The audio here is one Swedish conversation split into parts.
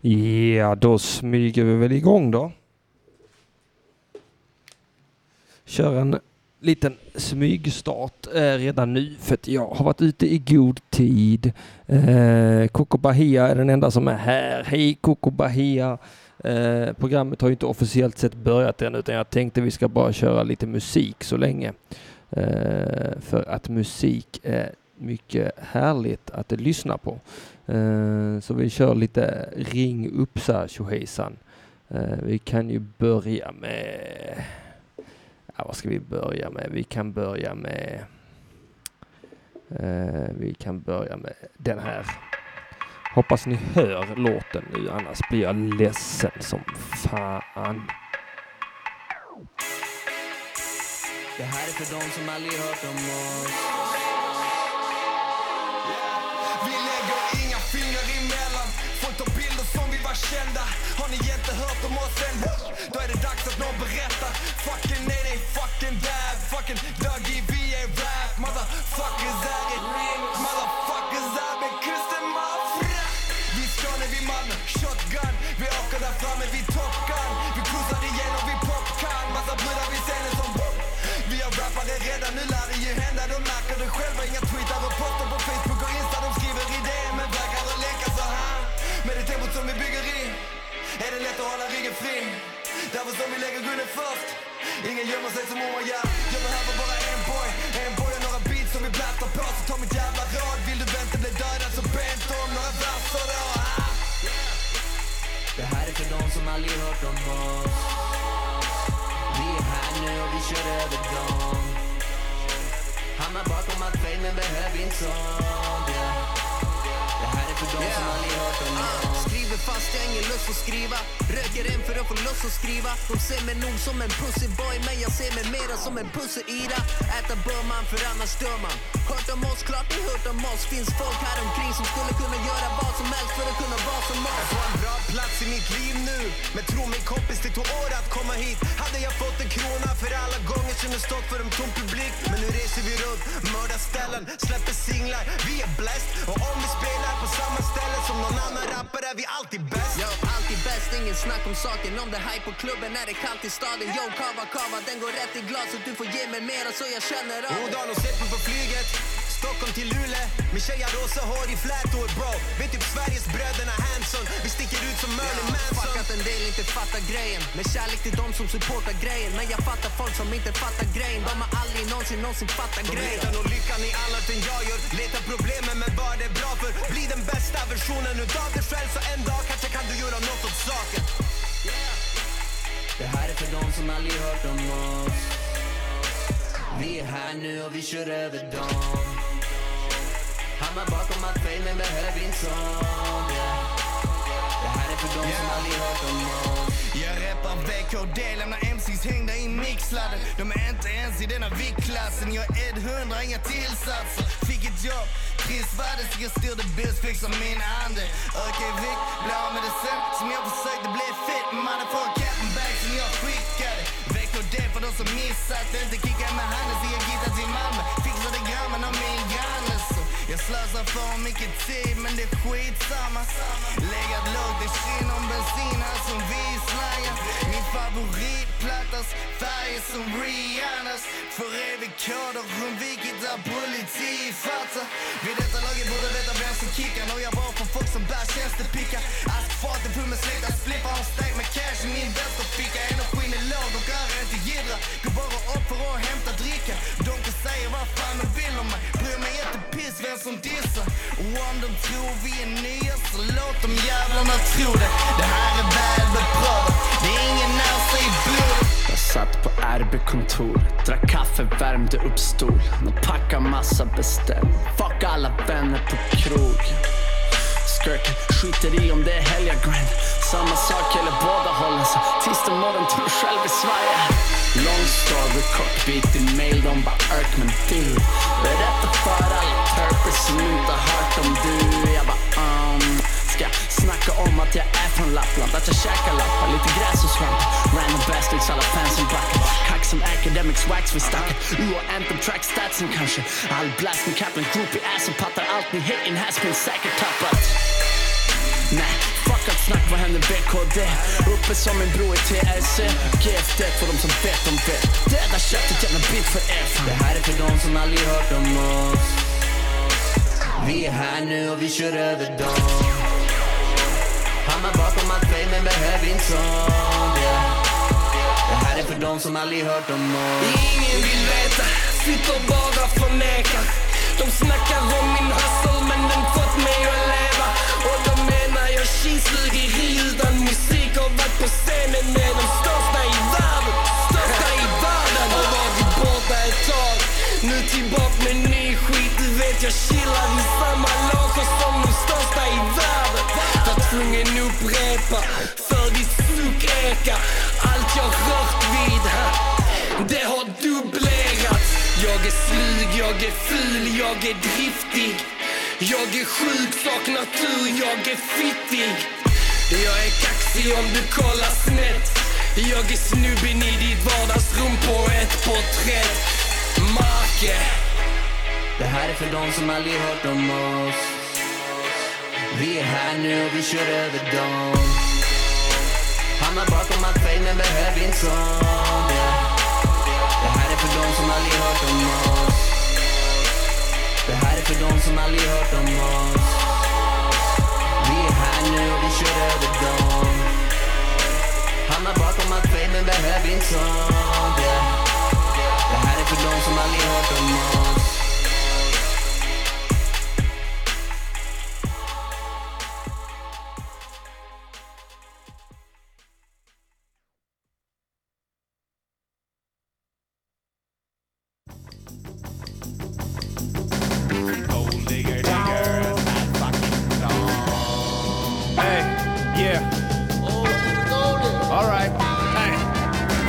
Ja, då smyger vi väl igång då. Kör en liten smygstart eh, redan nu för att jag har varit ute i god tid. Eh, Coco Bahia är den enda som är här. Hej Coco Bahia! Eh, programmet har ju inte officiellt sett börjat än utan jag tänkte vi ska bara köra lite musik så länge. Eh, för att musik är mycket härligt att lyssna på. Eh, så vi kör lite Ring Uppsa tjohejsan. Eh, vi kan ju börja med... Ja, vad ska vi börja med? Vi kan börja med... Eh, vi kan börja med den här. Hoppas ni hör låten nu, annars blir jag ledsen som fan. Det här är för de som aldrig hört om oss Vi lägger inga fingrar emellan Folk tar bilder som vi var kända Har ni inte hört om oss än? Då är det dags att någon berättar Fucking nej, nej, fucking dab Fucking Dougie, vi är rap Motherfuckers är i Motherfuckers är med kusten, mafra Vi Skåne, vi Malmö, shotgun Vi åker där framme, vi Top Gun Vi cruisar igenom, vi popcorn Massa brudar vid scenen som Vi har rappare redan, nu lär det ju hända De märker det själva, inga tweetar och postar på Facebook och Insta De skriver idéer men vägrar att leka så här Med det tempot som vi bygger i Är det lätt att hålla ryggen fri Därför som vi lägger grunden först Ingen gömmer sig som Omar gör Jag behöver bara en boy En boy och några beats som vi blattar på Så ta mitt jävla råd Vill du vänta bli dödad så be inte om några verser då ah. Det här är för de som aldrig hört om oss Vi är här nu och vi kör över dem Hamnar bakom allt fel men behöver inte sånt yeah. Det här är för de som aldrig hört om oss Skriver fast jag ingen lust att skriva Röker en för att få lust att skriva De ser mig nog som en pussyboy Men jag ser mig mera som en pussy-ira Äta bör man för annars dör man Hört om oss, klart ni hört om oss Finns folk här omkring som skulle kunna göra vad som helst för att kunna vara som oss Jag får en bra plats i mitt liv nu Men tro mig kompis, det tog år att komma hit Hade jag fått en krona för alla gånger som jag stått för en tom publik Men nu reser vi runt, mördar ställen, släpper singlar Vi är blessed och om vi spelar på samma ställe som någon annan rappare är vi alltid bäst Yo, alltid bäst, ingen snack om saken Om det hype på klubben är det kallt i staden Yo, kava, kava, den går rätt i glaset Du får ge mig mera så jag känner av det. Goddagen och släppen på flyget Stockholm till Luleå Min tjej har rosa hår i flätor bro Vi är typ Sveriges bröderna Hanson Vi sticker ut som Merlin Fuck Manson att en del inte fattar grejen Med kärlek till de som supportar grejen Men jag fattar folk som inte fattar grejen De har aldrig någonsin någonsin fattat De grejen letar nog lyckan i annat än jag gör Letar problemen men vad det är bra för Bli den bästa versionen utav dig själv Så en dag kanske kan du göra något åt saken Det här är för de som aldrig hört om oss Vi är här nu och vi kör över dem Hamnar bakom allt fel men behöver inte sånt yeah. Det här är för de som aldrig hört om oss Jag rappar VKD, lämnar MCs hängda i mixladden De är inte ens i denna viktklassen Jag är 100, inga tillsatser Fick ett jobb, trist var det så jag styrde busfix som min ande Ökar i vikt, blir av med det sen Som jag försökte bli fit Mannen får capen back som jag skickade VKD för de som missat det Inte kicka med handen så jag gittar till Malmö Fixade grammen av min granne så jag slösar för mycket tid men det är skitsamma Legat lågt i skinn om bensin här som vi slangar Min favoritplattas färger som Rihannas För evigt kod och undvikit där politi fattar Vid detta laget borde veta vem som kickar Når jag bara för folk som bär tjänstepickar Asfalten full med släckta splippar Har stekt med cash i min vänsterficka Energin är låg och är inte jiddra Går bara upp för att hämta dricka De kan säga vad fan de vill om mig Bryr mig inte piss vem som dissar Och om de tror vi är nya så låt de jävlarna tro det Det här är väl beprövat Det är ingen näsa i blodet Jag satt på RB-kontor, drack kaffe, värmde upp stolen och packade massa beställ. Fuck alla vänner på krog. Skirten skiter i om det är helg, jag går in. Samma sak eller båda hållen, så tisdag morgon tror jag själv i Sverige. Lång story, kort bit i mail, de bara örk men du. Berätta för alla turpers som inte har hört om du. Jag bara um. Ska snacka om att jag är från Lappland, att jag käkar lappar, lite gräs och svamp. Random bastards, alla fans som backar. Kack som academics, wax vid stacket. U och anthem track statsen kanske. All blast med Kaplan, groupie ass och pattar allt ni hate in has been säkert tappat. Nej, fuck allt Snack, vad händer BKD? Uppe som en bro i E. TLC GFD för de som vet, de vet Det där köttet, jävla beat för er fan Det här är för de som aldrig hört om oss Vi är här nu och vi kör över dem Hamnar bakom allt fame men behöver inte sånt yeah. Det här är för de som aldrig hört om oss Ingen vill veta, sitter bara förnekar De snackar om min hustle men den fått mig att leva Och de menar jag kisluger i utan musik och varit på scenen med de största i världen Största i världen och varit borta ett tag Nu tillbaka med ny skit, du vet jag chillar i samma loger som de största i världen Var tvungen upprepa, för ditt suck ekar Allt jag rört vid här, det har dubblerats Jag är slug, jag är ful, jag är driftig Jag är sjuk, saknar tur, jag är fittig Jag är kaxig om du kollar snett Jag är snubben i ditt vardagsrum på ett porträtt Marke Det här är för de som aldrig hört om oss Vi är här nu och vi kör över dem Hamnar bakom allt fame men behöver inte sånt yeah. Det här är för de som aldrig hört om oss Det här är för de som aldrig hört om oss Vi är här nu och vi kör över dem Hamnar bakom allt fame men behöver inte sånt yeah. Det här är för de som aldrig hört om oss Gold digger, digger, that fucking song. Hey, yeah. All right. Hey.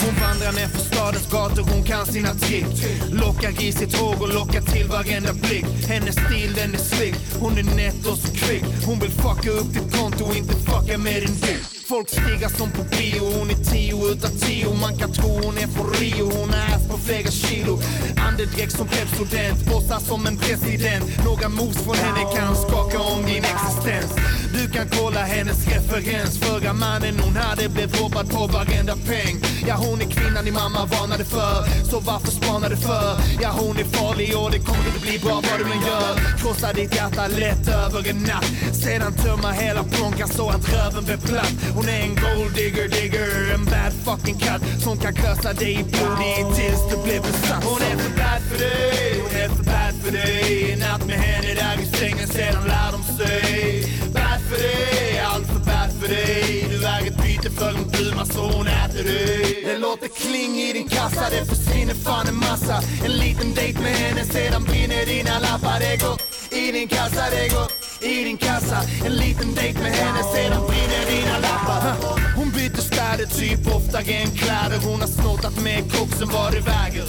Hon vandrar ner för stadens gator, hon kan sina trick Lockar i sitt hår och lockar till varenda blick Hennes stil den är slick, hon är nätt och så kvick Hon vill fucka upp ditt konto och inte fucka med din dick Folk stirrar som på bio, hon är tio utav tio Man kan tro hon är från Rio, hon har ass på flera kilo Andedräkt som Pepsodent, bossar som en president Några moves från henne kan skaka om din existens Du kan kolla hennes referens Förra mannen hon hade blev robbad på varenda peng Ja hon är kvinnan din mamma varnade för Så varför spanade för? Ja hon är farlig och det kommer inte bli bra vad du än gör Krossa ditt hjärta lätt över en natt Sedan tömma hela plånkan så att röven blir platt Hon är en gold digger digger En bad fucking cut Som kan klösa dig i blodet tills du blir besatt Hon är för bad för dig Hon är för bad för dig En natt med henne där i sängen sedan lär de sig Bad för dig, allt för bad för dig Du är ett byte för en pluma så hon äter dig Det låter kling i din kassa, det försvinner fan en massa En liten dejt med henne, sedan brinner dina lappar Det går i din kassa, det går i din kassa En liten dejt med henne, sedan brinner dina lappar Ha, Hon byter städer, typ oftare än kläder Hon har snortat med koksen var det väger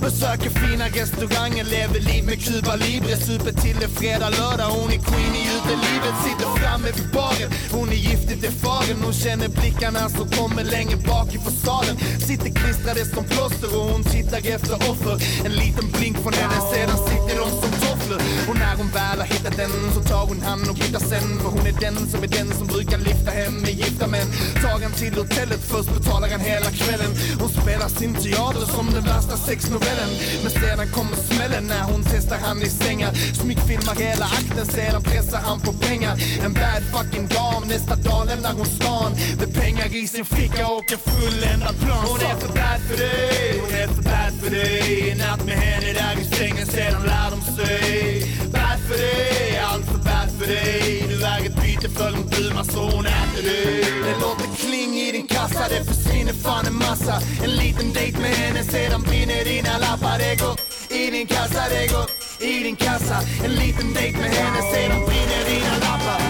Besöker fina restauranger, lever liv med Cuba Libre Super till det fredag, lördag, hon är queen i utelivet Sitter framme vid baren, hon är giftigt erfaren Hon känner blickarna som kommer längre bak i fasaden Sitter klistrade som plåster och hon tittar efter offer En liten blink från henne, sedan sitter de som tofflor Och när hon väl har hittat den så tar hon hand och hittar sen För hon är den som är den som brukar lyfta hem med gifta män Tar han till hotellet, först betalar han hela kvällen Hon spelar sin teater som den värsta sexnovellen Men sedan kommer smällen när hon testar han i sängar Smygfilmar hela akten, sedan pressar han på pengar En bad fucking dam, nästa dag lämnar hon stan Med pengar i sin ficka och en fulländad plan Hon är för bad för dig, hon är för bad för dig En natt med henne där i sängen, sedan lär de sig Bad för dig, allt för bad för dig Du är ett byte för en pluma så hon äter dig Det låter kling i din kassa, det försvinner fan en massa En liten dejt med henne, sedan brinner dina lappar Det går i din kassa, det går i din kassa En liten dejt med henne, sedan brinner dina lappar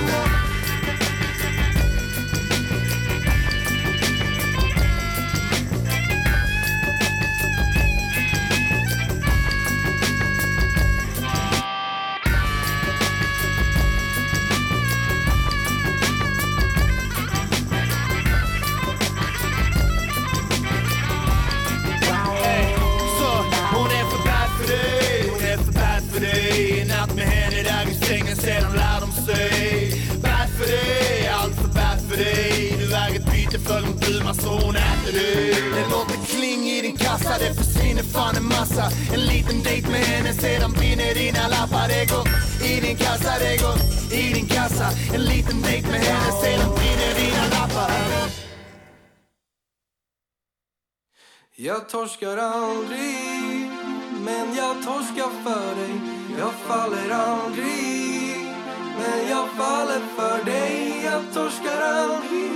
Hey, Så hon är för bad för dig, hon är för bad för dig En natt med henne där i sängen sedan lär så hon äter det Det låter kling i din kassa, det försvinner fan en massa En liten dejt med henne, sedan brinner dina lappar Det går i din kassa, det går i din kassa En liten dejt med henne, sedan brinner dina lappar Jag torskar aldrig, men jag torskar för dig Jag faller aldrig, men jag faller för dig Jag torskar aldrig,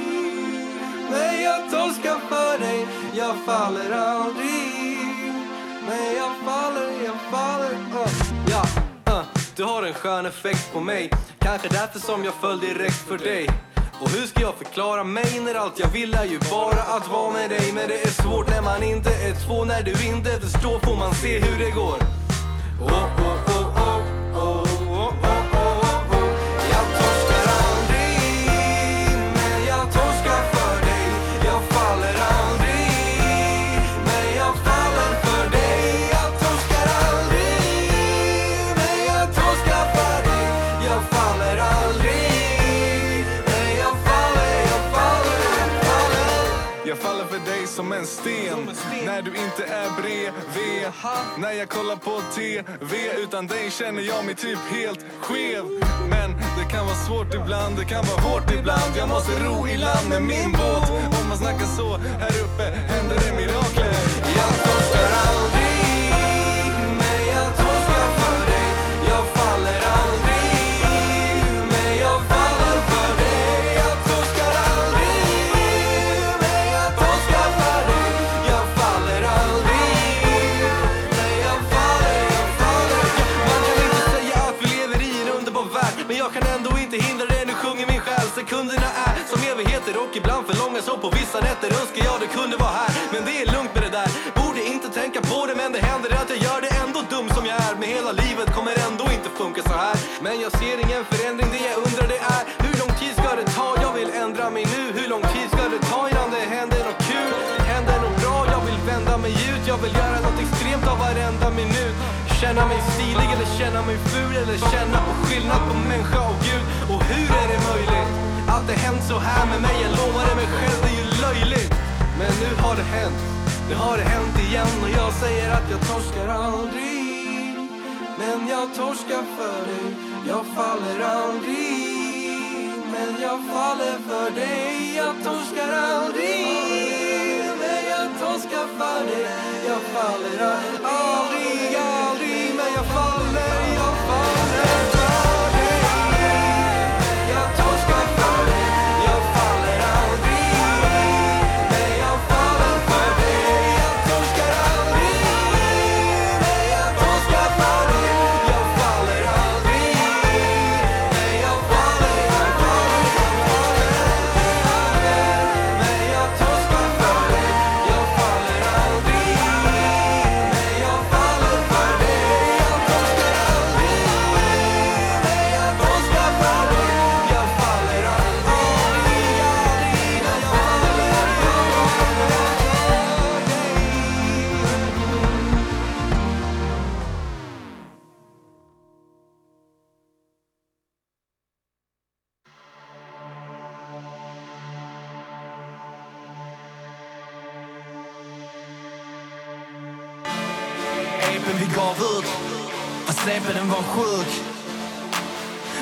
men jag torskar för dig Jag faller aldrig, men jag faller, jag faller uh. Ja, uh. du har en skön effekt på mig Kanske därför som jag föll direkt för dig och hur ska jag förklara mig när allt jag vill är ju bara att vara med dig Men det är svårt när man inte är två När du inte förstår får man se hur det går Oh, oh, oh, oh, oh, oh, oh, oh, oh. Jag torskar aldrig, men jag torskar för dig Jag faller aldrig, men jag faller för dig Jag torskar aldrig, men jag torskar för dig Jag faller aldrig, men jag faller, jag faller, jag faller Jag faller för dig som en sten När du inte är bredvid När jag kollar på TV Utan dig känner jag mig typ helt skev Men det kan vara svårt ibland Det kan vara hårt ibland Jag måste ro i land med min båt Om man snackar så här uppe händer det mirakler Jag torskar aldrig, men jag torskar för dig Jag faller aldrig, men jag faller för dig Jag torskar aldrig, men jag torskar för dig Jag faller aldrig, men jag faller, jag faller Man kan inte säga att vi lever i en underbar värld Men jag kan ändå inte hindra det, nu sjunger min själ Sekunderna är som evigheter och ibland för långa Så på vissa nätter önskar jag det kunde vara här Men det är lugnt med det där, borde inte tänka på det Men det händer att jag gör det ändå dum som jag är Men hela livet kommer ändå inte funka så här Men jag ser ingen förändring, det jag undrar det är Hur lång tid ska det ta? Jag vill ändra mig nu Hur lång tid ska det ta innan det händer något kul? Händer något bra? Jag vill vända mig ut Jag vill göra något extremt av varenda minut Känna mig stilig eller känna mig ful Eller känna på skillnad på människa och gud Och hur är det möjligt att det hänt så här med mig? Jag lovade mig själv, det är ju löjligt Men nu har det hänt, nu har det hänt igen Och jag säger att jag torskar aldrig Men jag torskar för dig Jag faller aldrig Men jag faller för dig Jag torskar aldrig Men jag torskar för dig Jag faller aldrig, aldrig Men jag faller, jag faller för dig Jag torskar för dig Jag faller aldrig Men jag faller för dig Jag torskar aldrig Men jag torskar för dig Jag faller aldrig Men jag faller, jag faller, jag faller Men jag torskar för dig Jag faller aldrig Men jag faller för dig Jag torskar aldrig Men jag torskar för dig Jag faller aldrig, aldrig Men jag faller, jag faller för dig Epen vi gav ut Fast släpen den var sjuk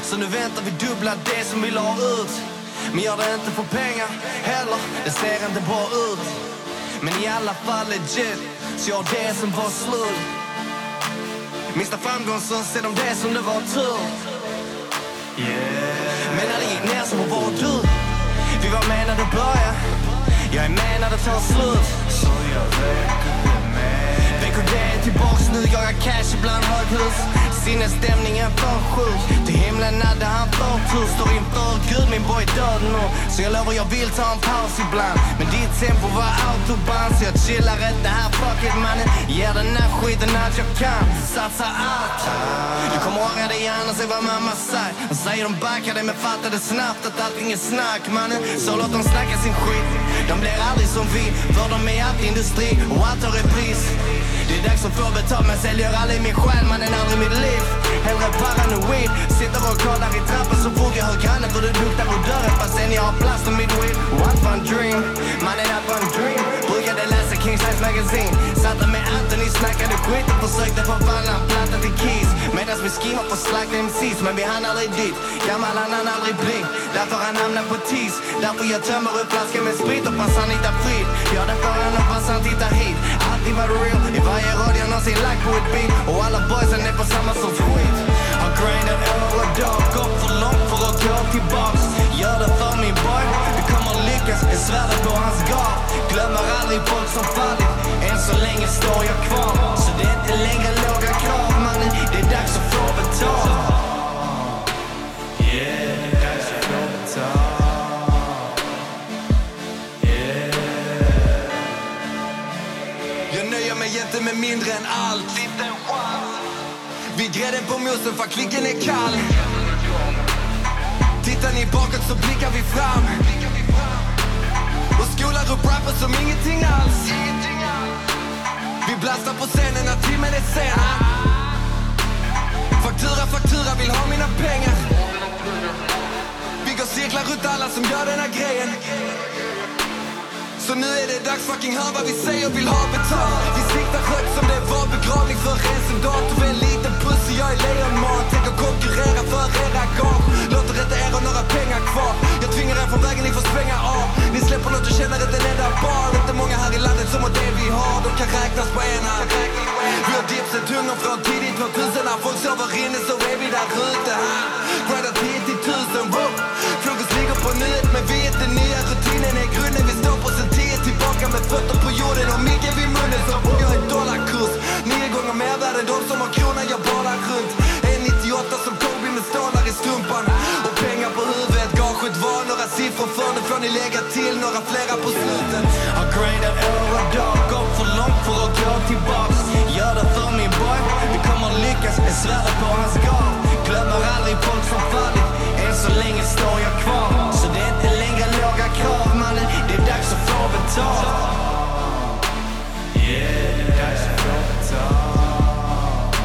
Så nu väntar vi dubbla det som vi la ut Men gör det inte för pengar heller Det ser inte bra ut Men i alla fall legit Så jag har det som var slut Minsta framgång så ser de det som det var tur Men när det gick ner så var du Vi var med när det började Jag är med när det tar slut Så jag VKD är tillbaks nu, jagar cash ibland höghus Sinnesstämningen för sjuk Till himlen hade han förtur Står inför gud, min boy är död nu Så jag lovar jag vill ta en paus ibland Men ditt tempo var autobahn Så jag chillar inte här, fuck it mannen Ger den här skiten allt jag kan Satsa allt Du kommer ångra dig annars, är vad mamma sagt Han säger de backar dig men fattade snabbt att allting är snack mannen Så låt dem snacka sin skit De blir aldrig som vi För de är allt industri och allt har repris Det är dags att få betalt men säljer aldrig min själ mannen aldrig mitt liv Hellre paranoid Sitter och kollar i trappan så fort jag hör grannen för det luktar och dörren fastän jag har plast och mitt weed What fun dream Mannen up on platta med atten Ni snackade skit och försökte förvandla en platta till Kiss Medan vi skimmar på slack MCs Men vi hann aldrig dit, gammal han hann aldrig bli Därför han hamnar på TIS Därför jag tömmer upp flaskan med sprit och passar Anita Frid Ja, er därför han och passan tittar hit Alltid var det real i varje rad jag någonsin lagt på ett beat Och alla boysen är på samma sorts skit Har grindat år och er dag, gått för långt för att gå tillbaks Gör det för min boy, du kommer lyckas, är svärdet på hans gard Glömmer aldrig folk som fallit, än så länge står jag kvar Så det är inte längre låga krav mannen, det är dags att få betalt Yeah, dags att få betalt Jag nöjer mig inte med mindre än allt. Inte en chans. Vid grädden på musen för klicken är kall Tittar ni bakåt så blickar vi fram Och skolar upp rappers som ingenting alls Vi blastar på scenen när timmen är sen Faktura, faktura, vill ha mina pengar Vi går cirklar runt alla som gör den här grejen så nu är det dags, fucking hör vad vi säger, vill ha betalt Vi siktar högt som det var begravning för en soldat Och en liten puss och jag är lejonmat Tänker konkurrera för era garn Låter inte er ha några pengar kvar Jag tvingar er från vägen, ni får svänga av Ni släpper något och känner inte en enda bar Inte många här i landet som har det vi har De kan räknas på en hand Vi har dipset hungern från tidigt 2000 När folk sover inne så är vi där ute Grindar 10 000, wow Fokus ligger på nyhet men vi är inte nya Rutinen är grunden, vi står på sen tio tillbaka med fötter på jorden och micken vid munnen som om jag är dollarkurs Nio gånger mer värd än de som har kronan jag badar runt En 98 som Kobe med stålar i strumpan och pengar på huvudet Gaget var några siffror för nu får ni lägga till några flera på slutet Har gradat år och dag, gått för långt för att gå tillbaks Gör det för min boy, vi kommer lyckas, är svärdet på hans garn Glömmer aldrig folk som fallit, än så länge står jag kvar Så det är inte längre låga krav mannen, det är dags att få betalt Yeah, det är dags att få betalt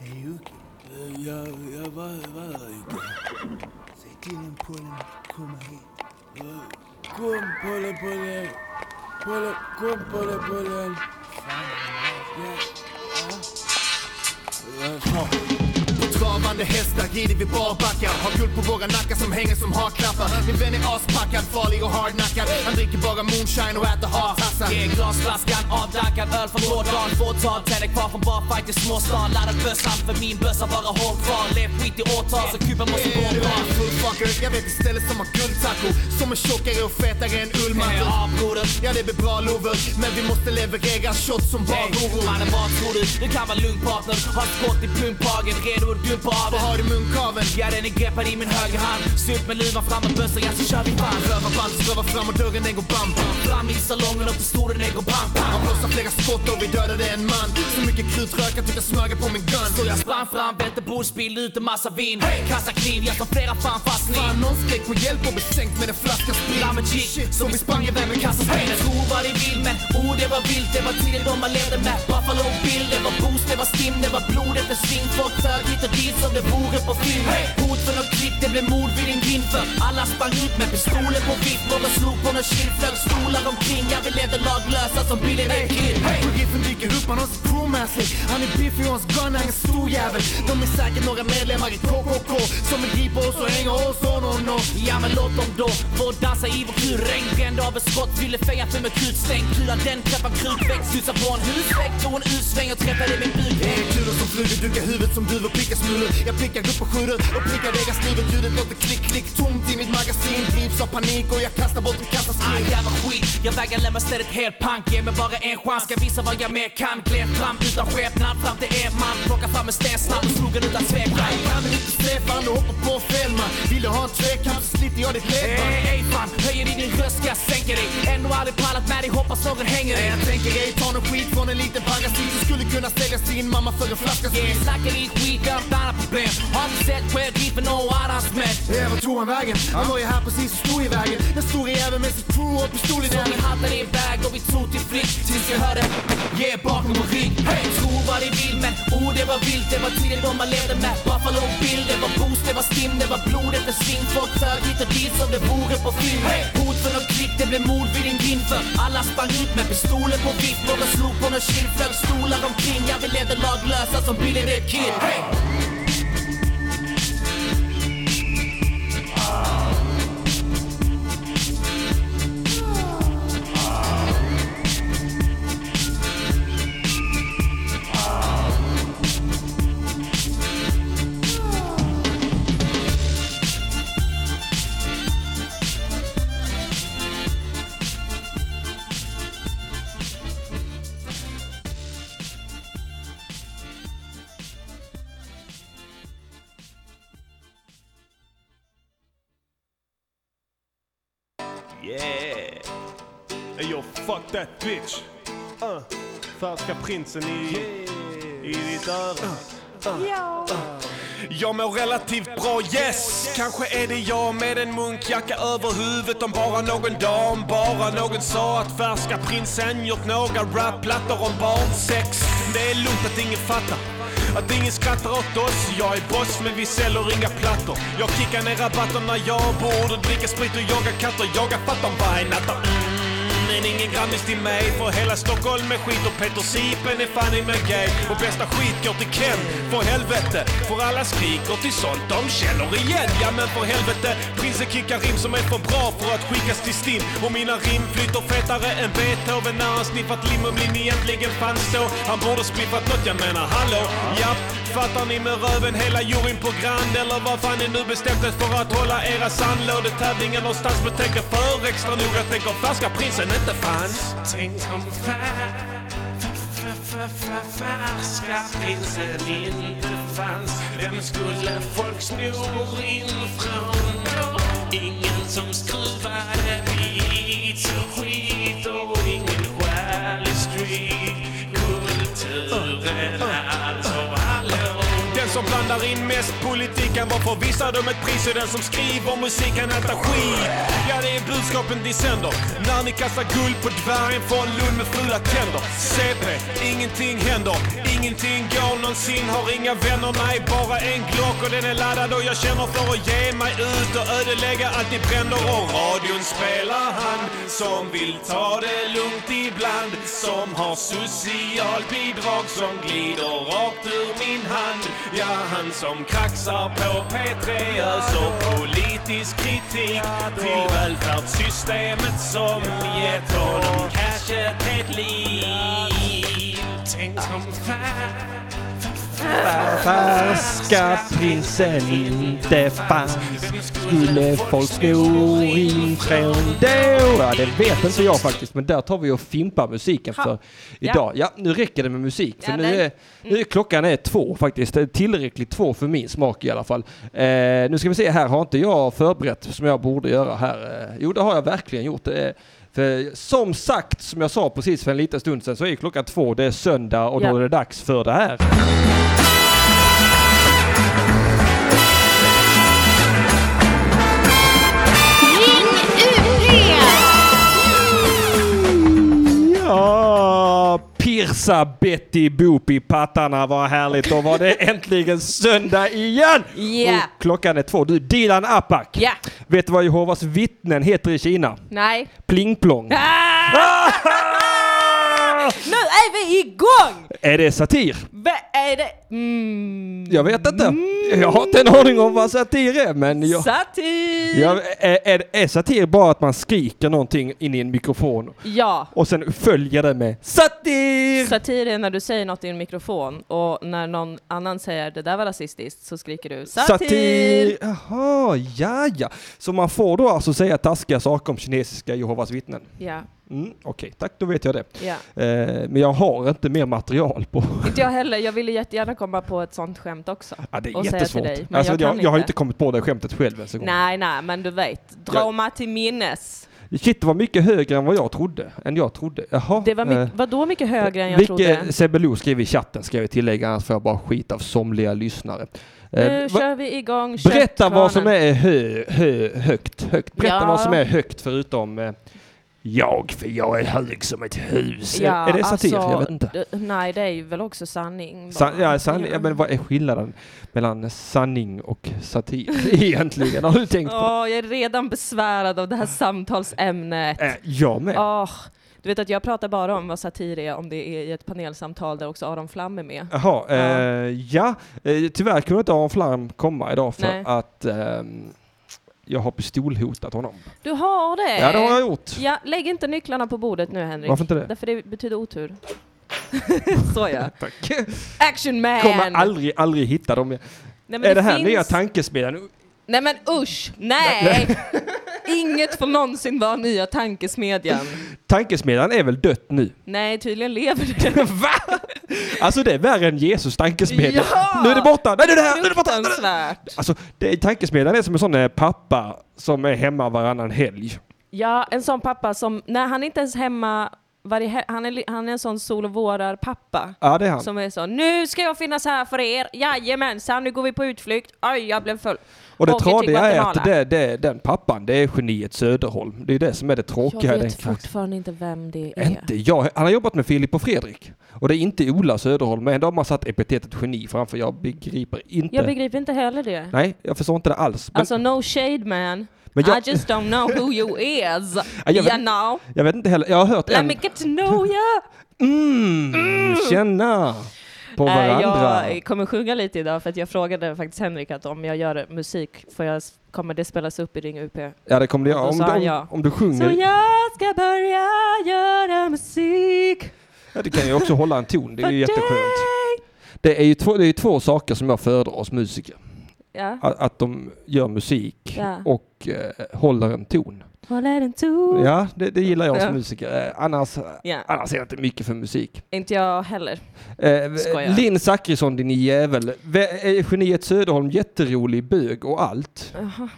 Hej Jocke, Jag, jag var, var där ute. säg till den pollen att komma hit. Kom Pollen Pollen. Pollen, kom Pollen Pollen. Ja, ja. Ja, Travande hästar rider vi barbackar Har guld på våra nackar som hänger som haklappar Min vän är aspackad, farlig och hardnackad Han dricker bara moonshine och äter hartassar Ge glasflaskan avdankad öl från gårdagen Fåtal tänder kvar från barfight i småstan Laddad bössan för min bössa bara hår kvar Levt skit i årtal så kuben måste gå Du bra är en full fucker. Jag vet ett ställe som har guldtaco Som är tjockare och fetare än ullmattor Ja, broder. Ja det blir bra lover Men vi måste leverera shots som Hey, barhoror Mannen vad tror du? Du kan vara lugn partner Har skott i pumphagen, redo att dumpa av Vad den har du i munkaveln? Ja den är greppad i min högra hand Sup med luvan fram med bössan, ja så kör vi fan Rövarband strövar fram och dörren den går bam bam Fram i salongen och pistolen den går pang Han pang blossar flera skott och vi dödade en man Så mycket krutrök jag tyckte smöga på min gun Så jag sprang fram, välte borsbil, ut en massa vin Kassa kniv, jag tar flera fan fastning Fan, någon skrek på hjälp och blev sänkt med en flaska sprit Lammet gick så som vi sprang iväg med kassaspelen Tro vad ni vill men oh det var vilt Det var tiden då man levde med Buffalo Bill Det var boost, det var stim, det var blod efter sving Folk flög hit och dit som det vore på film Hot för något klipp, det blev mord vid din grind för Alla sprang ut med pistoler på vift Någon slog på någon kind, flög stolar omkring Ja vi levde laglösa som Billy the Kid Hey! Sheriffen dyker upp, han har sin crewmaster Han är biffig och hans gun är en stor jävel De är säkert några medlemmar i KKK Som vill gripa oss och hänga oss on on off Ja men låt dem då få dansa i vår kur Regnbränd av ett skott, fyller fängelse med krutstänk Kulan den träffar krutvägg, susar på en husvägg Tog en U-sväng och träffade min buk Det är kulor som flyger, dukar huvudet som duvor, prickar smulor Jag prickar upp och skjuter och prickar deras huvud Ljudet låter klick klick tomt i mitt magasin Grips av panik och jag kastar bort en kassaskrin Aj, jävla skit. Jag vägrar lämna stället helt pank. Ge mig bara en chans. Ska visa vad jag mer kan. Handklädd, tramp utan skepnad fram till er man Plockade fram en sten snabbt och slog den utan tvekan Kan väl inte Stefan och hoppa på fel man Vill du ha en tvekamp så sliter jag ditt ledband Ey, ey fan, höjer i din röst ska jag sänka dig Ändå aldrig pallat med dig, hoppas någon hänger dig Nej, Jag tänker ej ta någon skit från en liten parasit som skulle kunna säljas till din mamma för en flaska sprit. Yeah, snackar din skit, jag har ett annat problem Har inte sett själv, griper någon annans män Ja, vart tog han vägen? Han var ju här precis och stod i vägen. Den store jäveln med sitt crew och pistol i Så vi hade din väg och vi tog till flykt tills jag hörde Yeah, bakom vår rygg hey! Tro vad ni vill men oh det var vilt Det var tiden då man levde med Buffalo Bill Det var boost, det var stim, det var blod efter sving Folk flög hit och dit som det vore på film hey! Hot för något klick, det blev mord vid din grind för Alla sprang ut med pistoler på vift Några slog på någon kind, flög stolar omkring Ja, vi levde laglösa som Billy the Kid hey! Yeah! Hey yo, fuck that bitch! Uh, färska prinsen i, i ditt öra. Jag mår relativt bra, yes! Kanske är det jag med en munkjacka över huvudet om bara någon dag, om bara någon sa att färska prinsen gjort några rapplattor om barnsex. Det är lugnt att ingen fattar. Att ingen skrattar åt oss, jag är boss men vi säljer inga plattor Jag kickar ner rabatter när jag borde dricka sprit och jaga katter Jagar fattan varje natt men ingen grammis till mig För hela Stockholm är skit och Peter Sipen är fan i mig gay Och bästa skit går till Ken, för helvete För alla skriker till sånt de känner igen Ja men för helvete, prinsen kickar rim som är för bra för att skickas till STIM Och mina rim flyter fetare än Beethoven när han sniffat lim om lin egentligen fanns då Han borde spliffat nåt, jag menar hallå, japp Fattar ni med röven hela juryn på Grand eller vad fan ni nu bestämt er för att hålla era sandlådetävlingar någonstans men tänk er för extra noga, tänk om färska prinsen inte fanns. Tänk om fär- f- f- f- färska prinsen inte fanns Vem skulle folk sno ifrån då? Ingen som skruvade beats och skit och ingen Wall Street Kulturen alltså, hallå Den som blandar in mest politik kan vara förvissad om ett pris och den som skriver musik kan äta skit. Ja, det är budskapen ni sänder. När ni kastar guld på dvärgen från Lund med fula tänder. CP, ingenting händer. Ingenting går någonsin, har inga vänner. Nej, bara en Glock och den är laddad och jag känner för att ge mig ut och ödelägga allt ni bränder. Och radion spelar han som vill ta det lugnt ibland. Som har socialbidrag som glider rakt ur min hand. Ja, han som kraxar på P3 öser politisk kritik till välfärdssystemet som gett honom cashet ett liv. Tänk om fär- Färska prinsen inte fanns Skulle folk sno ifrån då? Ja, det vet inte jag faktiskt, men där tar vi och fimpar musiken för Ha. idag. Ja, nu räcker det med musik, för Ja, Mm. nu, men- är, nu är klockan är två faktiskt. Det är tillräckligt två för min smak i alla fall. Eh, nu ska vi se här, har inte jag förberett som jag borde göra här? Eh, jo, det har jag verkligen gjort. Det är, för som sagt, som jag sa precis för en liten stund sedan, så är klockan två, det är söndag och Ja. då är det dags för det här. Ja, pirsa Betty Boop i pattarna, vad härligt. Då var det äntligen söndag igen! Ja. Och klockan är två. Du, Dilan Apak. Ja. Vet du vad Jehovas vittnen heter i Kina? Nej. Pling plong. Ah! Ah! Nu är vi igång! Är det satir? Vad är det? Mm. Jag vet inte. Jag har inte en aning om vad satir är, men jag... Satir! Jag, är, är, är satir bara att man skriker någonting in i en mikrofon Ja. och sen följer det med Satir! Satir är när du säger något i en mikrofon och när någon annan säger det där var rasistiskt så skriker du satir! Jaha, ja ja. Så man får då alltså säga taskiga saker om kinesiska Jehovas vittnen? Ja, Mm, Okej, tack då vet jag det. Ja. Eh, men jag har inte mer material på... Inte jag heller. Jag ville jättegärna komma på ett sånt skämt också. Ja, det är och säga jättesvårt. till dig. Men Alltså, jag, jag, kan jag, har inte kommit på det skämtet själv ens en gång. Nej, nej, men du vet. Dra mig till minnes. Shit, det var mycket högre än vad jag trodde. Än jag trodde. Jaha. Det var eh, mycket, vadå mycket högre än jag trodde? Vilket Sebbe Lo skrev i chatten, ska jag tillägga, annars får jag bara skit av somliga lyssnare. Eh, Nu va- kör vi igång Berätta köttkvarnen. vad som är hö, hö, högt, högt. Berätta Ja. vad som är högt förutom eh, jag, för jag är hög som ett hus. Är- är det satir? jag vet inte. alltså, d- Nej, det är ju väl också sanning. San, bara. ja, san, ja, men vad är skillnaden mellan sanning och satir egentligen? Har du tänkt på det? Åh, jag är redan besvärad av det här samtalsämnet. Äh, jag med. Åh, du vet att jag pratar bara om vad satir är om det är i ett panelsamtal där också Aron Flam är med. Jaha, ja. Eh, ja. Eh, tyvärr kunde inte Aron Flam komma idag för Nej. att ehm, jag har pistolhotat honom. Du har det? Ja, det har jag gjort. Ja, lägg inte nycklarna på bordet nu Henrik. Varför inte det? Därför det betyder otur. Så ja. Tack. Action man! Kommer aldrig, aldrig hitta dem. Nej, men är det, det här finns- nya tankesmedjan? Nej men usch, nej! Inget får någonsin vara nya tankesmedjan. Tankesmedjan är väl dött nu? Nej, tydligen lever det. Alltså det är värre än Jesus tankesmedja. Ja! Nu är det borta! Nej, nu är det här! Nu är det borta! Fruktansvärt. Alltså, det, tankesmedjan är som en sån eh, pappa som är hemma varannan helg. Ja, en sån pappa som, nej han är inte ens hemma varje, he- han, är, li- han är en sån sol och vårar pappa. Ja, det är han. Som är så, nu ska jag finnas här för er, jajamensan, nu går vi på utflykt, oj jag blev full. Och det Åker till tradiga är att Guatemala. det, det, den pappan, det är geniet Söderholm. Det är det som är det tråkiga i Jag den vet karaktären. fortfarande inte vem det är. Inte jag. Han har jobbat med Filip och Fredrik. Och det är inte Ola Söderholm, men ändå har man satt epitetet geni framför. Jag begriper inte. Jag begriper inte heller det. Nej, jag förstår inte det alls. Men Alltså no shade man. Men jag- I just don't know who you is. jag vet- you know. jag vet inte heller. Jag har hört Let en... me get to know you. Mm, känna på Eh, varandra. Jag kommer sjunga lite idag för att jag frågade faktiskt Henrik att om jag gör musik får jag, kommer det spelas upp i Ring UP? Ja, det kommer det Och göra. då Om, sa du- han om, Alltså, ja. om du Så sjunger. jag ska börja göra musik. Ja, du kan ju också hålla en ton. Det är ju jätteskönt. Det är ju två, det är ju två saker som jag föredrar hos musiker. Ja. Att, att de gör musik Ja. och eh, håller en ton. Håller en ton. Ja, det, det gillar jag som Ja. musiker. Eh, annars, Ja. annars är jag inte mycket för musik. Inte jag heller. Eh, Skojar. Linn Zachrisson, din jävel. Vä- Är geniet Söderholm jätterolig bög och allt? Jaha.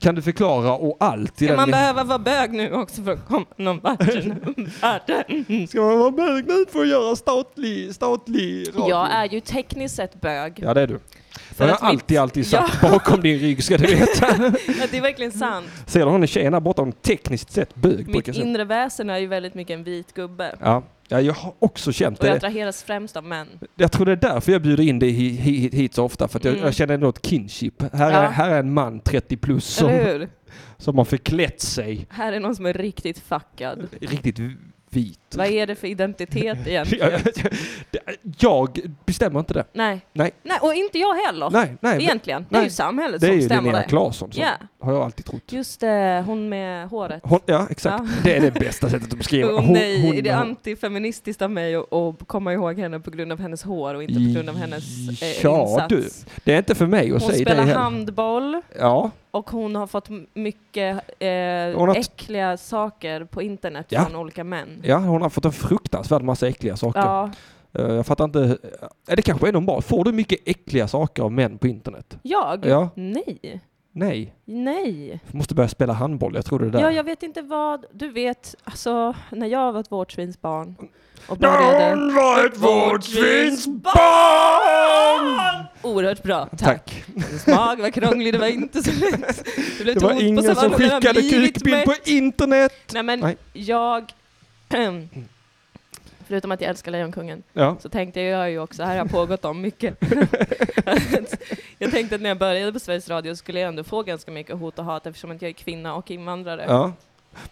Kan du förklara och allt? i Ska den- man behöva vara bög nu också för att komma någon vart? Mm. Ska man vara bög nu för att göra statlig, statlig radio? Jag är ju tekniskt sett bög. Ja, det är du. Det har jag att mitt- alltid, alltid sagt bakom din rygg, ska du veta. Ja, det är verkligen sant. Ser du hon är tjejen där borta, hon är tekniskt sett bög. Mitt brukar jag säga. inre väsen är ju väldigt mycket en vit gubbe. Ja. ja, jag har också känt Och jag det. attraheras främst av män. Jag tror det är därför jag bjuder in dig hi- hi- hit, hit så ofta, för att jag, Mm. jag känner ändå ett kinship. Här, Ja. är, här är en man 30 plus Eller som, hur? som har förklätt sig Här är någon som är riktigt fuckad. riktigt vit. Vad är det för identitet egentligen? Jag, jag bestämmer inte det. Nej. Nej. nej, och inte jag heller. Nej, nej, egentligen. det är ju samhället det är som ju bestämmer Linnea det. Claesson som Ja, har jag alltid trott. just det. Hon med håret. Hon, ja, exakt. Ja. Det är det bästa sättet att beskriva. Åh nej, är det hon- antifeministiskt av mig att- att komma ihåg henne på grund av hennes hår och inte på grund av hennes eh, Ja insats? du, det är inte för mig att Hon säga det spelar heller. handboll. Ja, Och hon har fått m- mycket eh, Hon har t- äckliga saker på internet Ja. från olika män. ja, hon har fått en fruktansvärd massa äckliga saker. Ja. Eh, Jag fattar inte. eh, Det kanske är normalt. Får du mycket äckliga saker av män på internet? Jag? Ja. Nej. Nej. Nej. Jag måste börja spela handboll. Jag tror det är där. Ja, jag vet inte vad. Du vet, alltså när jag var ett vårdsvinsbarn och När började... hon var ett vårdsvinsbarn! Oerhört bra, tack. Tack. Hennes mag var krånglig, det var inte så lätt. Det, blev Det var tomt på ingen som savannen, den har skickade blivit kukbild på mätt. internet. Nej, men Nej. jag... Förutom att jag älskar Lejonkungen Ja. så tänkte jag ju också, här har pågått om mycket. jag tänkte att när jag började på Sveriges Radio skulle jag ändå få ganska mycket hot och hat eftersom att jag är kvinna och invandrare. Ja.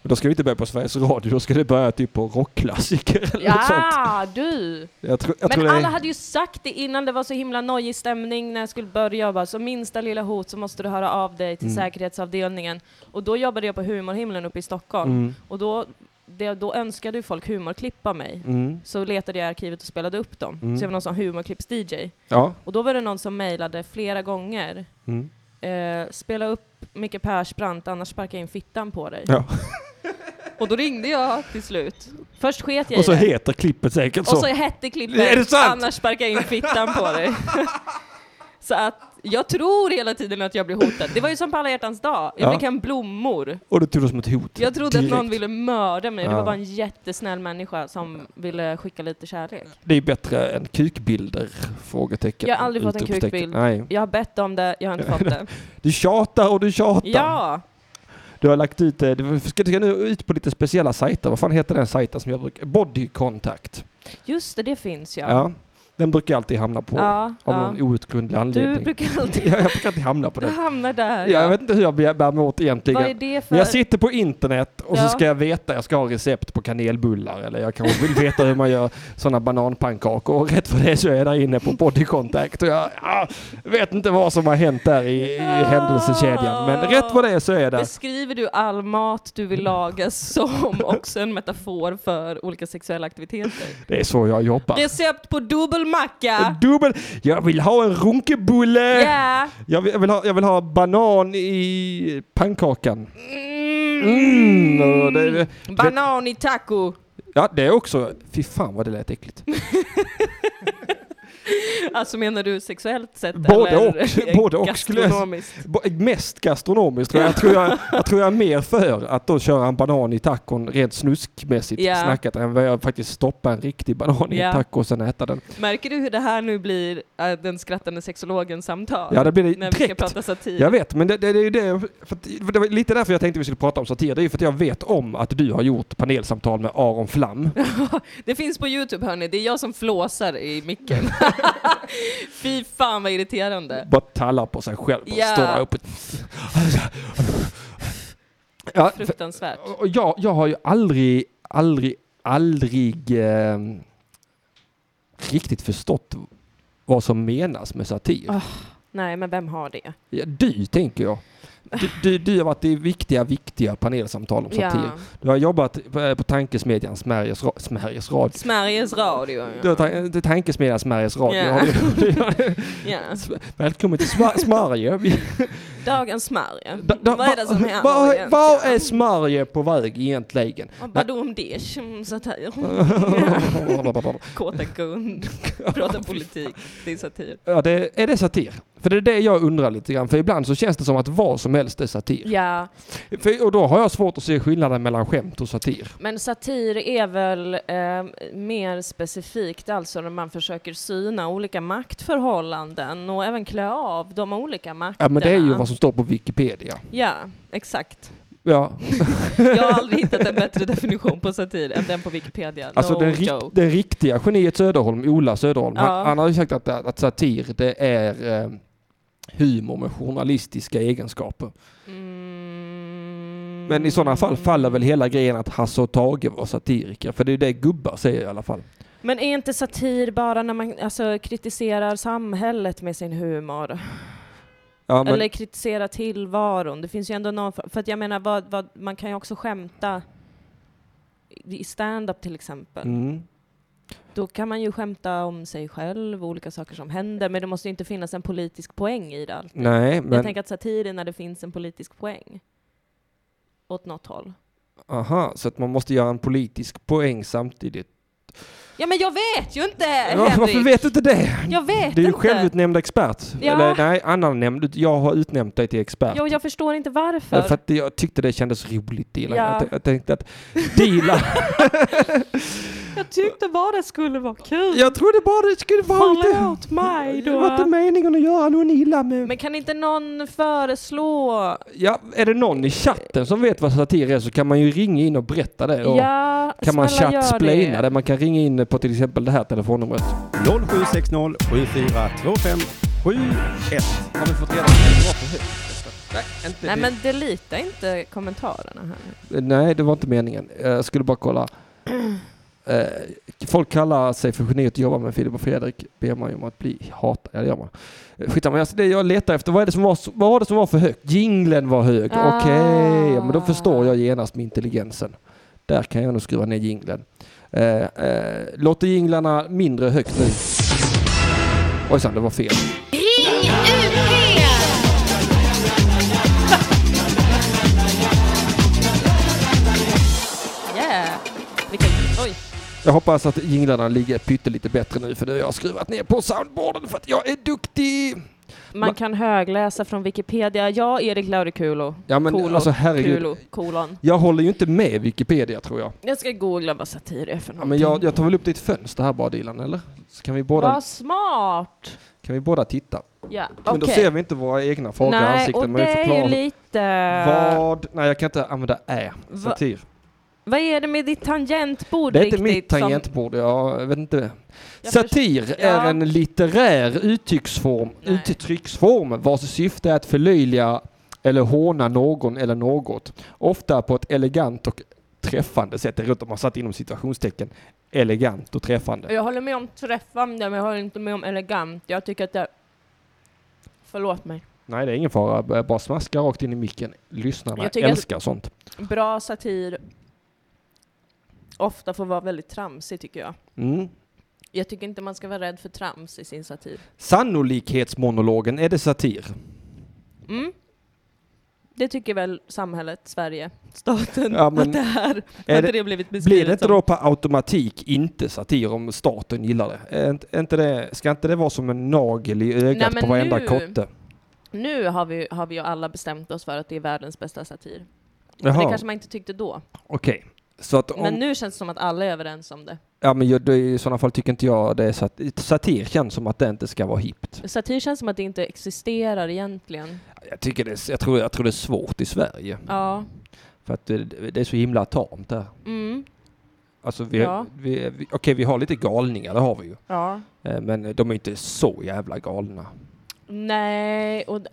Men då ska vi inte börja på Sveriges Radio. Då ska det börja typ på rockklassiker eller något sånt. Ja, du! Jag tror, jag men tror det är- alla hade ju sagt det innan det var så himla nojig stämning när jag skulle börja. Jag bara, så minsta lilla hot så måste du höra av dig till Mm. säkerhetsavdelningen. Och då jobbade jag på Humorhimlen uppe i Stockholm. Mm. Och då, det, då önskade ju folk humorklippa mig. Mm. Så letade jag i arkivet och spelade upp dem. Mm. Så jag var någon som humorklipps-DJ. Ja. Och då var det någon som mejlade flera gånger. Mm. Eh, spela upp Micke Persbrandt, annars sparkar jag in fittan på dig. Ja. Och då ringde jag till slut. Först sket jag Och så i det. heter klippet säkert Och så hette klippet. Är det sant? Annars sparkar jag in fittan på dig. så att jag tror hela tiden att jag blir hotad. Det var ju som på alla hjärtans dag. Jag Ja. fick hem blommor. Och du tog det som ett hot. Jag trodde direkt. att någon ville mörda mig. Det Ja. var bara en jättesnäll människa som ville skicka lite kärlek. Det är bättre än kukbilder? Frågetecken. Jag har aldrig fått en utropstecken. kukbild. Nej. Jag har bett om det, jag har inte fått det. Du tjatar och du tjatar. Ja! Du har lagt ut, eh, du ska, du ska nu ut på lite speciella sajter. Vad fan heter den sajten som jag brukar, Body Contact. Just det, det finns ja. Ja. Den brukar jag alltid hamna på Ja, av ja. någon outgrundlig anledning. brukar alltid- ja, jag brukar alltid hamna på Du den. hamnar där. Ja, jag vet inte hur jag bär bär mig åt egentligen. Vad är det för- Men jag sitter på internet och Ja. så ska jag veta, jag ska ha recept på kanelbullar eller jag kanske vill veta hur man gör sådana bananpannkakor och rätt för det så är jag där inne på body contact och jag ah, vet inte vad som har hänt där i, i händelsekedjan. Men rätt vad det är så är jag där. Beskriver du all mat du vill laga som också en metafor för olika sexuella aktiviteter? Det är så jag jobbar. Recept på dubbelmacka! Dubbel. Jag vill ha en runkebulle! Ja. Jag, vill, jag, vill ha, jag vill ha banan i pannkakan. Mm, och det- det- Banan i taco! Ja, det är också... Fy fan vad det lät äckligt. Alltså menar du sexuellt sett? Både och, eller både och skulle jag, gastronomiskt? Bo- mest gastronomiskt. tror Jag, jag, tror jag, jag tror jag är mer för att då köra en banan i tacon rent snuskmässigt Ja. snackat än vad jag faktiskt stoppa en riktig banan i Ja. en taco och sen äta den. Märker du hur det här nu blir äh, den skrattande sexologens samtal? Ja, det blir det När vi ska direkt. prata satir. Jag vet, men det, det, det är ju det, för att, för det var lite därför jag tänkte vi skulle prata om satir. Det är ju för att jag vet om att du har gjort panelsamtal med Aron Flam. Det finns på Youtube hörni, det är jag som flåsar i micken. Fy fan vad irriterande. Bara tallar på sig själv och Ja. står där uppe. Ja, för- Fruktansvärt. och jag, jag har ju aldrig, aldrig, aldrig eh, riktigt förstått vad som menas med satir. Ah, nej, men vem har det? Ja, du, tänker jag. Du, du, du har varit i viktiga, viktiga panelsamtal om Ja. satir. Du har jobbat på, på Tankesmedjan Smärjes, Ra- Smärjes Radio. Sveriges Radio. Du har ta- det är Tankesmedjan Smärjes Radio. Ja. Har du- du har- Ja. Välkommen till Sma- Smarje. Vi- Dagens Sverige. da- da- Vad är det som va- händer va- egentligen? Vad är Smarje på väg egentligen? Och Vadå om det? Tjum, Satir. Kåta Gund. Prata politik. Det är satir. Ja, det, är det satir? För det är det jag undrar lite grann. För ibland så känns det som att vad som helst är satir. Ja, För, och då har jag svårt att se skillnaden mellan skämt och satir. men satir är väl eh, mer specifikt alltså när man försöker syna olika maktförhållanden och även klä av de olika makterna. Ja, men det är ju vad som står på Wikipedia. Ja, exakt. Ja, Jag har aldrig hittat en bättre definition på satir än den på Wikipedia. alltså no den, joke. rik, den riktiga geniet Söderholm, Ola Söderholm, Ja. han, han har ju sagt att, att satir det är eh, humor med journalistiska egenskaper. Mm. Men i sådana fall faller väl hela grejen att Hasse och Tage var satiriker, för det är ju det gubbar säger i alla fall. Men är inte satir bara när man alltså, kritiserar samhället med sin humor? Ja, men- Eller kritiserar tillvaron? Det finns ju ändå någon... För att jag menar, vad, vad, man kan ju också skämta i stand-up till exempel. Mm. Då kan man ju skämta om sig själv och olika saker som händer, men det måste ju inte finnas en politisk poäng i det. alltid. Nej, men- Jag tänker att satir är när det finns en politisk poäng. Åt något håll. Aha, så att man måste göra en politisk poäng samtidigt. Ja men jag vet ju inte Ja, Henrik! varför vet du inte det? Jag vet Du är ju inte. självutnämnd expert. Ja. Eller nej, annan nämnd. Jag har utnämnt dig till expert. Jo, jag förstår inte varför. för. för att jag tyckte det kändes roligt, Dilan. Ja. Jag, t- jag tänkte att Dilan... Jag tyckte bara det skulle vara kul. jag trodde bara det skulle vara lite... Förlåt mig Det var inte då. meningen att göra någon illa med... Men kan inte någon föreslå? Ja, är det någon i chatten som vet vad satir är så kan man ju ringa in och berätta det. Och Ja, kan man snälla gör chatsplaina det. det. Man kan ringa in på till exempel det här telefonnumret. 0760 7425 71. Har vi fått reda på Nej men delita inte kommentarerna här. Nej, det var inte meningen. Jag skulle bara kolla. Eh, Folk kallar sig för geniet att jobba med Filip och Fredrik. Ber man ju om att bli hatad. Ja, det gör man. Eh, Skitsamma, jag, det jag letar efter, vad, är det som var, så- vad var det som var för högt? Jinglen var hög. Ah. Okej, ja, men då förstår jag genast med intelligensen. Där kan jag nog skruva ner jinglen. Eh, eh, låter jinglarna mindre högt nu. Ojsan, det var fel. Ring UP! Jag hoppas att jinglarna ligger pyttelite bättre nu för nu har jag skruvat ner på soundboarden för att jag är duktig. Man kan högläsa från Wikipedia. Ja, Erik Laurikulo. Ja, men Kolon. alltså, herregud. Kulo. Kolon. Jag håller ju inte med Wikipedia tror jag. Jag ska googla vad satir är för Ja, någonting. men jag, jag tar väl upp ditt fönster här bara Dilan, eller? Så kan vi båda, Vad smart! kan vi båda titta. Ja, Men då okej. ser vi inte våra egna fagra Nej, ansikten. och men vi det är förklarar ju lite... Vad? Nej, jag kan inte använda ä. Va- Satir. Vad är det med ditt tangentbord Det är inte riktigt? mitt som- tangentbord, jag vet inte. Satir är Ja. en litterär uttrycksform, uttrycksform vars syfte är att förlöjliga eller håna någon eller något. Ofta på ett elegant och träffande sätt. Det är roligt om man satt inom situationstecken elegant och träffande. Jag håller med om träffande, men jag håller inte med om elegant. Jag tycker att det... Förlåt mig. Nej, det är ingen fara. B- Bara smaska rakt in i micken. Lyssnarna Jag tycker att- älskar sånt. Bra satir ofta får vara väldigt tramsig, tycker jag. Mm. Jag tycker inte man ska vara rädd för trams i sin satir. Sannolikhetsmonologen, är det satir? Mm. Det tycker väl samhället, Sverige, staten, Ja, men att det här, Är att det, blivit beskrivet blir det inte som. då på automatik inte satir om staten gillar det? Är inte, är inte det? Ska inte det vara som en nagel i ögat men på varenda nu- kotte? Nu har vi, har vi ju alla bestämt oss för att det är världens bästa satir. Men Jaha. det kanske man inte tyckte då. Okej. Så att om, Men nu känns det som att alla är överens om det. Ja men jag, det, i sådana fall tycker inte jag det är sat, satir känns som att det inte ska vara hippt. Satir känns som att det inte existerar egentligen. Jag, tycker det, är- jag, tror, jag tror det är svårt i Sverige. Ja. För att det, det är så himla tamt där. Mm. Alltså vi, Ja. vi, vi, okej vi har lite galningar, det har vi ju. Ja. Eh, Men de är inte så jävla galna. Nej, och... d-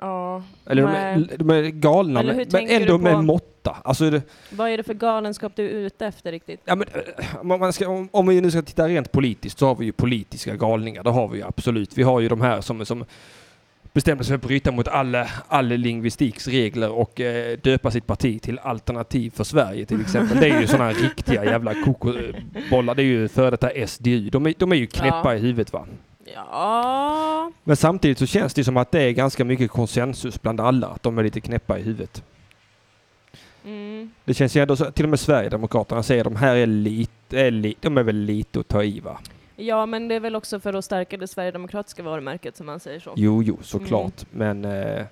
Ja. Eller de nej. är, de är galna Eller hur men, men tänker du ändå på- med måtta. Alltså det, Vad är det för galenskap du är ute efter riktigt? Ja, men, eh, om, man ska, om, om vi nu ska titta rent politiskt så har vi ju politiska galningar. Det har vi ju absolut. Vi har ju de här som, som bestämde sig för att bryta mot alla, all lingvistiks regler och eh, döpa sitt parti till Alternativ för Sverige till exempel. Det är ju sådana riktiga jävla kokobollar. Det är ju före detta SDU. De är, de är ju knäppa Ja. i huvudet va. Ja. Men samtidigt så känns det som att det är ganska mycket konsensus bland alla. Att de är lite knäppa i huvudet. Mm. Det känns ju ändå så, till och med Sverigedemokraterna säger de här är lite, är li, de är väl lite att ta i va. Ja, men det är väl också för att stärka det sverigedemokratiska varumärket som man säger så. Jo, jo, såklart. Mm. Men, eh,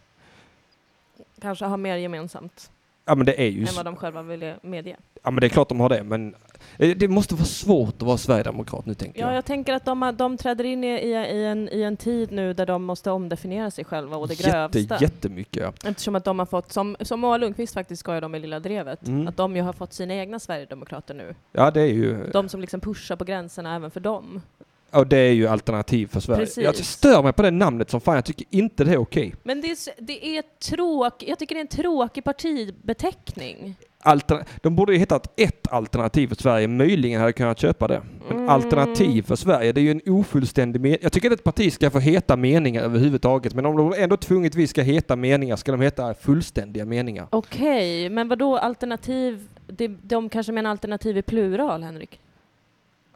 Kanske ha mer gemensamt ja, men det är ju än s- vad de själva ville medge. ja, men det är klart de har det, men eh, det måste vara svårt att vara sverigedemokrat nu tänker Ja, jag tänker att de, har- de träder in i, i, i, en, i en tid nu där de måste omdefiniera sig själva och det jag. grövsta. Jätte, jättemycket ja. Eftersom att de har fått, som, som Moa Lundqvist faktiskt skojade om i Lilla Drevet, Mm. att de ju har fått sina egna sverigedemokrater nu. Ja, det är ju, De som liksom pushar på gränserna även för dem. ja, det är ju alternativ för Sverige. Precis. Jag stör mig på det namnet som fan, jag tycker inte det är okej. Men det är, s- det är tråk, jag tycker det är en tråkig partibeteckning. Altern- de borde ju hittat ett alternativ för Sverige, möjligen hade jag kunnat köpa det. Men Mm. alternativ för Sverige, det är ju en ofullständig mening. Jag tycker att ett parti ska få heta meningar överhuvudtaget, men om de ändå tvungetvis ska heta meningar ska de heta fullständiga meningar. Okej, men vad då alternativ? Det, de kanske menar alternativ i plural, Henrik?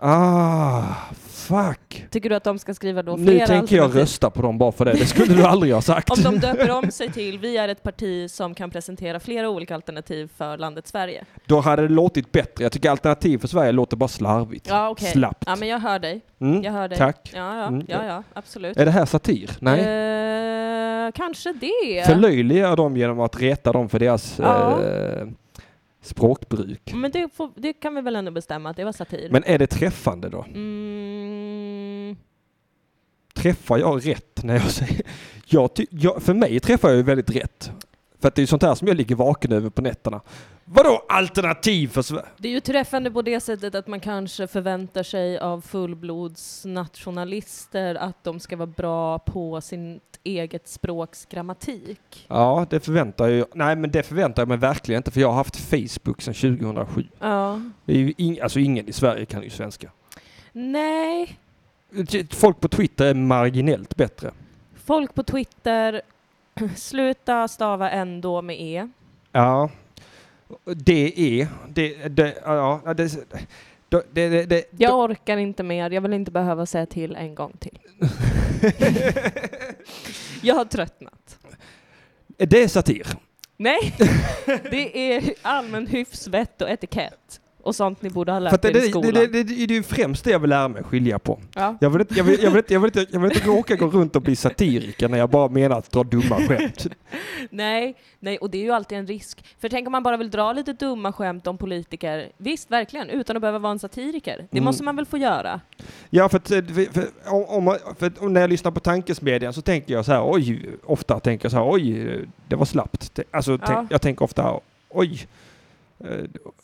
Ah, fuck. Tycker du att de ska skriva då Nu flera tänker jag alternativ? rösta på dem bara för det. Det skulle du aldrig ha sagt. Om de döper om sig till Vi är ett parti som kan presentera flera olika alternativ för landet Sverige. Då hade det låtit bättre. Jag tycker alternativ för Sverige låter bara slarvigt. Ja, okej. Slappt. Ja, men jag hör dig. Mm, Jag hör dig. tack. Ja, ja, Mm, ja, ja. ja absolut. Är det här satir? Nej. Eh, kanske det. Förlöjliga dem genom att reta dem för deras Ja. eh, språkbruk. Men det, får, det kan vi väl ändå bestämma att det var satir. Men är det träffande då? Mm, Träffar jag rätt när jag säger... Jag ty- jag, för mig träffar jag ju väldigt rätt. För att det är ju sånt här som jag ligger vaken över på nätterna. Vadå alternativ för Sverige? det är ju träffande på det sättet att man kanske förväntar sig av fullblodsnationalister att de ska vara bra på sitt eget språks grammatik. Ja, det förväntar jag Nej, men det förväntar jag mig verkligen inte för jag har haft Facebook sedan 2007. Ja. Det är ju ing- alltså ingen i Sverige kan ju svenska. Nej, Folk på Twitter är marginellt bättre. folk på Twitter, sluta stava ändå med E. Ja. Det är... Det, det, ja, ja, det, det, det, det, det, Jag orkar inte mer, jag vill inte behöva säga till en gång till. jag har tröttnat. det är satir. Nej, det är allmän hyfsvett och etikett. och sånt ni borde ha För att lärt det, er i det, skolan. det, det, det, det är ju främst det jag vill lära mig skilja på. Ja. Jag, vill inte, jag, vill, jag, vill inte, jag, vill inte, jag vill inte råka gå runt och bli satiriker när jag bara menar att dra dumma skämt. Nej, nej, och det är ju alltid en risk. För tänk om man bara vill dra lite dumma skämt om politiker. Visst, verkligen, utan att behöva vara en satiriker. Det Mm. måste man väl få göra? Ja, för, att, eh, för, för, om, om, man- för att när jag lyssnar på tankesmedjan så tänker jag så här, oj, ofta tänker jag så här, oj, det var slappt. Te- Alltså, Ja. tänk, jag tänker ofta, oj, eh,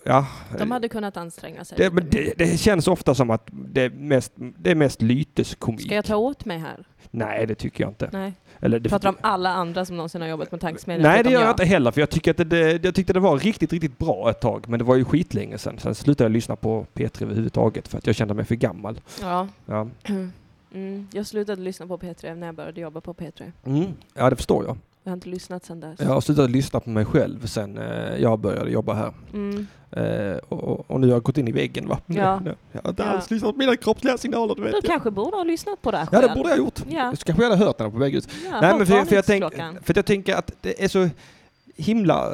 ja. De hade kunnat anstränga sig. det, lite men det, det känns ofta som att det är mest, det är mest lyteskomik. Ska jag ta åt mig här? Nej, det tycker jag inte. Nej. Eller det, Pratar om alla andra som någonsin har jobbat med tankesmedjan? Nej, det förutom gör jag inte heller, för jag, tycker att det- det, jag tyckte det var riktigt, riktigt bra ett tag, men det var ju skitlänge sedan. Sen slutade jag lyssna på P3 överhuvudtaget för att jag kände mig för gammal. Ja. Ja, Mm, jag slutade lyssna på P3 när jag började jobba på P3. mm. ja det förstår jag. Jag har inte lyssnat sedan dess. Jag har slutat lyssna på mig själv sen eh, jag började jobba här. Mm. Eh, och, och nu har jag gått in i väggen va? Ja. Jag har inte Ja. alls lyssnat på mina kroppsliga signaler, du vet. Du jag. kanske borde ha lyssnat på det här Ja, det själv. borde jag ha gjort. Ja. Så kanske jag hade hört när jag var på väg ut. Ja, Nej, men för, jag- för, jag tänk, varningsklockan. för att jag tänker att det är så himla...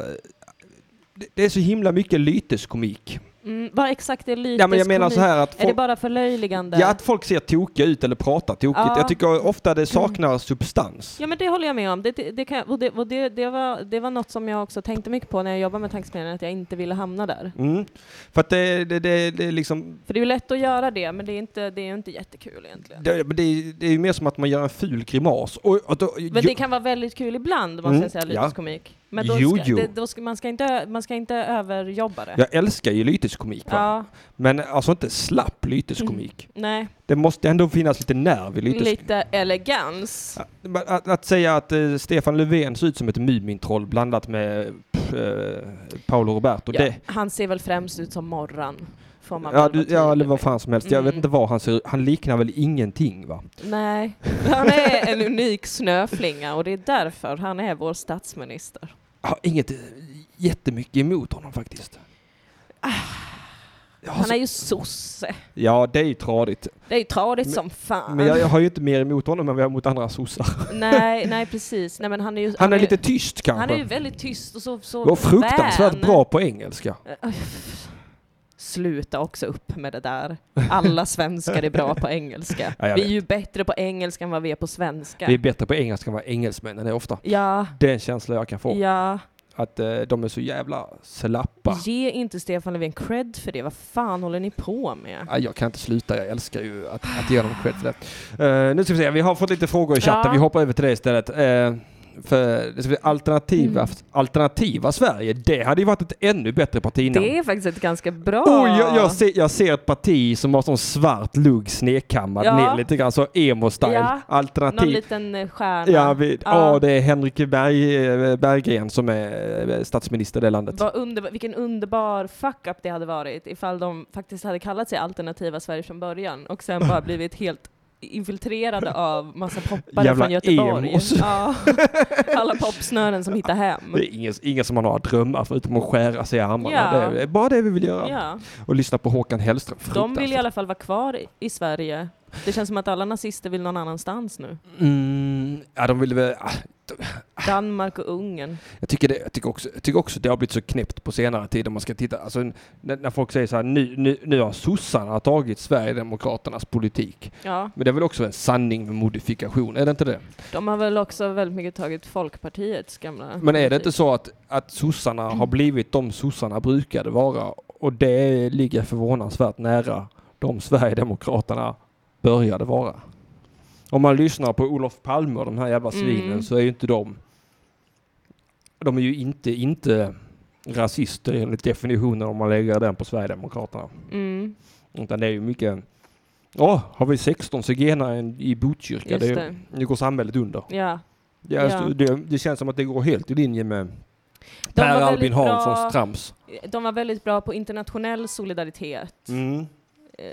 Det, det är så himla mycket lyteskomik. Mm, vad exakt är lyteskomik? Ja, men jag menar så här att Är det folk- bara förlöjligande? Ja, att folk ser tokiga ut eller pratar tokigt. Ja. Mm. Jag tycker ofta det saknar substans. Ja, men det håller jag med om. Det, det, det, kan, och det, och det, det, var, det var något som jag också tänkte mycket på när jag jobbade med tankesmedjan, att jag inte ville hamna där. Mm. För att det, det, det, det är liksom... För det är ju lätt att göra det, men det är, inte, det är ju inte jättekul egentligen. Det, men det, är- det är ju mer som att man gör en ful grimas. Och, och då, Men det kan vara väldigt kul ibland, måste Mm, jag säga, ja. lyteskomik. Men då Jo, ska, jo. Det, då ska, man, ska inte, ö- man ska inte överjobba det. Jag älskar ju lyteskomik. Va? Ja. Men alltså inte slapp lyteskomik. Nej, Det måste ändå finnas lite nerv i lyteskomik. lite elegans. Men Att, att säga att eh, Stefan Löfven ser ut som ett Mumintroll blandat med pff, eh, Paolo Roberto. Ja, Det, Han ser väl främst ut som Morran, får man ja, väl du, vara ja, eller tydlig vad med. fan som helst. Mm. Jag vet inte vad han ser ut. Han liknar väl ingenting va? Nej, han är en unik snöflinga och det är därför han är vår statsminister. Jag har inget eh, jättemycket emot honom faktiskt. Han är ju sosse. Ja, det är ju tradigt. Det är ju tradigt Men- som fan. Men jag, jag har ju inte mer emot honom än vad jag har emot andra sossar. Nej, nej precis. Nej, men han är ju, Han är lite tyst kanske. Han är ju väldigt tyst och så, så Och fruktansvärt vän. bra på engelska. Sluta också upp med det där. Alla svenskar är bra på engelska. Ja, jag vi är vet. ju bättre på engelska än vad vi är på svenska. Vi är bättre på engelska än vad engelsmännen är ofta. Ja. Det är en känsla jag kan få. Ja. Att eh, de är så jävla slappa. Ge inte Stefan Löfven cred för det. Vad fan håller ni på med? Nej, jag kan inte sluta, jag älskar ju att, att ge dem cred för det. Eh, nu ska vi se, vi har fått lite frågor i chatten, Ja. vi hoppar över till det istället. Eh, för det ska bli alternativa, Mm. alternativa Sverige, det hade ju varit ett ännu bättre parti Det är faktiskt ett ganska bra... Oh, jag, jag, ser, jag ser ett parti som har sån svart lugg snedkammad Ja. ner lite grann, så emo-style. Ja. Någon Alternativ. liten eh, stjärna. Ja, vi, Ja. ja. det är Henrik Berg, eh, Berggren som är eh, statsminister i det landet. Vad underbar, vilken underbar fuck-up det hade varit ifall de faktiskt hade kallat sig Alternativa Sverige från början och sen bara blivit helt infiltrerade av massa poppare Jävla från Göteborg. emos. Ja. Alla popsnören som hittar hem. Det är ingen, ingen som har några drömmar förutom att skära sig i armarna. Ja. Det är bara det vi vill göra. Ja. Och lyssna på Håkan Hellström. De vill i Fruktansvärt. alla fall vara kvar i- i Sverige. Det känns som att alla nazister vill någon annanstans nu. Mm, ja, de vill väl... ah, Danmark och Ungern. Jag tycker, det, jag, tycker också, jag tycker också det har blivit så knäppt på senare tid om man ska titta. Alltså, när, när folk säger så här, nu, nu, nu har sossarna tagit Sverigedemokraternas politik. Ja. Men det är väl också en sanning med modifikation, är det inte det? De har väl också väldigt mycket tagit Folkpartiets gamla... Men är det inte så att, att sossarna har blivit de sossarna brukade vara och det ligger förvånansvärt nära de Sverigedemokraterna började vara? Om man lyssnar på Olof Palme och de här jävla svinen Mm. så är ju inte de... De är ju inte, inte rasister enligt definitionen om man lägger den på Sverigedemokraterna. Mm, Utan det är ju mycket... Ja, har vi 16 zigenare i Botkyrka? Just Det, är- det. nu går samhället under. ja. Ja, alltså, Ja. Det, det känns som att det går helt i linje med De var Per väldigt Albin bra- Hanssons trams. De var väldigt bra på internationell solidaritet. Mm. eh,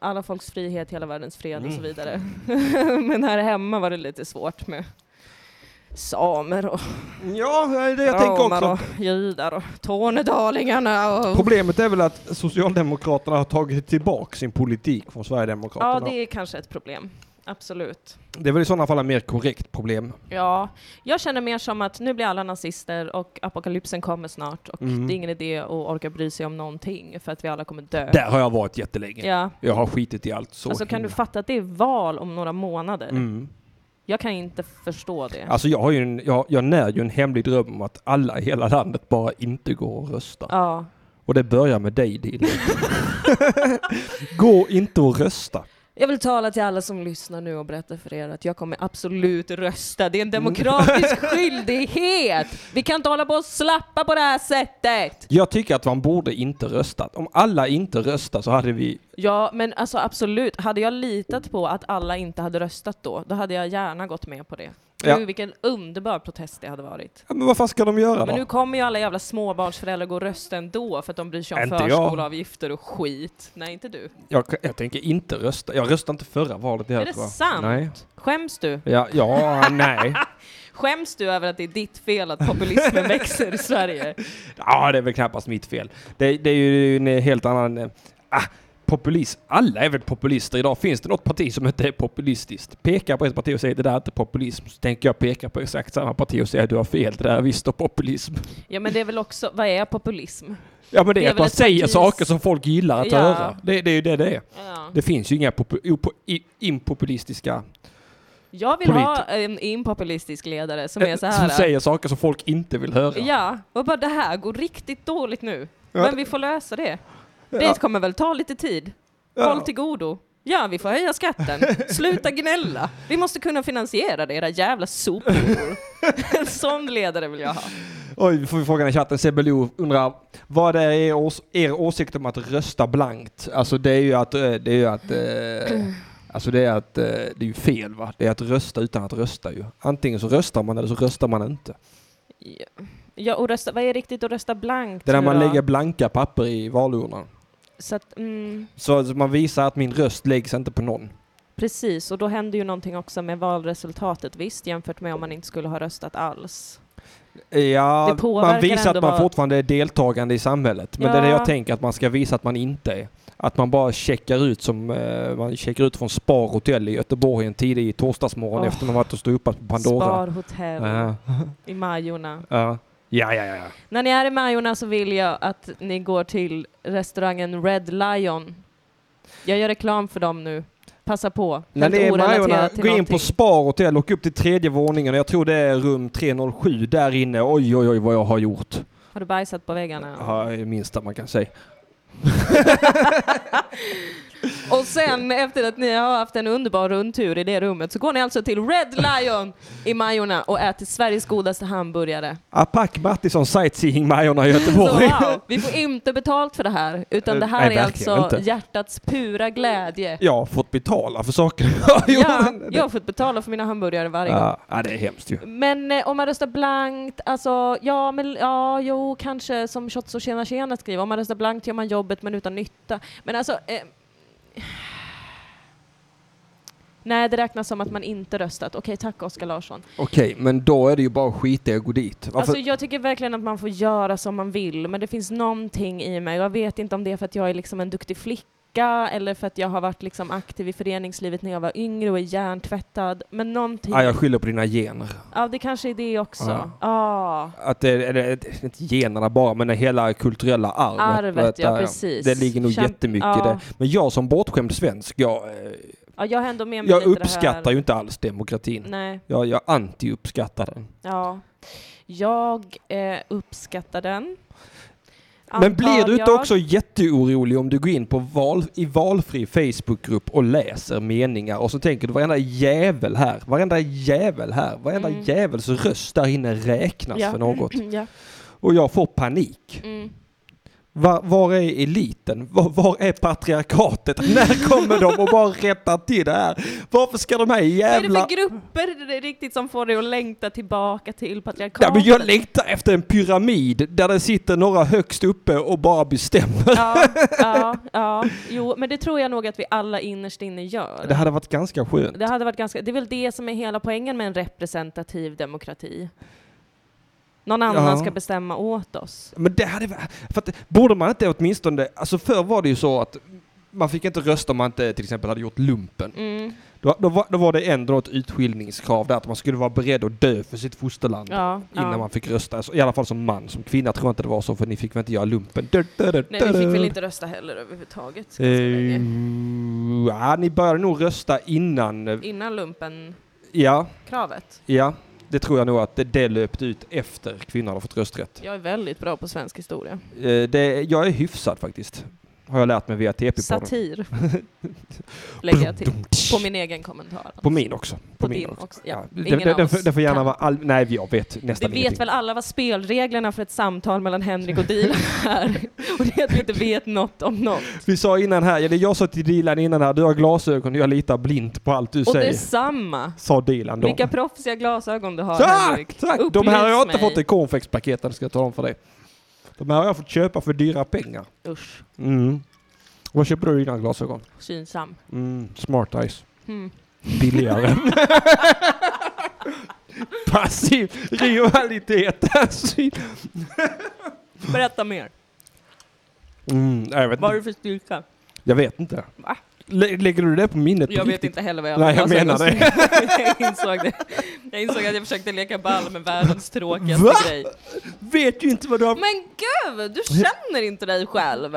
alla folks frihet, hela världens fred och så Mm. vidare. Men här hemma var det lite svårt med samer och ja, det jag tänker också. och judar och tornedalingarna. Och... Problemet är väl att Socialdemokraterna har tagit tillbaka sin politik från Ja, Sverigedemokraterna. det är kanske ett problem. absolut. Det är väl i sådana fall ett mer korrekt problem. Ja, jag känner mer som att nu blir alla nazister och apokalypsen kommer snart och Mm. det är ingen idé att orka bry sig om någonting för att vi alla kommer dö. Där har jag varit jättelänge. Ja. Jag har skitit i allt så alltså kan du himla- fatta att det är val om några månader? Mm. Jag kan inte förstå det. Alltså jag, har ju en, jag, jag när ju en hemlig dröm om att alla i hela landet bara inte går och röstar. Ja. Och det börjar med dig Dilan. Gå inte och rösta. Jag vill tala till alla som lyssnar nu och berätta för er att jag kommer absolut rösta. Det är en demokratisk skyldighet! Vi kan inte hålla på och slappa på det här sättet! Jag tycker att man borde inte rösta. Om alla inte röstar så hade vi... Ja, men alltså absolut. Hade jag litat på att alla inte hade röstat då, då hade jag gärna gått med på det. Ja. Gud, vilken underbar protest det hade varit. Ja, men vad fan ska de göra Men nu då? kommer ju alla jävla småbarnsföräldrar gå och rösta ändå för att de bryr sig om Inte jag. förskoleavgifter och skit. Nej, inte du. Jag, jag tänker inte rösta. Jag röstade inte förra valet. Är här, det tror jag. sant? Nej. Skäms du? Ja, ja nej. Skäms du över att det är ditt fel att populismen växer i Sverige? Ja, det är väl knappast mitt fel. Det, det är ju en helt annan... eh, Ah, populism. Alla är väl populister idag. Finns det något parti som inte är populistiskt? Pekar på ett parti och säger det där är inte populism, så tänker jag peka på exakt samma parti och säga du har fel, det där är visst och populism. Ja, men det är väl också, vad är populism? Ja, men det, Det är är att väl man ett säger partis- saker som folk gillar att Ja. höra. Det, det är ju det det är. Ja. Det finns ju inga popu- opo- i- impopulistiska Jag vill ha en impopulistisk ledare som är så eh, här. som säger saker som folk inte vill höra. Ja, och bara det här går riktigt dåligt nu. Ja. Men vi får lösa det. Ja. Det kommer väl ta lite tid. Ja. Håll till godo. Ja, vi får höja skatten. Sluta gnälla. Vi måste kunna finansiera det, era jävla sopor. en sån ledare vill jag ha. Oj, vi får vi frågan i chatten. Sebelou undrar, vad är er, ås- er åsikt om att rösta blankt? Alltså det är ju att, eh, det är ju att, eh, alltså det är att, eh, det är ju fel va? Det är att rösta utan att rösta ju. Antingen så röstar man eller så röstar man inte. Ja, och rösta, vad är riktigt att rösta blankt? Det är när nu man då? lägger blanka papper i valurnan. Så att, mm, Så att man visar att min röst läggs inte på någon. precis, och då händer ju någonting också med valresultatet, visst, jämfört med om man inte skulle ha röstat alls. Ja, Det påverkar man visar ändå att man vad- fortfarande är deltagande i samhället. Men det är det Ja. jag tänker att man ska visa att man inte är. Att man bara checkar ut som eh, man checkar ut från Spar hotell i Göteborg en tidig torsdagsmorgon Åh. efter man varit och stått uppe på Pandora. Sparhotell Ja. i Majorna. Ja. Ja, ja, ja, ja. När ni är i Majorna så vill jag att ni går till restaurangen Red Lion. Jag gör reklam för dem nu. Passa på. När Helt ni är i orelaterat Majorna, till gå in någonting. på Spar hotell och upp till tredje våningen. Jag tror det är rum 307 där inne. Oj, oj, oj vad jag har gjort. Har du bajsat på väggarna? Ja, det är det minsta man kan säga. Och sen efter att ni har haft en underbar rundtur i det rummet så går ni alltså till Red Lion i Majorna och äter Sveriges godaste hamburgare. Apak Mattisson sightseeing Majorna i Så Göteborg. wow, vi får inte betalt för det här, utan det här Nej, är verkligen alltså inte. hjärtats pura glädje. Jag har fått betala för saker. Ja, jag har fått betala för mina hamburgare varje gång. Ja, ja, det är hemskt ju. Men eh, om man röstar blankt, alltså ja, men ja, jo, kanske som Shots och tjena tjena skriver, om man röstar blankt gör man jobbet men utan nytta. Men alltså, eh, nej, det räknas som att man inte röstat. Okej, tack Oskar Larsson. Okej, men då är det ju bara skit i att gå dit. Varför? Alltså, jag tycker verkligen att man får göra som man vill, men det finns någonting i mig. Jag vet inte om det är för att jag är liksom en duktig flicka eller för att jag har varit liksom aktiv i föreningslivet när jag var yngre och är hjärntvättad. Men någonting... ah, jag skyller på dina gener. Ja, det kanske är det också. Ja. Ja. Att det, är- det, är inte generna bara, men det hela kulturella arvet. Arvet, Att, ja, äh, precis. Det ligger nog Kämp- jättemycket i ja. det. Men jag som bortskämd svensk, jag, eh, Ja, jag har ändå med mig jag lite det här. uppskattar ju inte alls demokratin. Nej. Jag, jag anti-uppskattar den. Ja. Jag eh, uppskattar den. Men blir Antar du inte jag. också jätteorolig om du går in på val, i valfri Facebookgrupp och läser meningar och så tänker du varenda jävel här, varenda jävel här, varenda Mm. jävels röst där inne räknas Ja. för något. ja. Och jag får panik. Mm. Var, var är eliten? Var, var är patriarkatet? När kommer de och bara rättar till det här? Varför ska de här Vad är det jävla... för grupper det är riktigt som får dig att längta tillbaka till patriarkatet? Ja, men jag längtar efter en pyramid där det sitter några högst uppe och bara bestämmer. ja, ja, ja, jo, men det tror jag nog att vi alla innerst inne gör. Det hade varit ganska skönt. Det hade varit ganska, det är väl det som är hela poängen med en representativ demokrati. Någon annan Ja. ska bestämma åt oss. Men det hade varit- för att, borde man inte åtminstone, alltså förr var det ju så att man fick inte rösta om man inte till exempel hade gjort lumpen. Mm. Då, då, var, då var det ändå ett utskiljningskrav där att man skulle vara beredd att dö för sitt fosterland Ja, innan ja. man fick rösta. Alltså, I alla fall som man, som kvinna tror jag inte det var så för ni fick väl inte göra lumpen. Du, du, du, Nej, vi du, fick du. väl inte rösta heller överhuvudtaget. ganska Eh, länge. ja, ni började nog rösta innan. eh, Innan lumpen-kravet. Ja, ja, det tror jag nog att det, det löpte ut efter kvinnan hade fått rösträtt. Jag är väldigt bra på svensk historia. Eh, det, jag är hyfsad faktiskt. Har jag lärt mig via TP-podden. Satir. Lägger jag till. På min egen kommentar. På min också. På, På min din också. Ja. Den- Ingen den, av den, får- oss den får gärna kan. vara all... Nej, jag vet Vi nästan vet ingenting. väl alla vad spelreglerna för ett samtal mellan Henrik och Dilan är? Och det är att vi inte vet något om något. Vi sa innan här, eller jag sa till Dilan innan här, du har glasögon, jag litar blint på allt du och säger. detsamma. Sa Dilan då. Vilka proffsiga glasögon du har Tack! Henrik. tack. De Upplys här har jag inte mig. fått i cornflakespaketen, ska jag tala om för dig. De här har jag fått köpa för dyra pengar. Usch, Mm. Vad köper du dina glasögon? synsam. Mm, smart eyes. Mm. Billigare. Passiv rivalitet. Berätta mer. mm, nej, jag vet Vad har inte. du för styrka? Jag vet inte. Lä- Lägger du det på minnet? på Jag vet riktigt? inte heller vad jag Nej, jag glasögon menar det. som- jag, insåg det. jag insåg att jag försökte leka ball med världens tråkigaste Va? grej. Vet du inte vad du har... Men gud, du känner inte dig själv.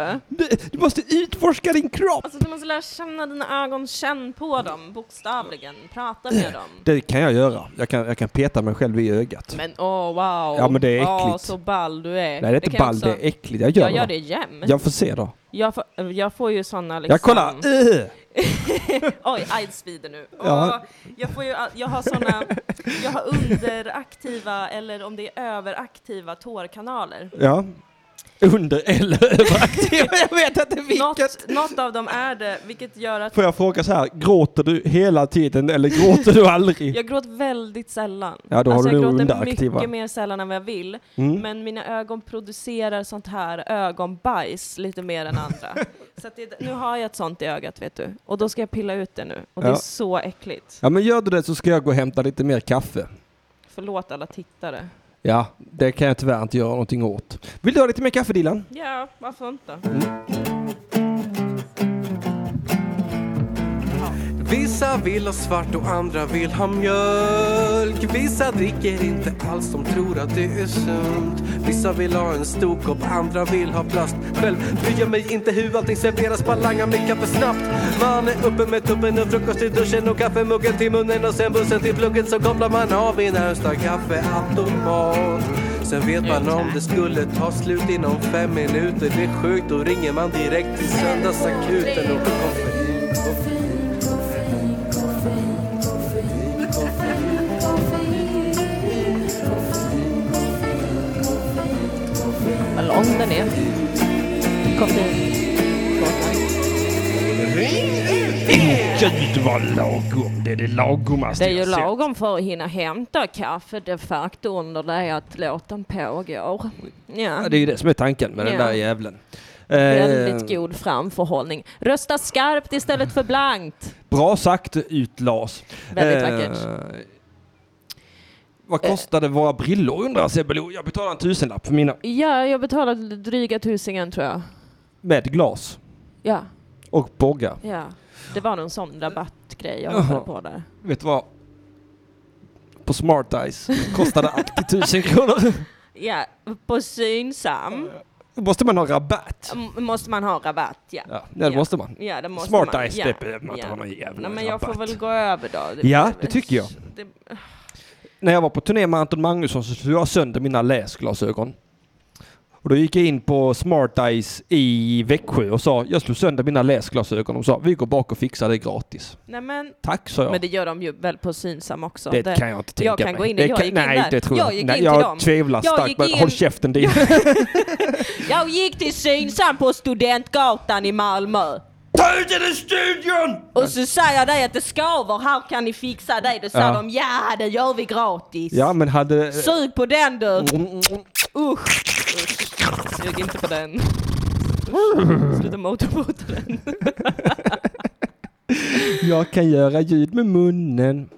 Du måste utforska din kropp! Alltså du måste lära känna dina ögon, känn på dem bokstavligen, prata Äh. med dem. Det kan jag göra. Jag kan, jag kan peta mig själv i ögat. Men åh wow, Ja, men det är Åh, äckligt. så ball du är. Nej, det är inte kan jag ball, också- det är äckligt. Jag gör jag gör det. det jämt. Jag får se då. Jag får, jag får ju såna liksom... Jag kollar! Äh! Oj, aids svider nu. Åh, Ja. Jag, får ju, all- jag har såna, jag har underaktiva eller om det är överaktiva tårkanaler. Ja. Under eller överaktiv. jag vet inte vilket! Något, något av dem är det, vilket gör att Får jag fråga så här, gråter du hela tiden eller gråter du aldrig? jag gråter väldigt sällan. Ja, då har alltså, du jag nog gråter underaktiva. mycket mer sällan än vad jag vill. Mm. Men mina ögon producerar sånt här ögonbajs lite mer än andra. så att det, nu har jag ett sånt i ögat vet du. Och då ska jag pilla ut det nu. Och det är Ja. så äckligt. Ja men gör du det så ska jag gå och hämta lite mer kaffe. Förlåt alla tittare. Ja, det kan jag tyvärr inte göra någonting åt. Vill du ha lite mer kaffe Dilan? Ja, varför inte? Mm. Vissa vill ha svart och andra vill ha mjölk. Vissa dricker inte alls, de tror att det är sunt. Vissa vill ha en stor kopp, andra vill ha plast. Själv bryr jag mig inte hur allting serveras, bara langar mitt kaffe snabbt. Man är uppe med tuppen och frukost i duschen och kaffemuggen till munnen och sen bussen till plugget så kopplar man av i närmsta kaffeautomat. Sen vet man om det skulle ta slut inom fem minuter. Det är sjukt, då ringer man direkt till söndagsakuten och Vad lång den är. Koffein. Gud vad lagom, det är det lagomaste Alltså, Det är ju jag sett. lagom för att hinna hämta kaffe de facto under det att låten pågår. Ja. Ja, det är ju det som är tanken med den Ja. där jävlen. Väldigt Eh, god framförhållning. Rösta skarpt istället för blankt. bra sagt ut Lars. Väldigt Eh, vackert. Eh. Vad kostade våra brillor undrar Sebbe Jag betalade en tusenlapp för mina. Ja, jag betalade dryga tusingen tror jag. Med glas Ja, och bogga. ja. Det var någon sån rabattgrej jag Jaha. hoppade på där. Vet du vad? På Smart Eyes kostade alltid tusen kronor. Ja, på Synsam Då måste man ha rabatt. m- måste man ha rabatt, ja. Ja, det måste man. Ja, det måste Smart man. Eyes, ja. det behöver man inte ha någon jävla Nej, men jag får rabatt. väl gå över då. Ja, det tycker jag. Det, När jag var på turné med Anton Magnusson så slog jag sönder mina läsglasögon. Och då gick jag in på Smart Eyes i Växjö och sa jag slog sönder mina läsglasögon. De sa vi går bak och fixar det gratis. nej, men, Tack sa jag. men det gör de ju väl på Synsam också. det, kan jag inte tänka liksom. Jag kan mig. gå in, Det i- jag kan- gick in nej, där. det tror jag. jag gick nej, in jag till dem. tvevlar Jag starkt. gick Men in- håll käften din. Jag gick till Synsam på Studentgatan i Malmö. Ta ut den i studion! Och så säger de att det skaver, här kan ni fixa det. Då sa Ja. de ja, det gör vi gratis. ja men hade... Sug på den du! Mm. Usch! Sug inte på den. Sluta motorbåta den. Jag kan göra ljud med munnen.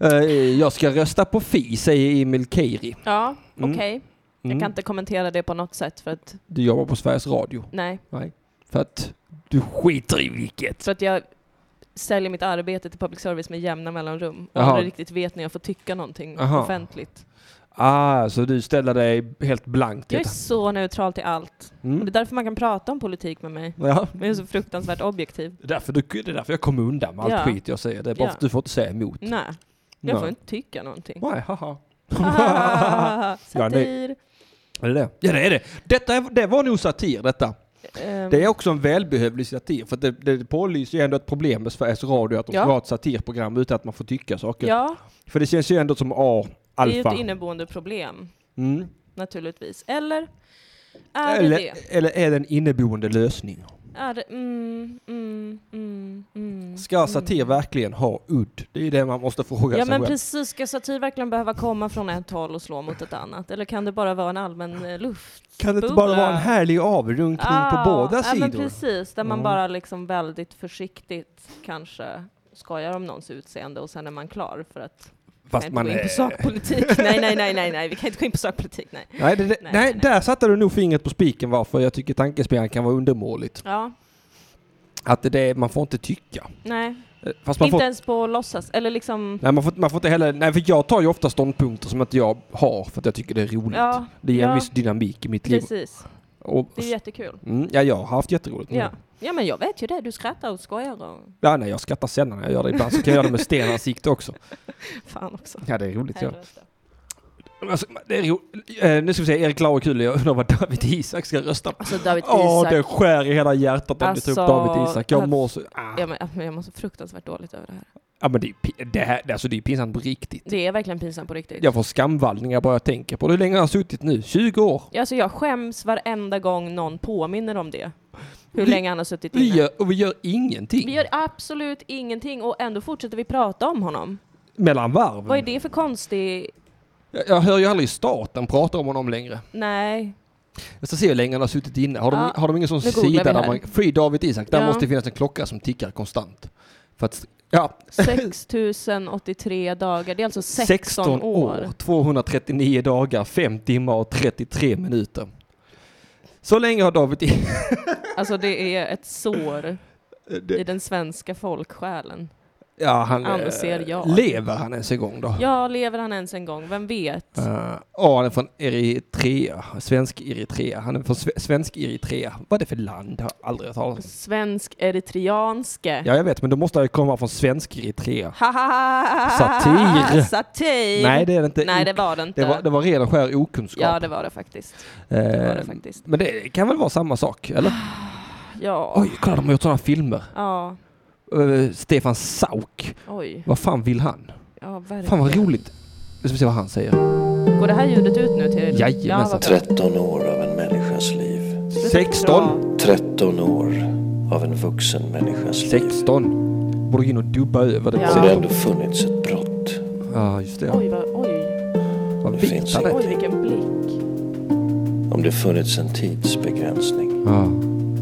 Eh, jag ska rösta på Fi, säger Emil Keiri. Ja, Mm. okej. Jag Mm. kan inte kommentera det på något sätt för att Du jobbar på Sveriges Radio. nej. Nej. För att du skiter i vilket. Så att jag säljer mitt arbete till public service med jämna mellanrum och Jaha. aldrig riktigt vet när jag får tycka någonting Jaha. offentligt. Ah, så du ställer dig helt blankt. Jag är så neutral till allt. Mm. Och det är därför man kan prata om politik med mig. Ja. Men jag är så fruktansvärt objektiv. Det är därför, du, det är därför jag kommer undan med allt Ja. skit jag säger. Det är bara för att Ja. du får inte säga emot. Nej, jag Nej. får inte tycka någonting. Nej, haha. Ah, Ja, Satir. Är det det? Ja, det är det. Detta är, det var nog satir detta. Ehm, Det är också en välbehövlig satir. För att det, det pålyser ju ändå ett problem med Sveriges Radio att de Ja. ska ha ett satirprogram utan att man får tycka saker. Ja. För det känns ju ändå som A, det är ju alfa. ett inneboende problem, Mm. naturligtvis. Eller? Är Eller, det det? eller är det en inneboende lösning? Är det? Mm, mm, mm, mm. Ska satir verkligen ha udd? Det är ju det man måste fråga Ja sig men själv. precis, ska satir verkligen behöva komma från ett håll och slå mot ett annat? Eller kan det bara vara en allmän eh, luft? Kan det inte bara vara en härlig avrunkning Ah, på båda Ja sidor? men precis, där man Mm. bara liksom väldigt försiktigt kanske skojar om någons utseende och sen är man klar för att Fast kan man inte gå in är- på sakpolitik. nej, nej, nej, nej, nej, vi kan inte gå in på sakpolitik, nej. Nej, det, det, nej, där satte du nog fingret på spiken varför jag tycker tankespelaren kan vara undermåligt. Ja, Att det, det man får inte tycka. nej. Eh, Fast man inte får, ens på låtsas, eller liksom... nej, man, får, man får inte heller... Nej, för jag tar ju ofta ståndpunkter som inte jag har för att jag tycker det är roligt. Ja, det ger ja. en viss dynamik i mitt liv. Precis. Och, Det är jättekul. mm, ja, jag har haft jätteroligt. Ja. ja, men jag vet ju det. Du skrattar och skojar och... Ja, nej, jag skrattar sällan när jag gör det. Ibland så kan jag göra det med stenansikte också. Fan också. Ja, det är roligt. Ja. Helvete. Alltså, det är ro... eh, nu ska vi se, Erik Laur och kul. Jag undrar vad David Isak ska rösta på. Alltså David Åh, Isak. Alltså, det skär i hela hjärtat om du tar upp David Isak. Jag mår så... Ja, men, men jag mår så fruktansvärt dåligt över det här. Ja, men det är, pi- det här, alltså, det är pinsamt på riktigt. Det är verkligen pinsamt på riktigt. Jag får skamvallningar bara jag tänker på det. Hur länge har jag suttit nu? 20 år? Ja, Alltså jag skäms varenda gång någon påminner om det. Hur Vi- länge han har suttit Vi inne. gör, och vi gör ingenting Vi gör absolut ingenting och ändå fortsätter vi prata om honom. mellan varven. Vad är det för konstig... Jag, jag hör ju aldrig staten prata om honom längre. Nej. Jag ska se hur länge han har suttit inne. Har de, Ja, har de ingen sån nu googlar vi sida där här. man... Free David Isak. Där Ja. måste det finnas en klocka som tickar konstant. För att... Ja, 6083 dagar. Det är alltså 16, 16 år, 239 dagar, 5 timmar och 33 minuter. Så länge har David I- Alltså det är ett sår Det- i den svenska folksjälen. Ja, han... eh, Anser jag. Lever han ens en gång då? Ja, lever han ens en gång? Vem vet? Eh, ja, han är från Eritrea. Svensk-Eritrea. Han är från sve- svensk-Eritrea. Vad är det för land? Har jag aldrig hört talas om. Svensk-eritreanske. Ja, jag vet, men då måste det komma från svensk-Eritrea. Satir. Satir. Satir. Nej, det är det inte. Nej, det var det inte. Det var, det var ren och skär okunskap. Ja, det var det faktiskt. det var det Eh, faktiskt. Men det kan väl vara samma sak, eller? Ja. Oj, kolla, de har gjort sådana filmer. Ja. Eh, Stefan Sauk. Oj. Vad fan vill han? Ja, verkligen. Fan vad roligt. Nu ska vi se vad han säger. Går det här ljudet ut nu till... Jajamensan. vad bra. 13 år av en människas liv. 16. 13 år av en vuxen människas liv. 16. Borde gå in och dubba över det. Det har ändå funnits ett brott. Ja, just det. Oj, vad, oj. Vad Det vet finns han? oj, vilken blick. Om det funnits en tidsbegränsning. Ja.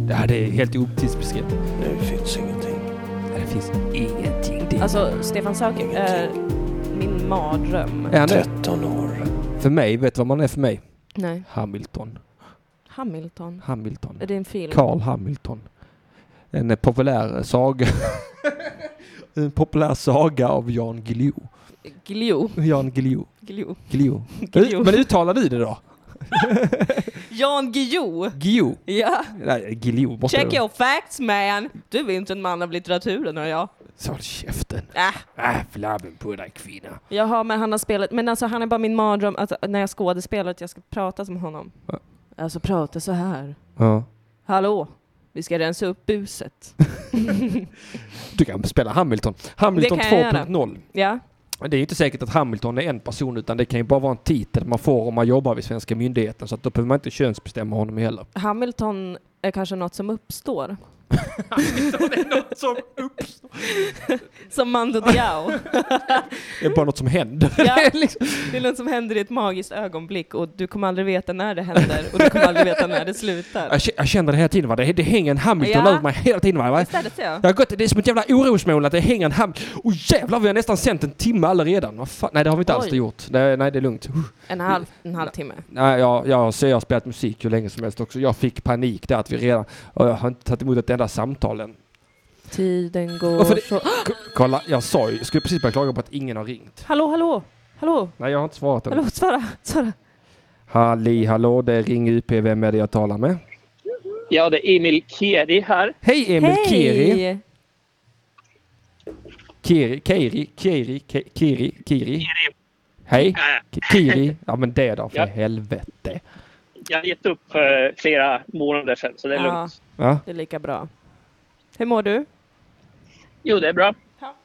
Det här det är helt otidsbeskrivet. Nu finns ingenting. Det finns ingenting. Det Alltså, Stefan Sauk är min mardröm. Är han det? 13 år. För mig, vet du vad man är för mig? Nej. Hamilton. Hamilton. Hamilton. Är det en film? Carl Hamilton. En eh, populär saga. en populär saga av Jan Guillou. Glio. Jan Guillou. Glio. Guillou. Guillou. Men uttalar du det då? Jan Guillou. Guillou? Ja. Nej, Guillou måste Check det your facts man. Du är inte en man av litteraturen, hör jag. Så håll käften. Äh. Äh, flabben på dig kvinna. Jaha, men han har spelat, men alltså han är bara min mardröm, alltså, när jag skådespelar att jag ska prata som honom. Alltså prata så här. Ja. Hallå, vi ska rensa upp buset. Du kan spela Hamilton. Hamilton Det kan jag göra. 2.0. ja, Men Det är ju inte säkert att Hamilton är en person utan det kan ju bara vara en titel man får om man jobbar vid svenska myndigheten så att då behöver man inte könsbestämma honom heller. Hamilton är kanske något som uppstår. Utan det är något som uppstår. Som Mando Diao. Det är bara något som händer. Ja, det är något som händer i ett magiskt ögonblick och du kommer aldrig veta när det händer och du kommer aldrig veta när det slutar. Jag k- Jag känner det hela tiden va, det, det hänger en Hamilton Ja. över mig hela tiden va. va? Visst är det så? Jag har gått, det är som ett jävla orosmoln att det hänger en Hamilton. Och jävlar vi har nästan sänt en timme allaredan. Vad fan? Nej det har vi inte alls Oj. det gjort. Det, nej det är lugnt. Uh. En halv, en halvtimme. Nej, jag, jag, så jag har spelat musik hur länge som helst också. Jag fick panik där att vi redan... Och jag har inte tagit emot ett enda samtal än. Tiden går Varför det- så... Kolla, jag sa ju, jag skulle precis börja klaga på att ingen har ringt. Hallå, hallå, hallå, Nej, jag har inte svarat än. hallå, svara, svara. Halli hallå, det är Ring UP. Vem är det jag talar med? Ja, det är Emil Keri här. Hej Emil Keri! Keri, Keri, Keri, Ke- Keri, Keri. Hej! K- Kiri. Ja men det då, för Ja. helvete. Jag har gett upp för flera månader sedan, så det Ja, är lugnt. Ja. det är lika bra. Hur mår du? Jo, det är bra.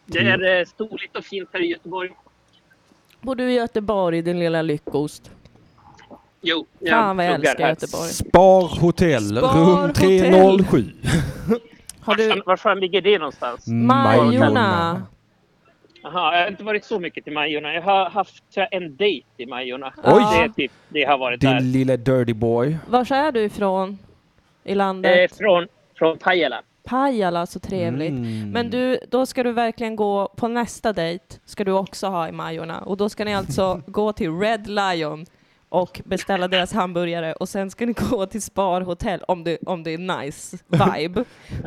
Det är eh, soligt och fint här i Göteborg. Bor du i Göteborg, din lilla lyckost? Jo, jag Fan vad jag pluggar älskar här. Göteborg. Spar hotell, Spar rum hotell. 307. Har du... Var fan ligger det någonstans? Mm, Majorna. Jaha, jag har inte varit så mycket i Majorna. Jag har haft tror jag, en dejt i Majorna. Oj! Det, är typ, det har varit där. Din lilla dirty boy. Var är du ifrån i landet? Eh, från, från Pajala. Pajala, så trevligt. Mm. Men du, då ska du verkligen gå på nästa dejt, ska du också ha i Majorna. Och då ska ni alltså gå till Red Lion och beställa deras hamburgare och sen ska ni gå till Spar Hotel om det, om det är nice vibe.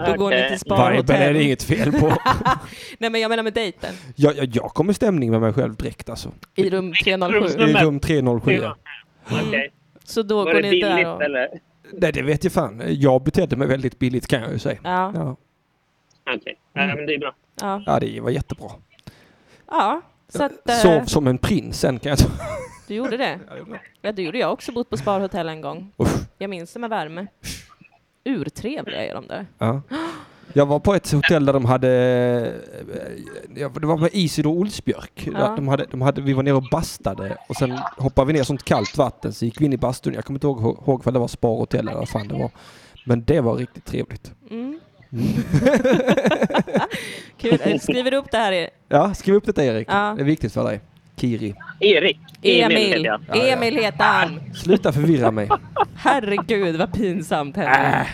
Då går ni Okej. till Spar Viben Hotel. är det inget fel på. Nej men jag menar med dejten. Jag, jag, jag kom i stämning med mig själv direkt alltså. I rum 307. I rum 307. ja. Så då Var går det ni billigt, där och... eller? Nej det vet jag fan. Jag betedde mig väldigt billigt kan jag ju säga. Ja. Ja, Okej, Mm. Nej, men det är bra. Ja. ja det var jättebra. ja. Så att, eh, Sov som en prins sen kan jag ta. Du gjorde det? Ja, det gjorde jag också. Bott på sparhotell en gång. Jag minns det med värme. Urtrevliga är de där. Ja. Jag var på ett hotell där de hade, eh, ja, det var med Isidor Olsbjörk. Ja. Där De hade, de hade, vi var nere och bastade och sen hoppade vi ner i sånt kallt vatten så gick vi in i bastun. Jag kommer inte ihåg, ihåg vad det var, sparhotell eller vad fan det var. Men det var riktigt trevligt. Mm. Kul. Eh, Skriver du upp det här? i- Ja, skriv upp detta Erik. Ja. Det är viktigt för dig. Kiri. Erik. Emil. Ja, ja. Emil heter han. Sluta förvirra mig. Herregud vad pinsamt Henrik. Nej,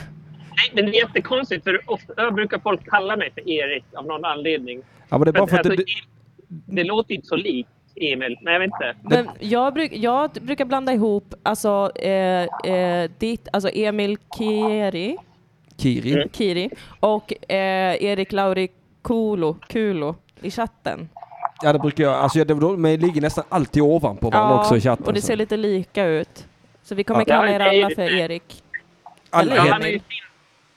men det är jättekonstigt för ofta brukar folk kalla mig för Erik av någon anledning. Ja, men det är bara för att alltså, du- Em- det låter inte så likt Emil. Nej, jag vet inte. Men jag, bruk, jag brukar blanda ihop alltså, eh, eh, ditt, alltså Emil Kieri, Kiri. Kiri och eh, Erik Lauri Kulo, Kulo i chatten. Ja, det brukar jag. Alltså, jag, de, de ligger nästan alltid ovanpå varandra också i chatten. och det så. ser lite lika ut. Så vi kommer Ja. kalla Ja, er det är alla det. för Erik. Alla ja, heter- han, är ju, fin-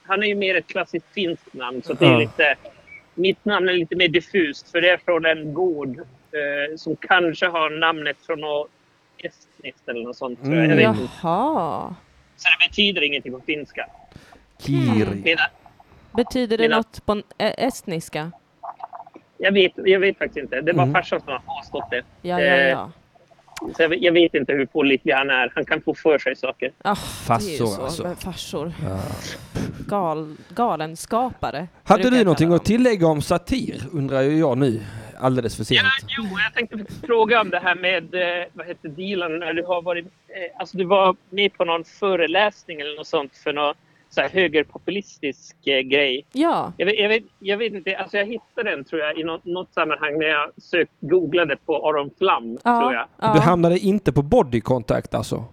han är ju mer ett klassiskt finskt namn. Så det är Ja. lite, mitt namn är lite mer diffust för det är från en gård eh, som kanske har namnet från något estniskt eller något sånt. Mm. tror jag. Jag vet inte. Jaha. Så det betyder ingenting på finska. Kiri. Medan, Betyder det Mina- något på en- ä- estniska? jag, vet, jag vet faktiskt inte. Det var Mm. farsan som har påstått det. Ja, ja, Eh, ja. Så jag, vet- jag vet inte hur pålitlig han är. Han kan få för sig saker. Ah, det är ju Farsor, så, alltså. men Farsor. Ja. Gal, galenskapare. Hade brukar du jag någonting kalla att tillägga om satir? Undrar ju jag nu. Alldeles för sent. Jo, jag tänkte faktiskt fråga om det här med, eh, vad heter Dilan, när du har varit, eh, alltså du var med på någon föreläsning eller något sånt för någon så här högerpopulistisk eh, grej. Ja. Jag vet, jag, vet, jag vet inte, alltså jag hittade den tror jag i något, något sammanhang när jag sök, googlade på Aron Flam, tror jag. Du hamnade inte på body contact alltså?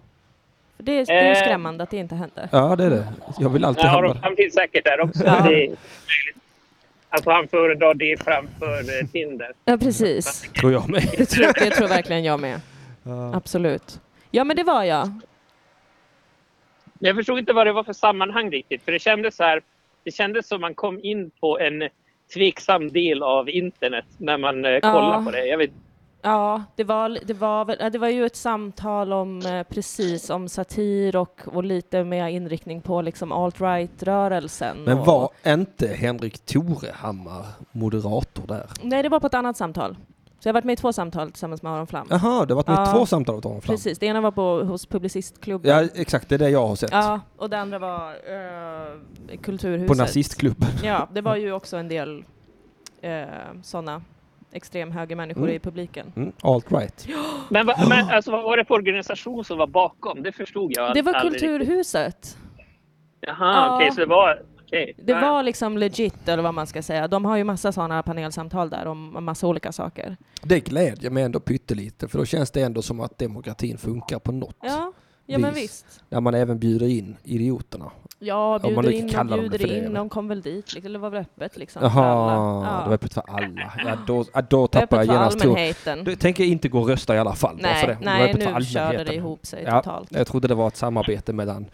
För Det är, det är ju Eh. skrämmande att det inte händer. Ja, det är det. Jag vill alltid Ja, hamna Aron där. Flam finns säkert där också. Ja. Det är möjligt. Alltså han föredrar det framför eh, Tinder. Ja, precis. Tror jag med. Det tror, det tror verkligen jag med. Absolut. Ja, men det var jag. Men jag förstod inte vad det var för sammanhang riktigt. För det kändes så här, det kändes som man kom in på en tveksam del av internet när man eh, kollar Ja. på det. Jag vet, Ja, det var, det var, väl- ja, det var ju ett samtal om eh, precis om satir och, och lite mer inriktning på liksom alt-right-rörelsen. Men och- var inte Henrik Torehammar moderator där? Nej, det var på ett annat samtal. Så jag har varit med i två samtal tillsammans med Aron Flam. Jaha, du har varit med i två samtal åt Aron Flam. Precis, det ena var på, hos Publicistklubben. Ja, exakt. Det är det jag har sett. Ja, och det andra var eh, Kulturhuset. På nazistklubben. Ja, det var ju också en del eh, sådana extremhögermänniskor Mm. i publiken. Mm, alt right. Men, va, men alltså, vad var det för organisation som var bakom? Det förstod jag Det var aldrig riktigt. Kulturhuset. Jaha, Ja. okej, så det var... okej. Det Ja. var liksom legit, eller vad man ska säga. De har ju massa sådana panelsamtal där om om massa olika saker. Det glädjer mig ändå pyttelite, för då känns det ändå som att demokratin funkar på något Ja, ja men vis. visst. När man även bjuder in idioterna. Ja, Om man bjuder nu in kan och kalla dem bjuder för det, in. men- De kom väl dit, liksom. eller var väl öppet liksom. för Jaha, alla. Ja. Ah. det var öppet för alla. Ja, då, ja, då tappar jag Öppet för genast tron. allmänheten. Då tänker jag inte gå och rösta i alla fall. bara Nej, för det. det. var nej, öppet för nu körde allmänheten. det ihop sig ja, totalt. Jag trodde det var ett samarbete mellan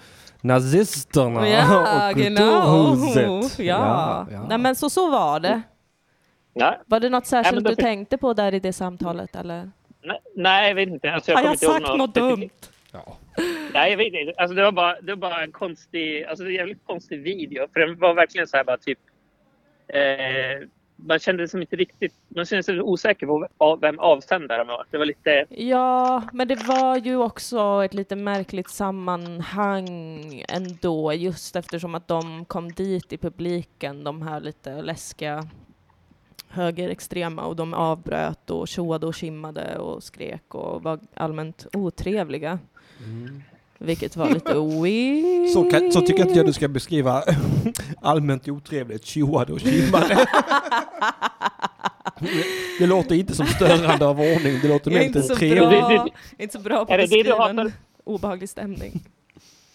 nazisterna Ja, och genau. kulturhuset. Ja. Nej, men så, så var det. Ja. Var det något särskilt men då du för- tänkte på där i det samtalet? Eller? Nej, Nej, jag vet inte. Alltså, jag Har kommer jag inte ihåg sagt något specifikt. dumt? Nej, jag vet inte. Alltså, det, var bara, det var bara en konstig, alltså, det var en jävligt konstig video. För den var verkligen så här bara typ... Eh, man kände sig inte riktigt... Man kände sig osäker på av- vem avsändaren var. Det var lite... Ja, men det var ju också ett lite märkligt sammanhang ändå, just eftersom att de kom dit i publiken, de här lite läskiga högerextrema, och de avbröt och tjoade och skimmade och skrek och var allmänt otrevliga. Vilket var lite weird. Så, kan, så tycker inte jag du ska beskriva allmänt otrevligt tjoade och tjimmade. det låter inte som störande av ordning, det låter Jag mer är inte lite så trevligt. bra, inte så bra på Är att det det du beskriva hatar? en obehaglig stämning.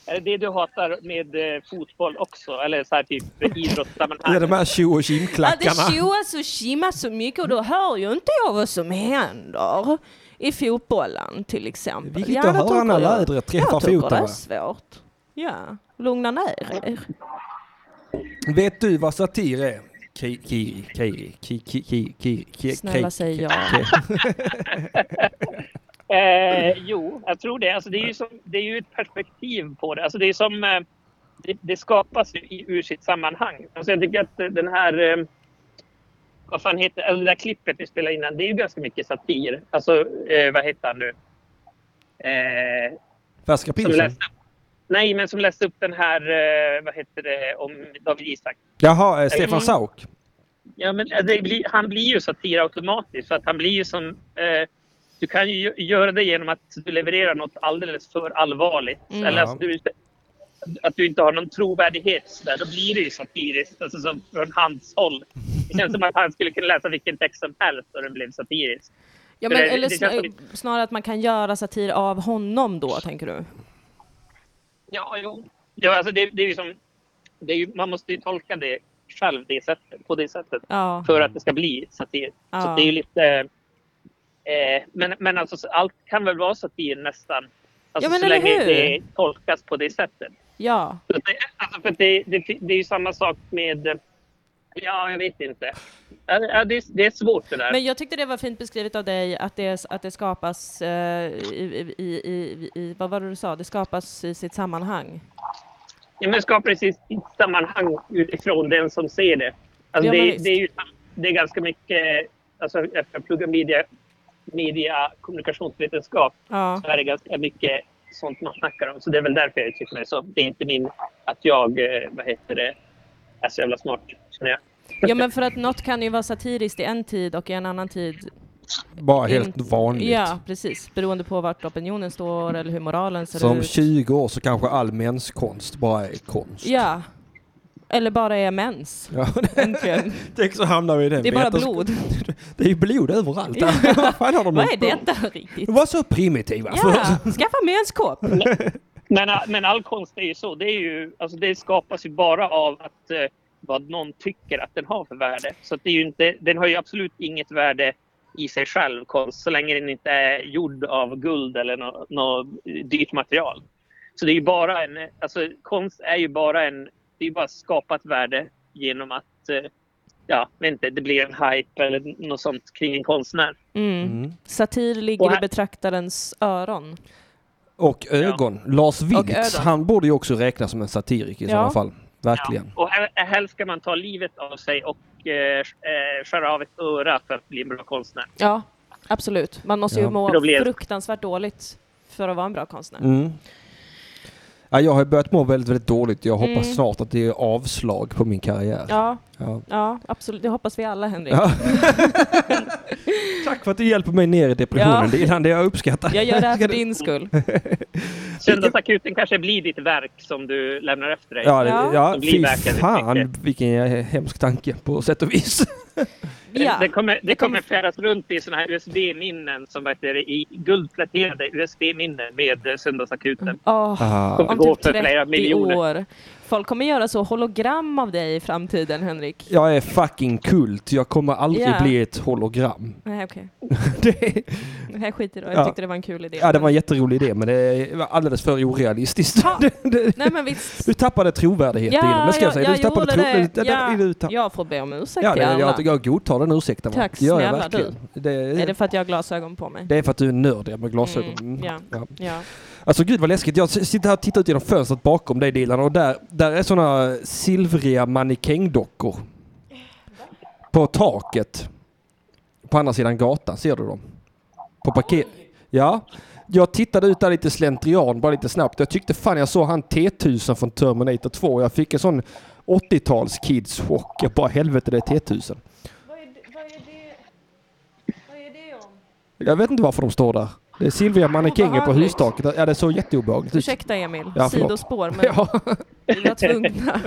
Är eh, det det du hatar med eh, fotboll också? Eller så här typ idrottssammanhang? Det är de här tjo Ja, och det tjimklackarna. tjoas och tjimmas så mycket och då hör ju inte jag vad som händer i fotbollen till exempel. Vilket att då höra tycker när jag- lädret träffar Jag tycker foten, det är va? svårt. Ja, lugna ner er. Vet du vad satir är? Ki- Kiri, Kiri, ki- ki- ki- ki- ki- Snälla ki- säg ki- ja. Eh, jo, jag tror det. Alltså, det, är ju som, det är ju ett perspektiv på det. Alltså, det, är som, eh, det, det skapas ju i, ur sitt sammanhang. Alltså, jag tycker att eh, den här... Eh, vad fan heter alltså, det där klippet vi spelade innan, det är ju ganska mycket satir. Alltså, eh, vad heter han nu? Eh, Färska som pilsen? läste, nej, men som läste upp den här, eh, vad heter det, om David Isak. Jaha, eh, Mm. Stefan Sauk. Ja, men eh, det blir, han blir ju satir automatiskt. För att han blir ju som, eh, du kan ju gö- göra det genom att du levererar något alldeles för allvarligt. Mm. Eller Ja. alltså, du, att du inte har någon trovärdighet. Så Där, då blir det ju satiriskt alltså, som från hans håll. Det känns som att han skulle kunna läsa vilken text som helst och den blev satirisk. Ja, För men, det- eller det känns som snar, snarare att man kan göra satir av honom då, tänker du? Ja, jo. Ja, alltså det, det är ju som, det är ju, man måste ju tolka det själv det sättet, på det sättet Ja. för att det ska bli satir. Ja. Så det är ju lite... Eh, men men alltså, så allt kan väl vara satir nästan. Alltså, Ja, men så eller länge hur? det tolkas på det sättet. Ja. Så det, alltså, för det, det, det är ju samma sak med... Ja, jag vet inte. Ja, ja, det, det är svårt det där. Men jag tyckte det var fint beskrivet av dig att det, att det skapas eh, i, i, i, i, i, vad var det du sa, det skapas i sitt sammanhang. Ja, men skapar precis ett sammanhang utifrån den som ser det. Alltså Ja, men det, visst. det, är ju, det är ganska mycket... Alltså, efter att jag pluggade media, media kommunikationsvetenskap Ja. så är det ganska mycket sånt man snackar om. Så det är väl därför jag tycker det är så. Det är inte min... Att jag, eh, vad heter det, är så jävla smart, känner jag. Ja, men för att något kan ju vara satiriskt i en tid och i en annan tid Bara helt Inte- vanligt. Ja, precis. Beroende på vart opinionen står eller hur moralen ser Som ut. 20 år så kanske all menskonst bara är konst. Ja. Eller bara är mens. Ja. Äntligen. Tänk så hamnar vi i den Det är bara vetensk- blod. Det är ju blod överallt. Ja. Vad fan har de Vad hållit är på med? detta riktigt? De var så alltså. primitiva Ja, skaffa menskopp. Men, men all konst är ju så. Det, är ju, alltså det skapas ju bara av att, eh, vad någon tycker att den har för värde. Så att det är ju inte, den har ju absolut inget värde i sig själv, konst, så länge den inte är gjord av guld eller något nå dyrt material. Så det är ju bara en, alltså konst är ju bara en, det är ju bara skapat värde genom att, eh, ja, vet inte, det blir en hype eller något sånt kring en konstnär. Mm. Satir ligger Och här- i betraktarens öron. Och ögon. Lars Vilks, ögon. han borde ju också räknas som en satiriker Ja. i sådana fall. Verkligen. Och hel- helst ska man ta livet av sig och eh, eh, skära av ett öra för att bli en bra konstnär. Ja, Absolut, man måste Ja. ju må Då blir- fruktansvärt dåligt för att vara en bra konstnär. Mm. Ja, jag har börjat må väldigt, väldigt dåligt. Jag hoppas Mm. snart att det är avslag på min karriär. Ja. Ja. ja, absolut. Det hoppas vi alla, Henrik. Ja. Tack för att du hjälper mig ner i depressionen. Ja. Det är fan det jag uppskattar. Jag gör det här Ska för du- din skull. Söndagsakuten kanske blir ditt verk som du lämnar efter dig. Ja, det, ja Som blir fy verkar ditt fan vilken hemsk tanke på sätt och vis. Det- Det kommer, det kommer färdas runt i sådana här USB-minnen som heter i guldpläterade USB-minnen med eh, Söndagsakuten. Åh, Ah. Kommer Om gå typ för flera 30 miljoner. år. Folk kommer göra så hologram av dig i framtiden, Henrik. Jag är fucking kult. Jag kommer aldrig Ja. bli ett hologram. Nej, okej. Det- Det här skiter i då. Ja. Jag tyckte det var en kul idé. Ja, det var en jätterolig idé, men det var alldeles för orealistiskt. Nej, men visst. Du tappade trovärdighet i det, men ska jag säga. Du tappade gjorde trovärdighet. det. Där- där är du Ja, jag får be om ursäkt Ja, till det, alla. jag, jag godtar den ursäkten. va? Tack Det gör jag snälla du. verkligen. Det- Är det för att jag har glasögon på mig? Det är för att du är nördig med glasögon. Mm, Mm, ja, ja. Alltså gud vad läskigt. Jag s- sitter här och tittar ut genom fönstret bakom dig Dilan och där, där är sådana silvriga mannekängdockor. På taket. På andra sidan gatan, ser du dem? På parker... Ja. Jag tittade ut där lite slentrian, bara lite snabbt. Jag tyckte fan jag såg han T-1000 från Terminator 2. Jag fick en sån 80-tals kids-chock. Jag bara helvete det är T-1000. Jag vet inte varför de står där. Det är silvriga mannekänger på Obehagligt. hustaket. Ja, det såg jätteobehagligt ut. Ursäkta Emil, Ja, förlåt. sidospår. Men vi var tvungna.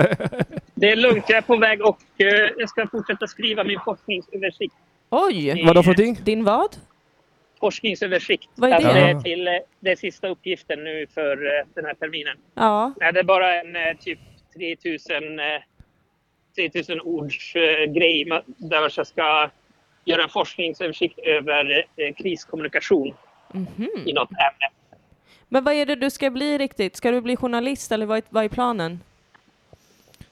Det är lugnt, jag är på väg och eh, jag ska fortsätta skriva min forskningsöversikt. Eh, Oj! Vadå för någonting? Din vad? Forskningsöversikt. Vad är det? Alltså, Ja. till eh, den sista uppgiften nu för eh, den här terminen. Ja. Nej, det är bara en eh, typ 3000, eh, 3000 ords eh, grej ma- där jag ska göra en forskningsöversikt över eh, kriskommunikation Mhm. i något ämne. Men vad är det du ska bli riktigt? Ska du bli journalist eller vad är, vad är planen?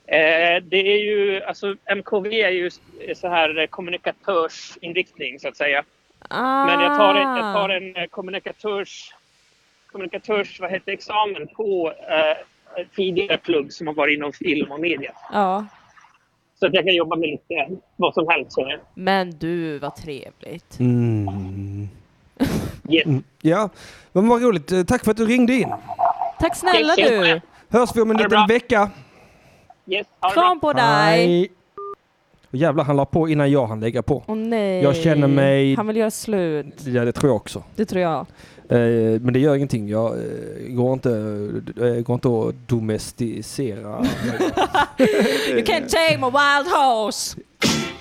Eh, det är ju, alltså MKV är ju s- så här eh, kommunikatörsinriktning så att säga. Ah. Men jag tar en, jag tar en eh, kommunikatörs, kommunikatörs vad heter det, examen på eh, tidigare plugg som har varit inom film och media. Ja. Så att jag kan jobba med lite vad som helst. så jag- Men du, vad trevligt. Mm. Mm. Ja, men vad roligt. Eh, Tack för att du ringde in. Tack snälla Yes, yes. du! Hörs vi om en Ha det liten bra. vecka. Yes, Kram på dig! Hej. Och jävlar, han la på innan jag hann lägga på. Åh nej. Jag känner mig- Han vill göra slut. Ja, det tror jag också. Det tror jag. Eh, Men det gör ingenting. Jag eh, går inte, eh, går inte att domesticera. You can tame a wild horse!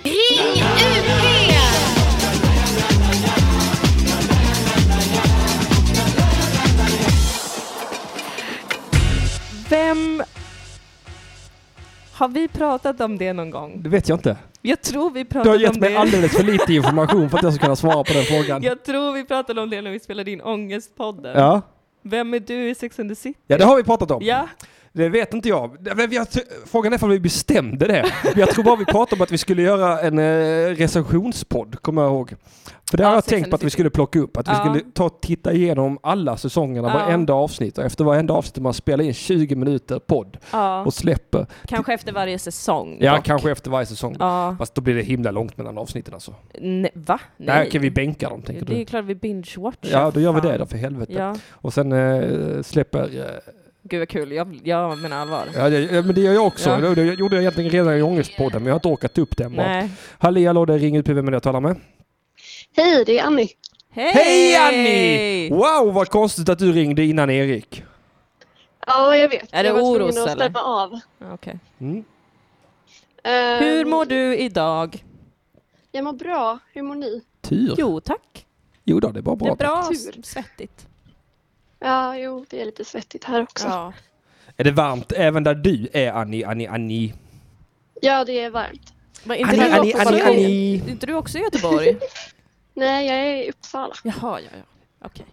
Ring UP! Vem... Har vi pratat om det någon gång? Det vet jag inte. Jag tror vi Du har pratade gett om det. mig alldeles för lite information för att jag ska kunna svara på den frågan. Jag tror vi pratade om det när vi spelade in Ångestpodden. Ja. Vem är du i Sex and the City? Ja, det har vi pratat om. Ja. Det vet inte jag. Det- men Jag, t- frågan är om vi bestämde det. Jag tror bara vi pratade om att vi skulle göra en eh, recensionspodd, kommer jag ihåg. För där har jag Sex tänkt and på the att vi City. skulle plocka upp, att vi Ja. skulle ta och titta igenom alla säsongerna, Ja. varenda avsnitt. Och efter varenda avsnitt man spelar in 20 minuter podd Ja. och släpper. Kanske efter varje säsong. Ja, dock. kanske efter varje säsong. Ja. Fast då blir det himla långt mellan avsnitten alltså. Nej, va? Nej. Nej. Där kan vi bänka dem, tänker det är du. klart vi binge-watchar. Ja, då gör vi det Fan. då, för helvete. Ja. Och sen eh, släpper eh, Gud vad kul, jag, jag menar allvar. Ja, det, ja, men det gör jag också. Ja. Det, det gjorde jag egentligen redan i Ångestpodden, men jag har inte orkat upp den bara. Nej. Halli hallå, det är Ring ut vem är det jag talar med. Hej, det är Annie. Hej! Hej Annie! Wow, vad konstigt att du ringde innan Erik. Ja, jag vet. Är det jag var tvungen Oros, att eller? stämma av. Ehm, Okej. Mm. Hur mår du idag? Jag mår bra. Hur mår ni? Tur. Jo tack. Jo då, det var bra. det är bra tack. s- svettigt. Ja, jo, det är lite svettigt här också. Ja, Är det varmt även där du är Annie, Annie, Annie? det är varmt. Var inte Annie, du Annie, också- Annie, Annie. inte du också i Göteborg? Nej, jag är i Uppsala. Jaha, ja, ja. Okej.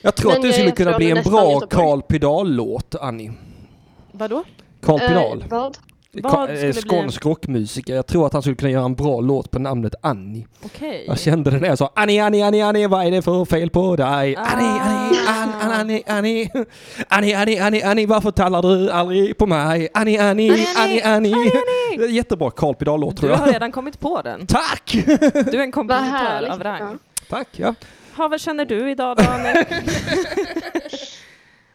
Jag tror Men att du jag skulle är kunna från bli en nästan bra Göteborg. Karl Pedal-låt, Annie. Vadå? Karl Pedal. Eh, vad? Ka- Vad eh, skulle bli en- Skånsk rockmusiker. Jag tror att han skulle kunna göra en bra låt på namnet Annie. Okej. Jag kände den när jag sa Annie, Annie, Annie, Annie, vad är det för fel på dig? Annie, Annie, Ann, Ann, Annie, Annie. Annie, Annie, Annie, Annie, varför talar du aldrig på mig? Annie, Annie, Annie, Annie. Jättebra Karl Pedal-låt tror Du har jag. redan kommit på den. Tack! Du är en kompositör av rang. Tack, ja. Ha, vad känner du idag Daniel?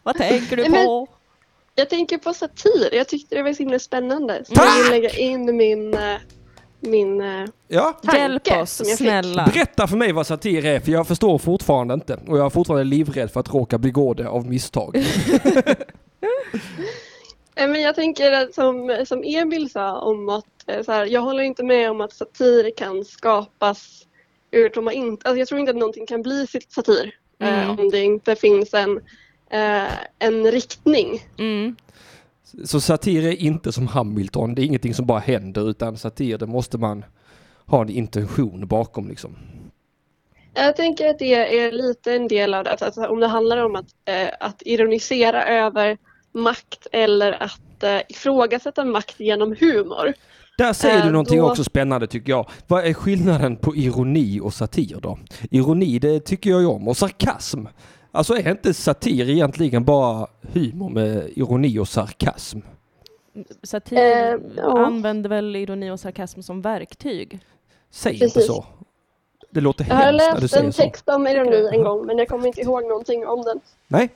vad tänker du Nej, men- på? Jag tänker på satir. Jag tyckte det var så himla spännande. Så jag vill lägga in min, eh, min eh, Ja. tanke som jag fick. Berätta för mig vad satir är, för jag förstår fortfarande inte. Och jag är fortfarande livrädd för att råka begå det av misstag. Nej, Men jag tänker att som, som Emil sa om att eh, så här, jag håller inte med om att satir kan skapas ur tomma inte. Alltså jag tror inte att någonting kan bli sitt satir eh, Mm. om det inte finns en, eh, en riktning. Mm. Så satir är inte som Hamilton, det är ingenting som bara händer, utan satir, det måste man ha en intention bakom liksom. Jag tänker att det är lite en del av det. Alltså, alltså, om det handlar om att, eh, att ironisera över makt eller att eh, ifrågasätta makt genom humor. Där säger Eh, du någonting då- också spännande tycker jag. Vad är skillnaden på ironi och satir då? Ironi, det tycker jag ju om. Och sarkasm. Alltså är inte satir egentligen bara humor med ironi och sarkasm? Satir använder väl ironi och sarkasm som verktyg? Säg Precis. inte så. Det låter Jag har hemskt när du läst säger en så. text om ironi en gång men jag kommer inte ihåg någonting om den. Nej.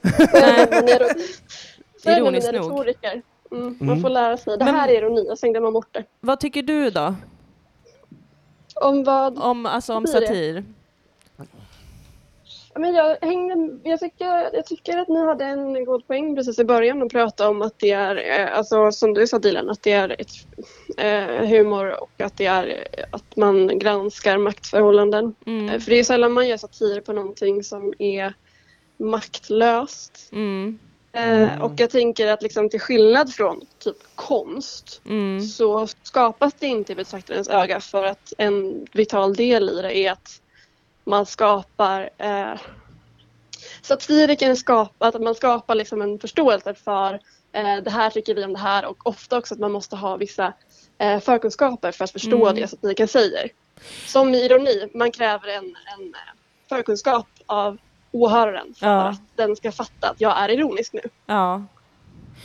Så är det Ironiskt med nog. retoriker. Mm, Mm. man får lära sig. Det Men- här är ironi och sen glömmer man bort det. Vad tycker du då? Om vad? Om, alltså om Blir det? satir. Ja, Men jag, hängde, jag, tycker, jag tycker att ni hade en god poäng precis i början och pratade om att det är, eh, alltså, som du sa Dilan, att det är ett, eh, humor och att det är eh, att man granskar maktförhållanden. Eh, För det är ju sällan man gör satir på någonting som är maktlöst. Eh, och jag tänker att liksom, till skillnad från typ konst Mm. så skapas det inte i betraktarens öga för att en vital del i det är att man skapar eh, satiriken skapar, att man skapar liksom en förståelse för eh, det här tycker vi om det här och ofta också att man måste ha vissa eh, förkunskaper för att förstå Mm. det satiriken säger. Som i ironi, man kräver en, en eh, förkunskap av åhöraren för Ja. att den ska fatta att jag är ironisk nu. Ja.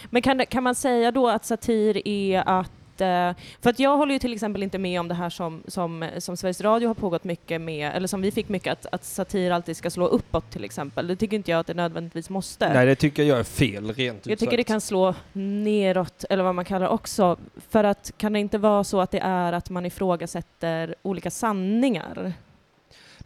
Men kan, det- kan man säga då att satir är att eh, för att jag håller ju till exempel inte med om det här som, som, som Sveriges Radio har pågått mycket med, eller som vi fick mycket, att, att satir alltid ska slå uppåt till exempel. Det tycker inte jag att det nödvändigtvis måste. Nej, det tycker jag är fel rent Jag ut tycker det sagt. kan slå neråt, eller vad man kallar det också. För att kan det inte vara så att det är att man ifrågasätter olika sanningar?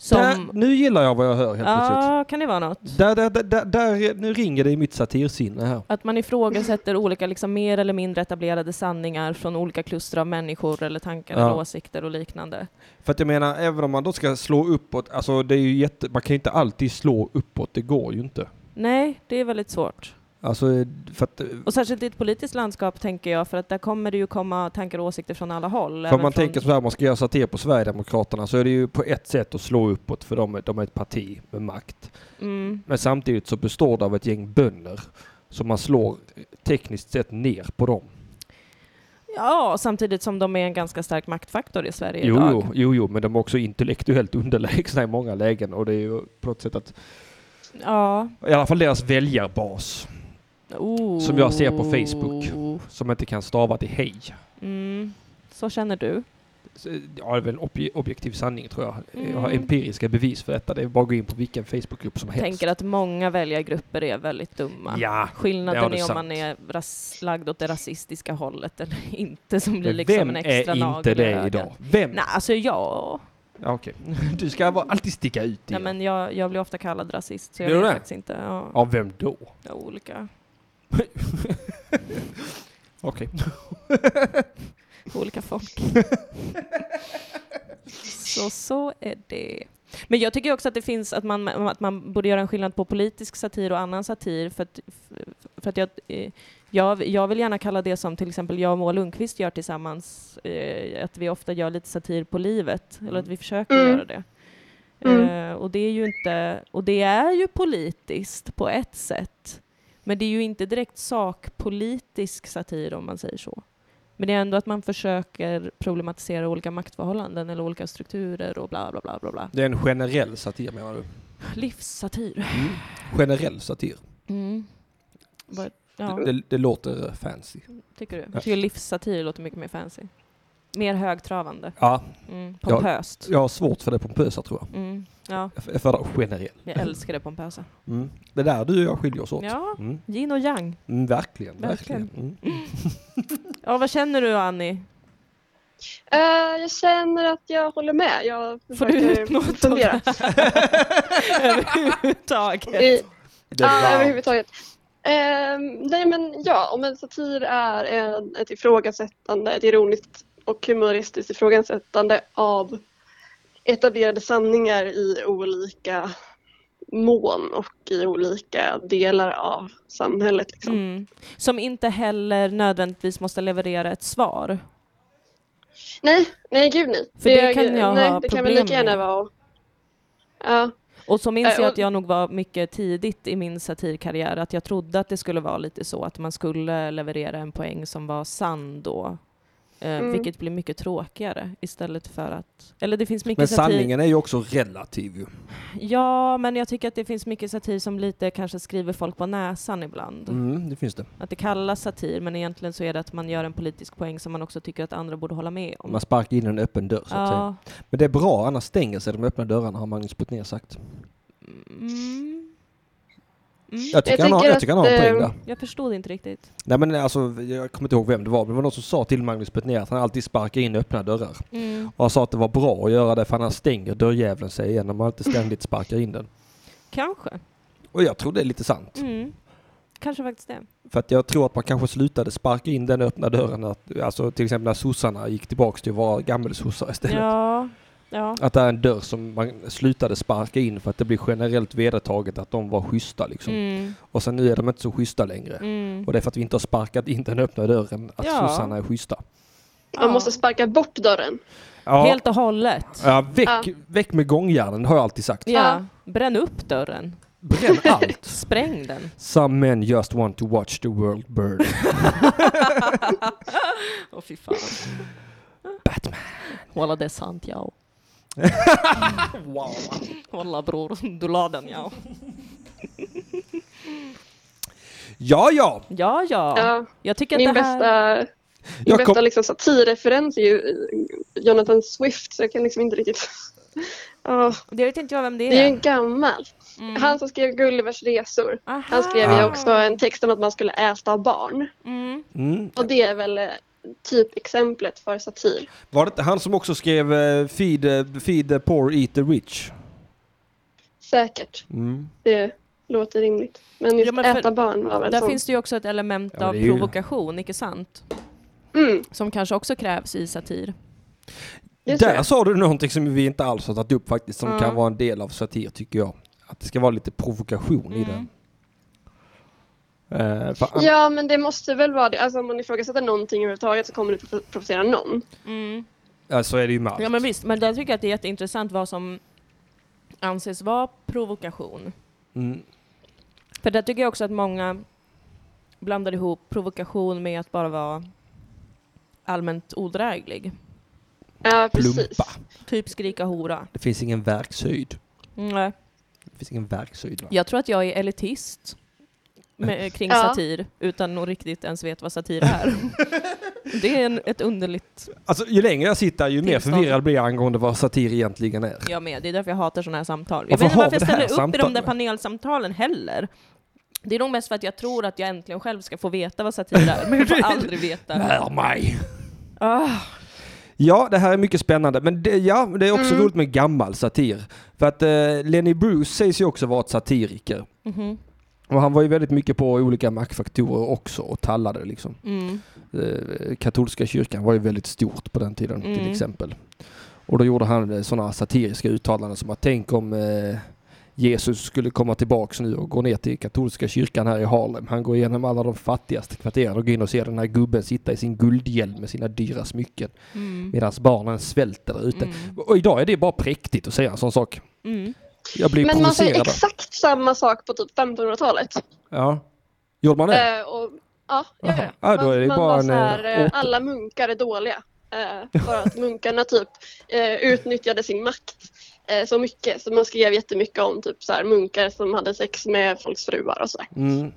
Där, nu gillar jag vad jag hör helt plötsligt. Ja, kan det vara något? Där, där, där, där, där, nu ringer det i mitt satirsinne här. Att man ifrågasätter olika liksom, mer eller mindre etablerade sanningar från olika kluster av människor eller tankar Ja. eller åsikter och liknande. För att jag menar, även om man då ska slå uppåt, alltså det är ju jätte, man kan ju inte alltid slå uppåt, det går ju inte. Nej, det är väldigt svårt. Alltså, för att, Och särskilt i ett politiskt landskap tänker jag, för att där kommer det ju komma tankar och åsikter från alla håll. för även om man från... tänker så här, om man ska göra satir på Sverigedemokraterna så är det ju på ett sätt att slå uppåt för de, är- de är ett parti med makt. Mm. Men samtidigt så består det av ett gäng bönder som man slår tekniskt sett ner på dem. Ja, samtidigt som de är en ganska stark maktfaktor i Sverige Jo, idag. jo, jo, jo, men de är också intellektuellt underlägsna i många lägen och det är ju på något sätt att, Ja. i alla fall deras väljarbas, Oh. som jag ser på Facebook, som inte kan stava till hej. Mm. Så känner du. ja, det är väl en obje- objektiv sanning tror jag. Mm. Jag har empiriska bevis för detta. Det är bara att gå in på vilken Facebookgrupp som helst. tänker att många väljargrupper är väldigt dumma. Ja, Skillnaden ja, är det är om sant. man är ras- lagd åt det rasistiska hållet eller inte som blir Men liksom vem en är extra inte nagel i det ögat. idag? Vem? Nej, alltså jag. Ja, Okej, du ska vara, alltid sticka ut Nej, igen. men jag, jag blir ofta kallad rasist så jag Blir du vet det? faktiskt inte. Ja. Av vem då? Ja, olika. Okej. olika folk. så, så är det. Men jag tycker också att det finns att man, att man borde göra en skillnad på politisk satir och annan satir. För att, för att jag, eh, jag, jag vill gärna kalla det som till exempel jag och Moa Lundqvist gör tillsammans, eh, att vi ofta gör lite satir på livet, eller att vi försöker Mm. göra det. Mm. Eh, och det är ju inte, och det är ju politiskt på ett sätt, men det är ju inte direkt sakpolitisk satir om man säger så. Men det är ändå att man försöker problematisera olika maktförhållanden eller olika strukturer och bla bla bla bla. bla. Det är en generell satir menar du? Livssatir. Generell satir. Mm. Vad- Ja, Det, det, det låter fancy. tycker du? Ja. Jag tycker livssatir låter mycket mer fancy. Mer högtravande. Ja. Mm, Jag- pompöst. Jag har svårt för det pompösa tror jag. Mm, ja. Jag är för det generellt. Jag älskar det pompösa. Mm. Det är där du och jag skiljer oss åt. Ja, Mm. yin och yang. Mm, verkligen, Verkligen. verkligen. Mm. Ja, vad känner du Annie? Eh, jag känner att jag håller med. Jag Får du försöker ut något av det fundera. här? I- Överhuvudtaget. Ja, överhuvudtaget. Ehm, nej men ja, om en satir är en, ett ifrågasättande, ett ironiskt och humoristiskt ifrågasättande av etablerade sanningar i olika mån och i olika delar av samhället. Liksom. Mm. Som inte heller nödvändigtvis måste leverera ett svar. Nej, nej gud nej. För det kan jag nej, ha det kan väl lika problem med. gärna vara Ja. Och så minns Eh, jag och- att jag nog var mycket tidigt i min satirkarriär, att jag trodde att det skulle vara lite så, att man skulle leverera en poäng som var sann då. Eh, Mm. Vilket blir mycket tråkigare istället för att... Eller det finns mycket Men satir... sanningen är ju också relativ. ju. Ja, men jag tycker att det finns mycket satir som lite kanske skriver folk på näsan ibland. Mm, det finns det. Att det kallas satir, men egentligen så är det att man gör en politisk poäng som man också tycker att andra borde hålla med om. Man sparkar in en öppen dörr så Ja. att säga. Men det är bra, annars stänger sig de öppna dörrarna har Magnus Betnér sagt. Mm. Jag tycker han har- jag tycker han har en poäng där. eh, Jag förstod inte riktigt. Nej men alltså, jag kommer inte ihåg vem det var, men det var någon som sa till Magnus Betnér att han alltid sparkar in öppna dörrar. Mm. Och han sa att det var bra att göra det för annars stänger dörrjäveln sig igen om man inte ständigt sparkar in den. Kanske. Och jag tror det är lite sant. Mm. Kanske faktiskt det. För att jag tror att man kanske slutade sparka in den öppna dörren, att, alltså till exempel när sossarna gick tillbaks till att vara gammelsossar istället. Ja. ja. Att det är en dörr som man slutade sparka in för att det blir generellt vedertaget att de var schyssta liksom. Mm. Och sen nu är de inte så schyssta längre. Mm. Och det är för att vi inte har sparkat in den öppna dörren att Ja. sossarna är schyssta. Man måste sparka bort dörren. Ja. Helt och hållet. Ja, väck, Ja. väck med gångjärnen, har jag alltid sagt. Ja. Bränn upp dörren. Bränn allt. Spräng den. Some men just want to watch the world burn. Åh fy fan. Batman. Walla det är sant ja. wow. Walla bror, du la den ja. ja, ja. Ja, ja. Ja. Jag tycker att min det här... bästa, min kom- bästa liksom satirreferens är ju eh, Jonathan Swift så jag kan liksom inte riktigt... Ja. Det vet inte jag vem det är. Mm. Det är ju en gammal. Han som skrev Gullivers resor. Han skrev ju Ah. också en text om att man skulle äta barn. Mm. Och det är väl eh, typexemplet för satir. Var det inte han som också skrev eh, feed, eh, feed the poor, eat the rich? Säkert. Mm. Det låter rimligt. Men just Ja, men för- äta barn var väl Där sån. finns det ju också ett element Ja, men av det är ju- provokation, icke sant? Mm. Som kanske också krävs i satir. Där sa du någonting som vi inte alls har tagit upp faktiskt, som Ja. kan vara en del av satir tycker jag. Att det ska vara lite provokation i den. Mm. Eh, för an- Ja, men det måste väl vara det. Alltså om man ifrågasätter någonting överhuvudtaget så kommer det pro- provocera någon. ja, så är det ju med allt. Mm. Ja men visst, men där tycker jag att det är jätteintressant vad som anses vara provokation. Mm. För där tycker jag också att många blandar ihop provokation med att bara vara allmänt odräglig. Ja, precis. Typ skrika hora. Det finns ingen verkshöjd. Nej. Det finns ingen verkshöjd. Va? Jag tror att jag är elitist Mm. med, kring Ja. satir utan att riktigt ens vet vad satir är. det är en, ett underligt... Alltså, ju längre jag sitter ju mer Tillstånd. förvirrad blir jag angående vad satir egentligen är. Jag med, det är därför jag hatar sådana här samtal. Jag Varför vet inte har varför vi jag det här ställer upp i de där samtalet? panelsamtalen heller. Det är nog mest för att jag tror att jag äntligen själv ska få veta vad satir är, men jag får aldrig veta. Lär mig! Ah, Ja, det här är mycket spännande. Men det, ja, det är också Mm. roligt med gammal satir. För att eh, Lenny Bruce sägs ju också vara ett satiriker. mhm. Och han var ju väldigt mycket på olika maktfaktorer också och tallade liksom. Mm. Eh, katolska kyrkan var ju väldigt stort på den tiden Mm. till exempel. Och då gjorde han sådana satiriska uttalanden som att tänk om eh, Jesus skulle komma tillbaks nu och gå ner till katolska kyrkan här i Harlem. Han går igenom alla de fattigaste kvarteren och går in och ser den här gubben sitta i sin guldhjälm med sina dyra smycken. Mm. Medan barnen svälter där ute. Och idag är det bara präktigt att säga en sån sak. Mm. Jag blir Men man provocerad. säger där. exakt samma sak på typ 1500-talet. Ja. Gjorde man det? Eh, och, ja, ja, ja. Jaha. Ja, då är det man bara var en, så här, eh, eh, åter- alla munkar är dåliga. Eh, för att munkarna typ eh, utnyttjade sin makt eh, så mycket. Så man skrev jättemycket om typ så här, munkar som hade sex med folks fruar och sådär. Mm.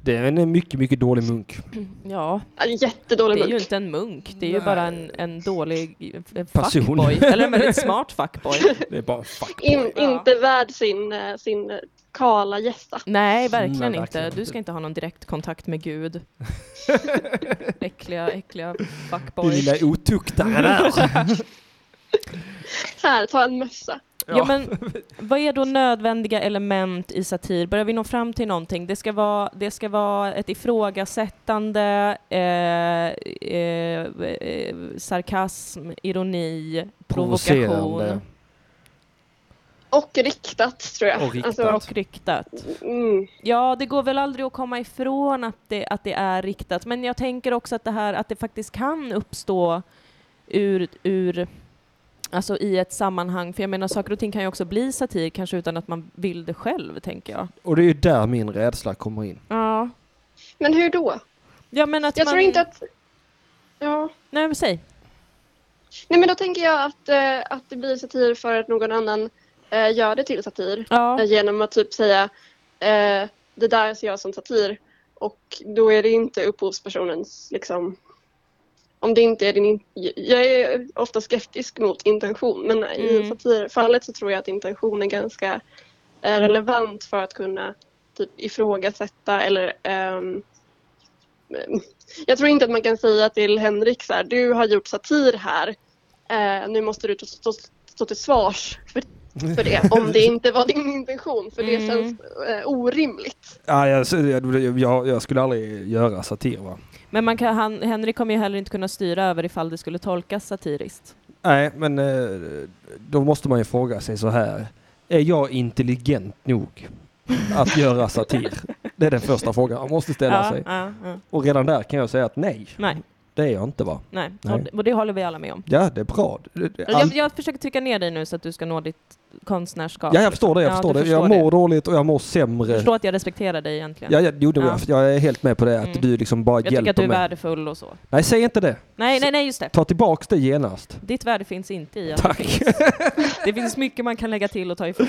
Det är en mycket, mycket dålig munk. Ja. Jättedålig Det är ju munk. inte en munk, det är ju Nej. bara en, en dålig en Person. fuckboy. Eller en väldigt smart fuckboy. Det är bara fuck. In, Inte värd sin, eh, sin kala gästa. Nej, verkligen Nej, verkligen inte. Du ska inte ha någon direktkontakt med Gud. äckliga, äckliga Din fuckboy. lilla otuktare där. Här, ta en mössa. Ja. men vad är då nödvändiga element i satir? Börjar vi nå fram till någonting? Det ska vara, det ska vara ett ifrågasättande, eh, eh, eh, sarkasm, ironi, Provocerande. provokation. Och riktat tror jag. Alltså, och riktat. mm. Ja, det går väl aldrig att komma ifrån att det, att det är riktat, men jag tänker också att det här att det faktiskt kan uppstå ur, ur alltså i ett sammanhang, för jag menar saker och ting kan ju också bli satir kanske utan att man vill det själv, tänker jag. Och det är ju där min rädsla kommer in. Ja. Men hur då? Ja, men att jag man... tror inte att... Ja. Nej, men säg. Nej men då tänker jag att, eh, att det blir satir för att någon annan eh, gör det till satir. Ja. Eh, genom att typ säga eh, det där ser jag som satir. Och då är det inte upphovspersonens liksom om det inte är din... In- jag är ofta skeptisk mot intention men i Mm. satirfallet så tror jag att intention är ganska eh, relevant för att kunna typ, ifrågasätta eller ehm, eh, jag tror inte att man kan säga till Henrik så här, du har gjort satir här. Eh, nu måste du stå, stå, stå till svars för, för det om det inte var din intention för Mm. det känns eh, orimligt. Ja, jag, jag, jag, jag skulle aldrig göra satir va? Men man kan, han, Henrik kommer ju heller inte kunna styra över ifall det skulle tolkas satiriskt. Nej, men eh, då måste man ju fråga sig så här. Är jag intelligent nog att göra satir? Det är den första frågan man måste ställa Ja, sig. ja, ja. Och redan där kan jag säga att nej, Nej, det är jag inte va? nej. Nej. Och, det, och det håller vi alla med om. Ja, det är bra. Det- det- all- Jag, jag försöker trycka ner dig nu så att du ska nå ditt konstnärskap. liksom. Ja, jag förstår det. Jag Ja, förstår du det. Jag förstår mår dåligt och jag mår sämre. Jag förstår att jag respekterar dig egentligen. Ja, ja, jo, det var jag, jag är helt med på det, att Mm. du liksom bara Jag tycker hjälper att du är mig. värdefull och så. Nej, säg inte det. Nej, nej, nej, just det. Ta tillbaks det genast. Ditt värde finns inte i att Tack. Det, finns. det finns mycket man kan lägga till och ta ifrån.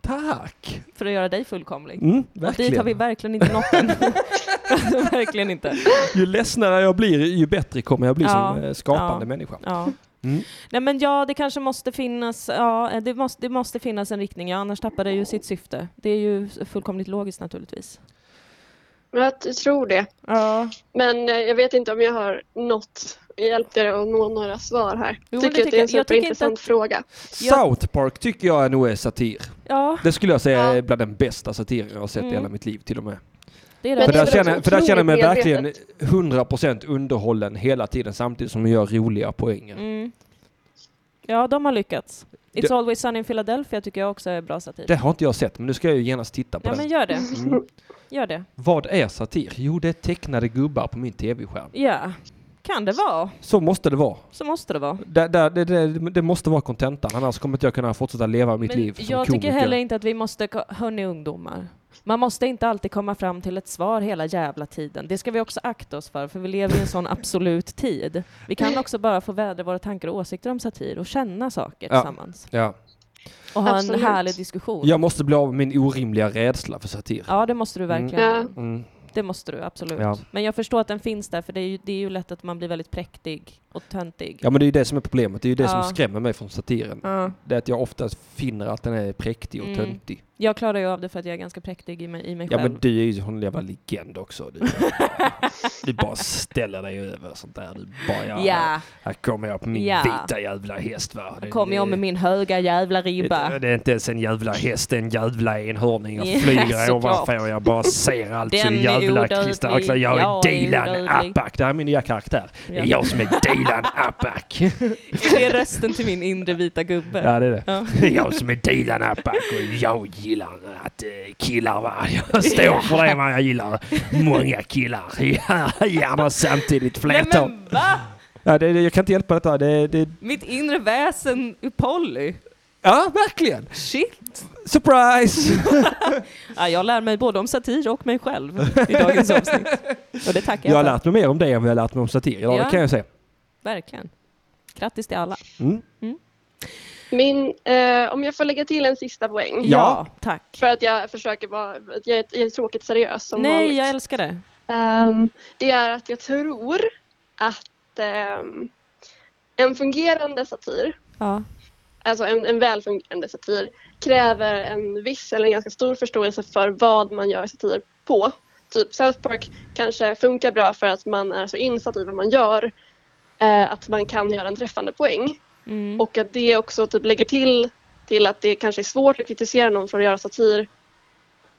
Tack! För att göra dig fullkomlig. Mm, och dit verkligen. har vi verkligen inte nått än. verkligen inte. Ju ledsnare jag blir, ju bättre kommer jag bli som Ja, eh, skapande ja, människa. Ja. Mm. Nej men ja, det kanske måste finnas, ja, det måste, det måste finnas en riktning, ja, annars tappar det ju sitt syfte. Det är ju fullkomligt logiskt naturligtvis. Men Jag tror det. Ja. Men eh, jag vet inte om jag har nått, hjälpt er att nå några svar här. Jo, men tycker det att det är en tycker jag. Jag tycker inte superintressant att- fråga. South Park tycker jag nog är satir. Ja. Det skulle jag säga är bland den bästa satiren jag har sett i Mm. hela mitt liv till och med. Det är det. För Men det är där, väl känner, också för där känner jag mig otroligt verkligen 100% underhållen hela tiden samtidigt som jag gör roliga poänger. Mm. Ja, de har lyckats. It's Det- always sunny in Philadelphia tycker jag också är bra satir. Det har inte jag sett men nu ska jag ju genast titta på Ja, den. men gör det. Mm. Gör det. Vad är satir? Jo, det är tecknade gubbar på min tv-skärm. Ja, kan det vara. Så måste det vara. Så måste det vara. Det, det, det, det, det måste vara kontentan, annars kommer inte jag kunna fortsätta leva mitt Men liv som jag komiker. tycker heller inte att vi måste, ko- hörni ungdomar, man måste inte alltid komma fram till ett svar hela jävla tiden. Det ska vi också akta oss för, för vi lever i en sån absolut tid. Vi kan också bara få vädra våra tankar och åsikter om satir och känna saker tillsammans. Ja. Och ha Absolut. en härlig diskussion. Jag måste bli av med min orimliga rädsla för satir. Ja, det måste du verkligen. Mm. Mm. Det måste du, absolut. Ja. Men jag förstår att den finns där, för det är, ju, det är ju lätt att man blir väldigt präktig och töntig. Ja men det är ju det som är problemet, det är ju det Ja. som skrämmer mig från satiren. Ja. Mm. Det är att jag oftast finner att den är präktig och töntig. Jag klarar ju av det för att jag är ganska präktig i mig, i mig Ja själv. men du är ju en jävla legend också. Du, du bara ställer dig över sånt där. Du bara, ja, Ja. här kommer jag på min Ja. vita jävla häst va. Här kommer jag med min höga jävla ribba. Det är inte ens en jävla häst, det är en jävla enhörning. Jag Ja, flyger såklart. ovanför, jag bara ser allt så Den är jävla odödlig. kristallklart. Jag är Jag är Dilan odödlig. Apak, det här är min nya karaktär. Det Ja. är jag som är Dilan Apak. Det är rösten till min inre vita gubbe. Ja, det är det. Ja. Det är jag som är Dilan Apak och jag gillar att eh, killar va. Jag står för det va, jag gillar många killar. Ja, Gärna samtidigt flertal. Nej men va? Ja, det, det- jag kan inte hjälpa detta. Det, det, Mitt inre väsen är Polly. ja, verkligen. Shit! Surprise! ja, jag lär mig både om satir och mig själv i dagens avsnitt. Och det tackar Jag jag, har för. lärt mig mer om det än vad jag har lärt mig om satir idag, Ja. det kan jag säga. Verkligen. Grattis till alla. Mm. Min, eh, om jag får lägga till en sista poäng. Ja, tack. För att jag försöker vara, att jag är, jag är tråkigt seriös som Nej, vanligt. jag älskar det. Ehm, det är att jag tror att ehm, en fungerande satir, Ja. alltså en, en välfungerande satir, kräver en viss eller en ganska stor förståelse för vad man gör satir på. Typ South Park kanske funkar bra för att man är så insatt i vad man gör eh, att man kan göra en träffande poäng. Och att det också typ lägger till till att det kanske är svårt att kritisera någon för att göra satir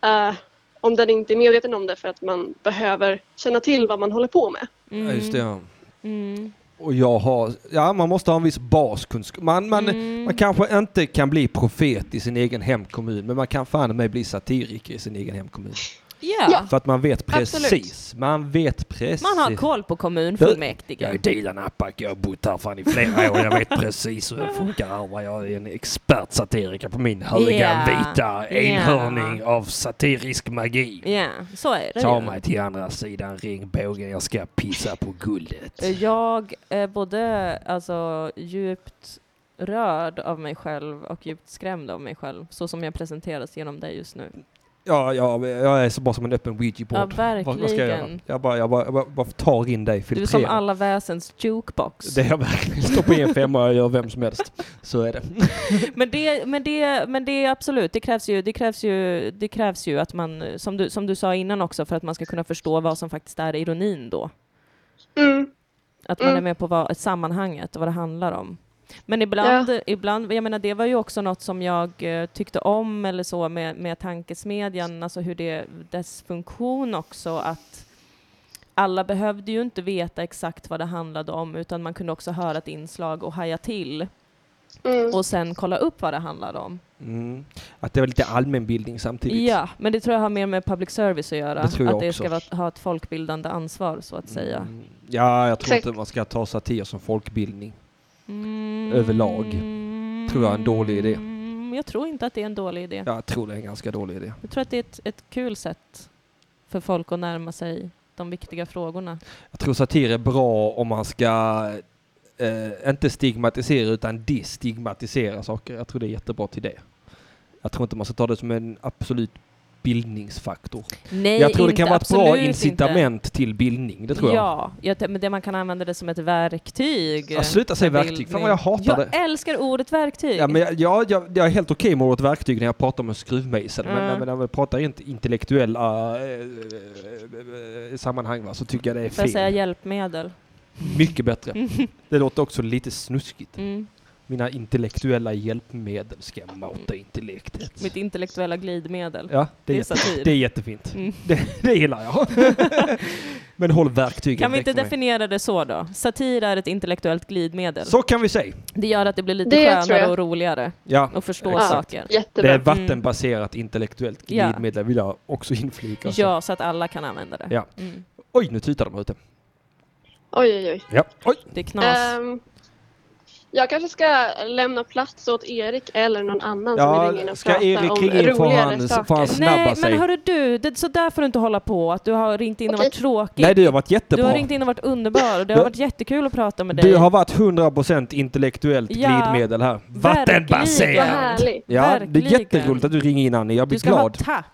eh, om den inte är medveten om det för att man behöver känna till vad man håller på med. Ja, just det. Mm. Ja. Och jag har, ja man måste ha en viss baskunskap. Man, man, Mm. man kanske inte kan bli profet i sin egen hemkommun men man kan fan mig bli satiriker i sin egen hemkommun. Ja. För att man vet precis. Absolut. Man vet precis. Man har koll på kommunfullmäktige. Jag är Dilan Apak, jag har bott här fan i flera år. Jag vet precis hur det funkar här. va. Jag är en expert satiriker på min höga Ja. vita Ja. enhörning av satirisk magi. Ja, så är det Ta ju. mig till andra sidan ringbågen, jag ska pissa på guldet. Eh, Jag är både alltså, djupt rörd av mig själv och djupt skrämd av mig själv, så som jag presenteras genom dig just nu. Ja, ja, jag är så bara som en öppen ouija-board. Ja, Vad- Vad ska jag göra? verkligen. Jag bara, jag bara, jag bara, bara tar in dig, Du är filtrerar. som alla väsens jukebox. Det är jag verkligen. Stoppa in en femma och jag gör vem som helst. Så är det. men, det, men, det, men det är absolut, det krävs ju, det krävs ju, det krävs ju att man, som du, som du sa innan också, för att man ska kunna förstå vad som faktiskt är ironin då. Att man Mm. är med på vad, sammanhanget och vad det handlar om. Men ibland, ibland, jag menar det var ju också något som jag eh, tyckte om eller så med, med tankesmedjan, alltså hur det, dess funktion också att alla behövde ju inte veta exakt vad det handlade om utan man kunde också höra ett inslag och haja till och sen kolla upp vad det handlade om. Mm. Att det var lite allmänbildning samtidigt. Ja, men det tror jag har mer med public service att göra. Det tror jag att det också. Mm. ska vara, ha ett folkbildande ansvar så att säga. Ja, jag tror Exakt. inte man ska ta satir som folkbildning. Mm. Överlag. Tror jag är en dålig idé. Mm, jag tror inte att det är en dålig idé. Jag tror det är en ganska dålig idé. Jag tror att det är ett, ett kul sätt för folk att närma sig de viktiga frågorna. Jag tror satir är bra om man ska eh, inte stigmatisera utan destigmatisera saker. Jag tror det är jättebra till det. Jag tror inte man ska ta det som en absolut bildningsfaktor. Nej, jag tror det kan inte, vara ett bra absolut incitament till bildning, det tror jag. Ja, jag t- men det man kan använda det som ett verktyg. Ja, sluta säga för verktyg. Fan vad jag bildning. hatar jag det. älskar ordet verktyg. Ja, men jag, jag, jag, jag är helt okej med ordet verktyg när jag pratar om en skruvmejsel, men Mm. när- när vi pratar inte intellektuella eh, eh, sammanhang va, så tycker jag det är Får jag säga fel. hjälpmedel? Mycket bättre. Mm. Det låter också lite snuskigt. Mm. Mina intellektuella hjälpmedel ska mata intellektet. Mitt intellektuella glidmedel. Ja, det är, Mm. det är satir. jätte, det är jättefint. Mm. Det, det gillar jag. Men håll verktygen Kan vi väck inte från mig. definiera det så då? Satir är ett intellektuellt glidmedel. Så kan vi säga. Det gör att det blir lite Det tror skönare jag. och roligare Ja, och förstå exakt. saker. Det är Mm. vattenbaserat intellektuellt Ja. glidmedel vill jag också inflika. så. Ja, så att alla kan använda det. Ja. Mm. Oj, nu tutar de här ute. Oj, oj, oj. Ja. Oj. Det är knas. Ehm, jag kanske ska lämna plats åt Erik eller någon annan som Ja, vill ringa in och ska prata Erik om ringa in får roligare han- saker. får han snabba Nej, sig. men hörru du, det, så där får du inte hålla på, att du har ringt in och varit tråkig. Nej, du har varit jättebra. Du har ringt in och varit underbar och det har Du- varit jättekul att prata med dig. Du har varit 100% intellektuellt Ja. glidmedel här. Verkligen. Vad Vattenbaserat! härligt. Ja, det Verkligen. är jätteroligt att du ringer in Annie, jag blir Du ska ha glad. tack.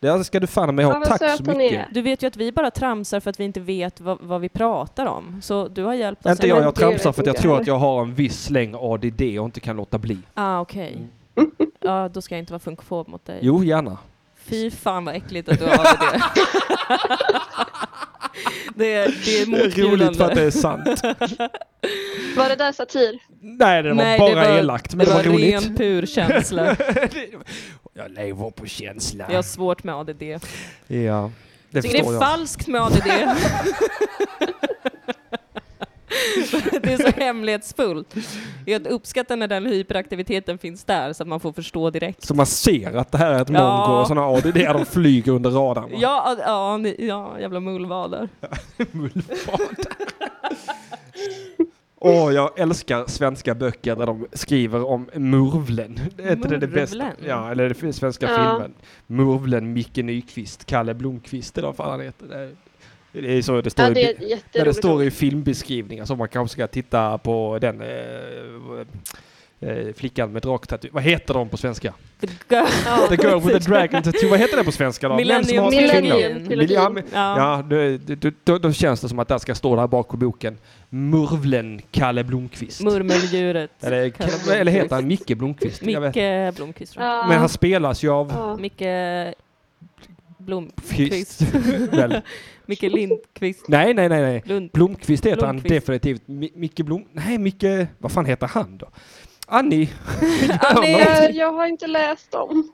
det ska du fan med ha. Tack så mycket. Du vet ju att vi bara tramsar för att vi inte vet vad, vad vi pratar om. Så du har hjälpt oss. Inte jag, jag tramsar för att jag tror att jag har en viss släng ADD och inte kan låta bli. Ah, okej. Mm. Ja, då ska jag inte vara funkofob mot dig. Jo, gärna. Fy fan vad äckligt att du har det. det, är- det är Det är roligt för motbjudande. att det är sant. Var det där satir? Nej, det var Nej, bara elakt, men det var, roligt. ren pur känsla. jag lever på känsla. Jag har svårt med ADD. Det Ja, det Tycker det förstår är jag. falskt med ADD. det är så hemlighetsfullt. Jag uppskattar när den hyperaktiviteten finns där så att man får förstå direkt. Så man ser att det här är ett Ja. mongo och sådana ADD, de flyger under radarn. va? Ja, ja, ni- ja jävla mullvader. Åh, jag älskar svenska böcker där de skriver om Murvlen. Det är inte det det bästa? Murvlen? Ja, eller det finns svenska Ja. filmen. Murvlen, Micke Nyqvist, Kalle Blomqvist eller vad fan han heter. Det är- Det är så det står, Ja, det är ett i, när det jätteroligt står i filmbeskrivningar så man kanske ska titta på den eh, eh, flickan med draktatu. Vad heter de på svenska? Girl. The girl with the dragon tattoo. Vad heter det på svenska då? Millennium Vem som har Trilogin. filmen? Trilogin. Millennium- Ja. Ja, då, då, då, då känns det som att där ska stå där bak på boken. Murvlen Kalle Blomqvist. Murmeldjuret. Eller, Kalle Blomqvist. eller heter han Micke Blomqvist? Jag vet. Micke Blomqvist. tror jag. Men han spelas ju av... Micke Blomqvist. Kvist. Väl. Micke Lindqvist. Nej, nej, nej. nej. Lund- Blomqvist heter han Blomqvist. definitivt. Mi- Micke Blom... Nej, Micke... Vad fan heter han då? Annie. Nej, jag, Eh, jag har inte läst dem.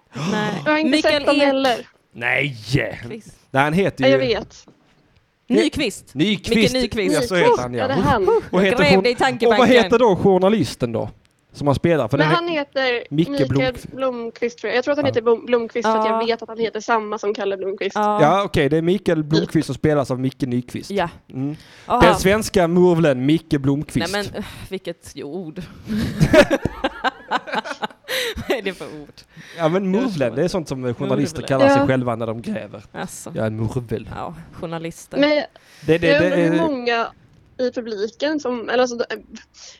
Jag har inte Mikael sett dem Ek. heller. Nej! Nej, han heter ju... Jag vet. Nyqvist. Nyqvist. Micke Nyqvist. Ja, så heter han, ja. Ja, det är han. Och, Jag heter grävde hon... i och tankebanken. vad heter då journalisten då? Som han spelar? För Men den han heter Micke Mikael Blomqvist. Blomqvist. tror jag. Jag tror att han Ja. heter Blom- Blomqvist för att Ja. jag vet att han heter samma som Kalle Blomqvist. Ja, okej. Det är Mikael Blomqvist som spelas av Micke Nyqvist. Ja. Mm. Ah. Den svenska murvlen Micke Nej Blomqvist. men öh, vilket ord. Vad är det för ord? Ja men murvlen, det är sånt som journalister Murvlen. kallar sig Ja. själva när de gräver. Alltså. Jag är en murvel. Ja, journalister. Men Det- det- jag det undrar är- hur många i publiken som, eller alltså, de-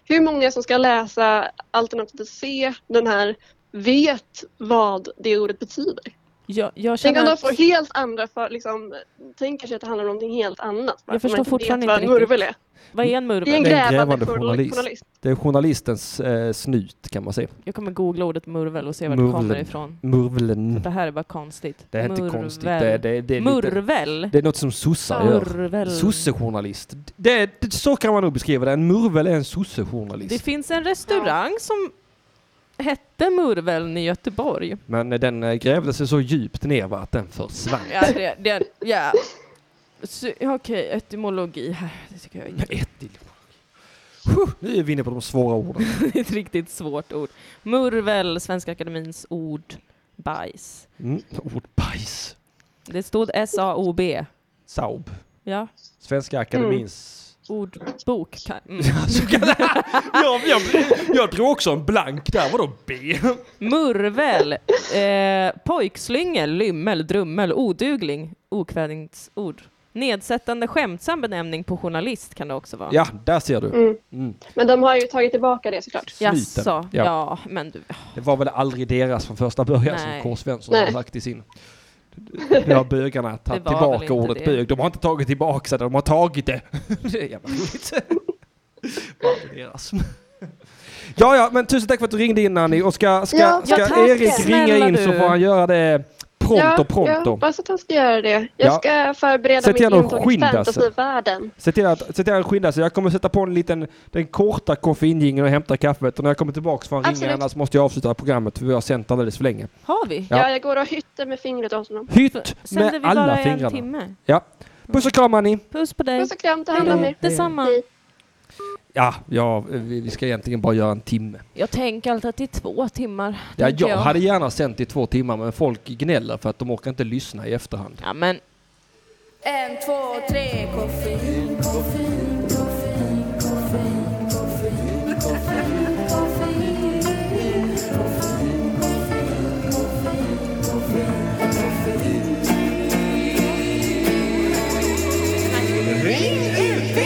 hur många som ska läsa alternativt se den här vet vad det ordet betyder. Jag, jag Tänk känner om de att- får helt andra, för, liksom, tänker sig att det handlar om någonting helt annat. bara Jag för att man förstår fortfarande vet inte vad en riktigt. murvel är. Vad är en murvel? Det är en Det är grävande, en grävande journalist. journalist. journalist. Det är journalistens eh, snut kan man säga. Jag kommer googla ordet murvel och se var det Murveln. kommer ifrån. Murveln. För det här är bara konstigt. Det är inte Murvel. konstigt. Det är, det är, det är lite- murvel? Det är något som sossar gör. Murvel. Sossejournalist. Det, är- det, så kan man nog beskriva det. En murvel är en sossejournalist. Det finns en restaurang som hette Murveln i Göteborg. Men eh, den eh, grävde sig så djupt ner va, att den försvann. Ja, det, det, ja. Så, ja, Okej, etymologi här. Det tycker jag är Nu är vi inne på de svåra orden. ett riktigt svårt ord. Murvel, Svenska Akademins ord, bajs. Mm. Ordbajs. Det stod S-A-O-B. Saub. Ja. Mm. Svenska akademins... Ordbok. ka- Mm. Jag, jag, jag drog också en blank där. Vadå B? Murvel, eh, pojkslyngel, lymmel, drummel, odugling, okvädingsord. Nedsättande skämtsam benämning på journalist kan det också vara. Ja, där ser du. Mm. Mm. Men de har ju tagit tillbaka det såklart. Jaså, ja. Ja. men du. Det var väl aldrig deras från första början Nej. som K. Svensson Nej. har sagt i sin... Nu har bögarna tagit Det var väl tillbaka inte ordet det. bög. De har inte tagit tillbaka det, de har tagit det. det är jävla roligt. Bara för deras. Ja, ja, men tusen tack för att du ringde in Annie. Och ska, ska, Ja, ska ja, tack. Erik Snälla ringa in så du. får han göra det pronto, Jag pronto. hoppas att han ska göra det. Jag Ja. ska förbereda Sätt mitt gärna och intåg i skynda sig. fantasyvärlden. Se till att, se till att skynda sig. Jag kommer sätta på en liten, den korta koffeinjingeln och hämta kaffet. Och när jag kommer tillbaka får han ringa, Absolut. annars måste jag avsluta programmet för vi har sänt alldeles för länge. Har vi? Ja. Ja. jag går och hytter med fingret åt honom. Hytt Sänder med vi bara alla en fingrarna. timme? Ja. Puss och kram Annie. Puss på dig. Puss och kram, ta hand om er. Detsamma. Ja, ja, vi vi ska egentligen bara göra en timme. Jag tänker alltid att det är två timmar. Ja, tänker jag hade gärna sänt i två timmar men folk gnäller för att de orkar inte lyssna i efterhand. Ja, men En, två, tre, koffein, koffein, koffein, koffein, koffein, koffein, koffein, koffein, koffein, koffein, koffein, koffein. Ring UP!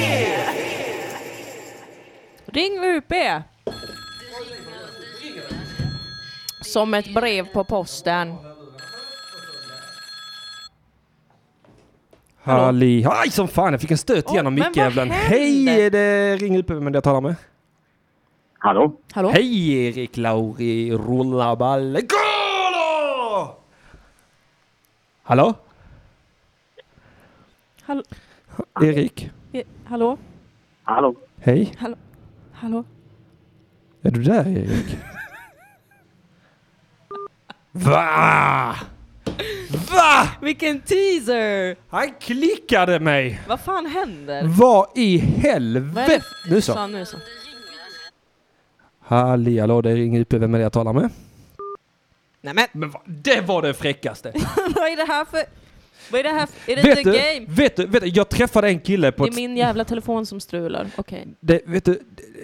Ring UP! Som ett brev på posten. Halli, aj som fan jag fick en stöt Oj, igenom men vad mickjävlen. Hej, händer? är det Ring UP men jag talar med. Hallå? Hallå? Hej Erik Lauri Rullaballe. Golo! Hallå? Hallå? Erik? E- Hallå? Hallå? Hej? Hallå? Hallå? Är du där Erik? Va? Va? Vilken teaser! Han klickade mig! Vad fan händer? Vad i Vad är det helvete? för- Nu så. Sa, nu så. Halli hallå, det är Ring UP. Vem är det jag talar med? Nej, men. men Det var det fräckaste. vad är det här för... Vad är det här för... Är det vet, the du, game? vet du, vet du, jag träffade en kille på Det är ett... min jävla telefon som strular. Okej. Det, vet du,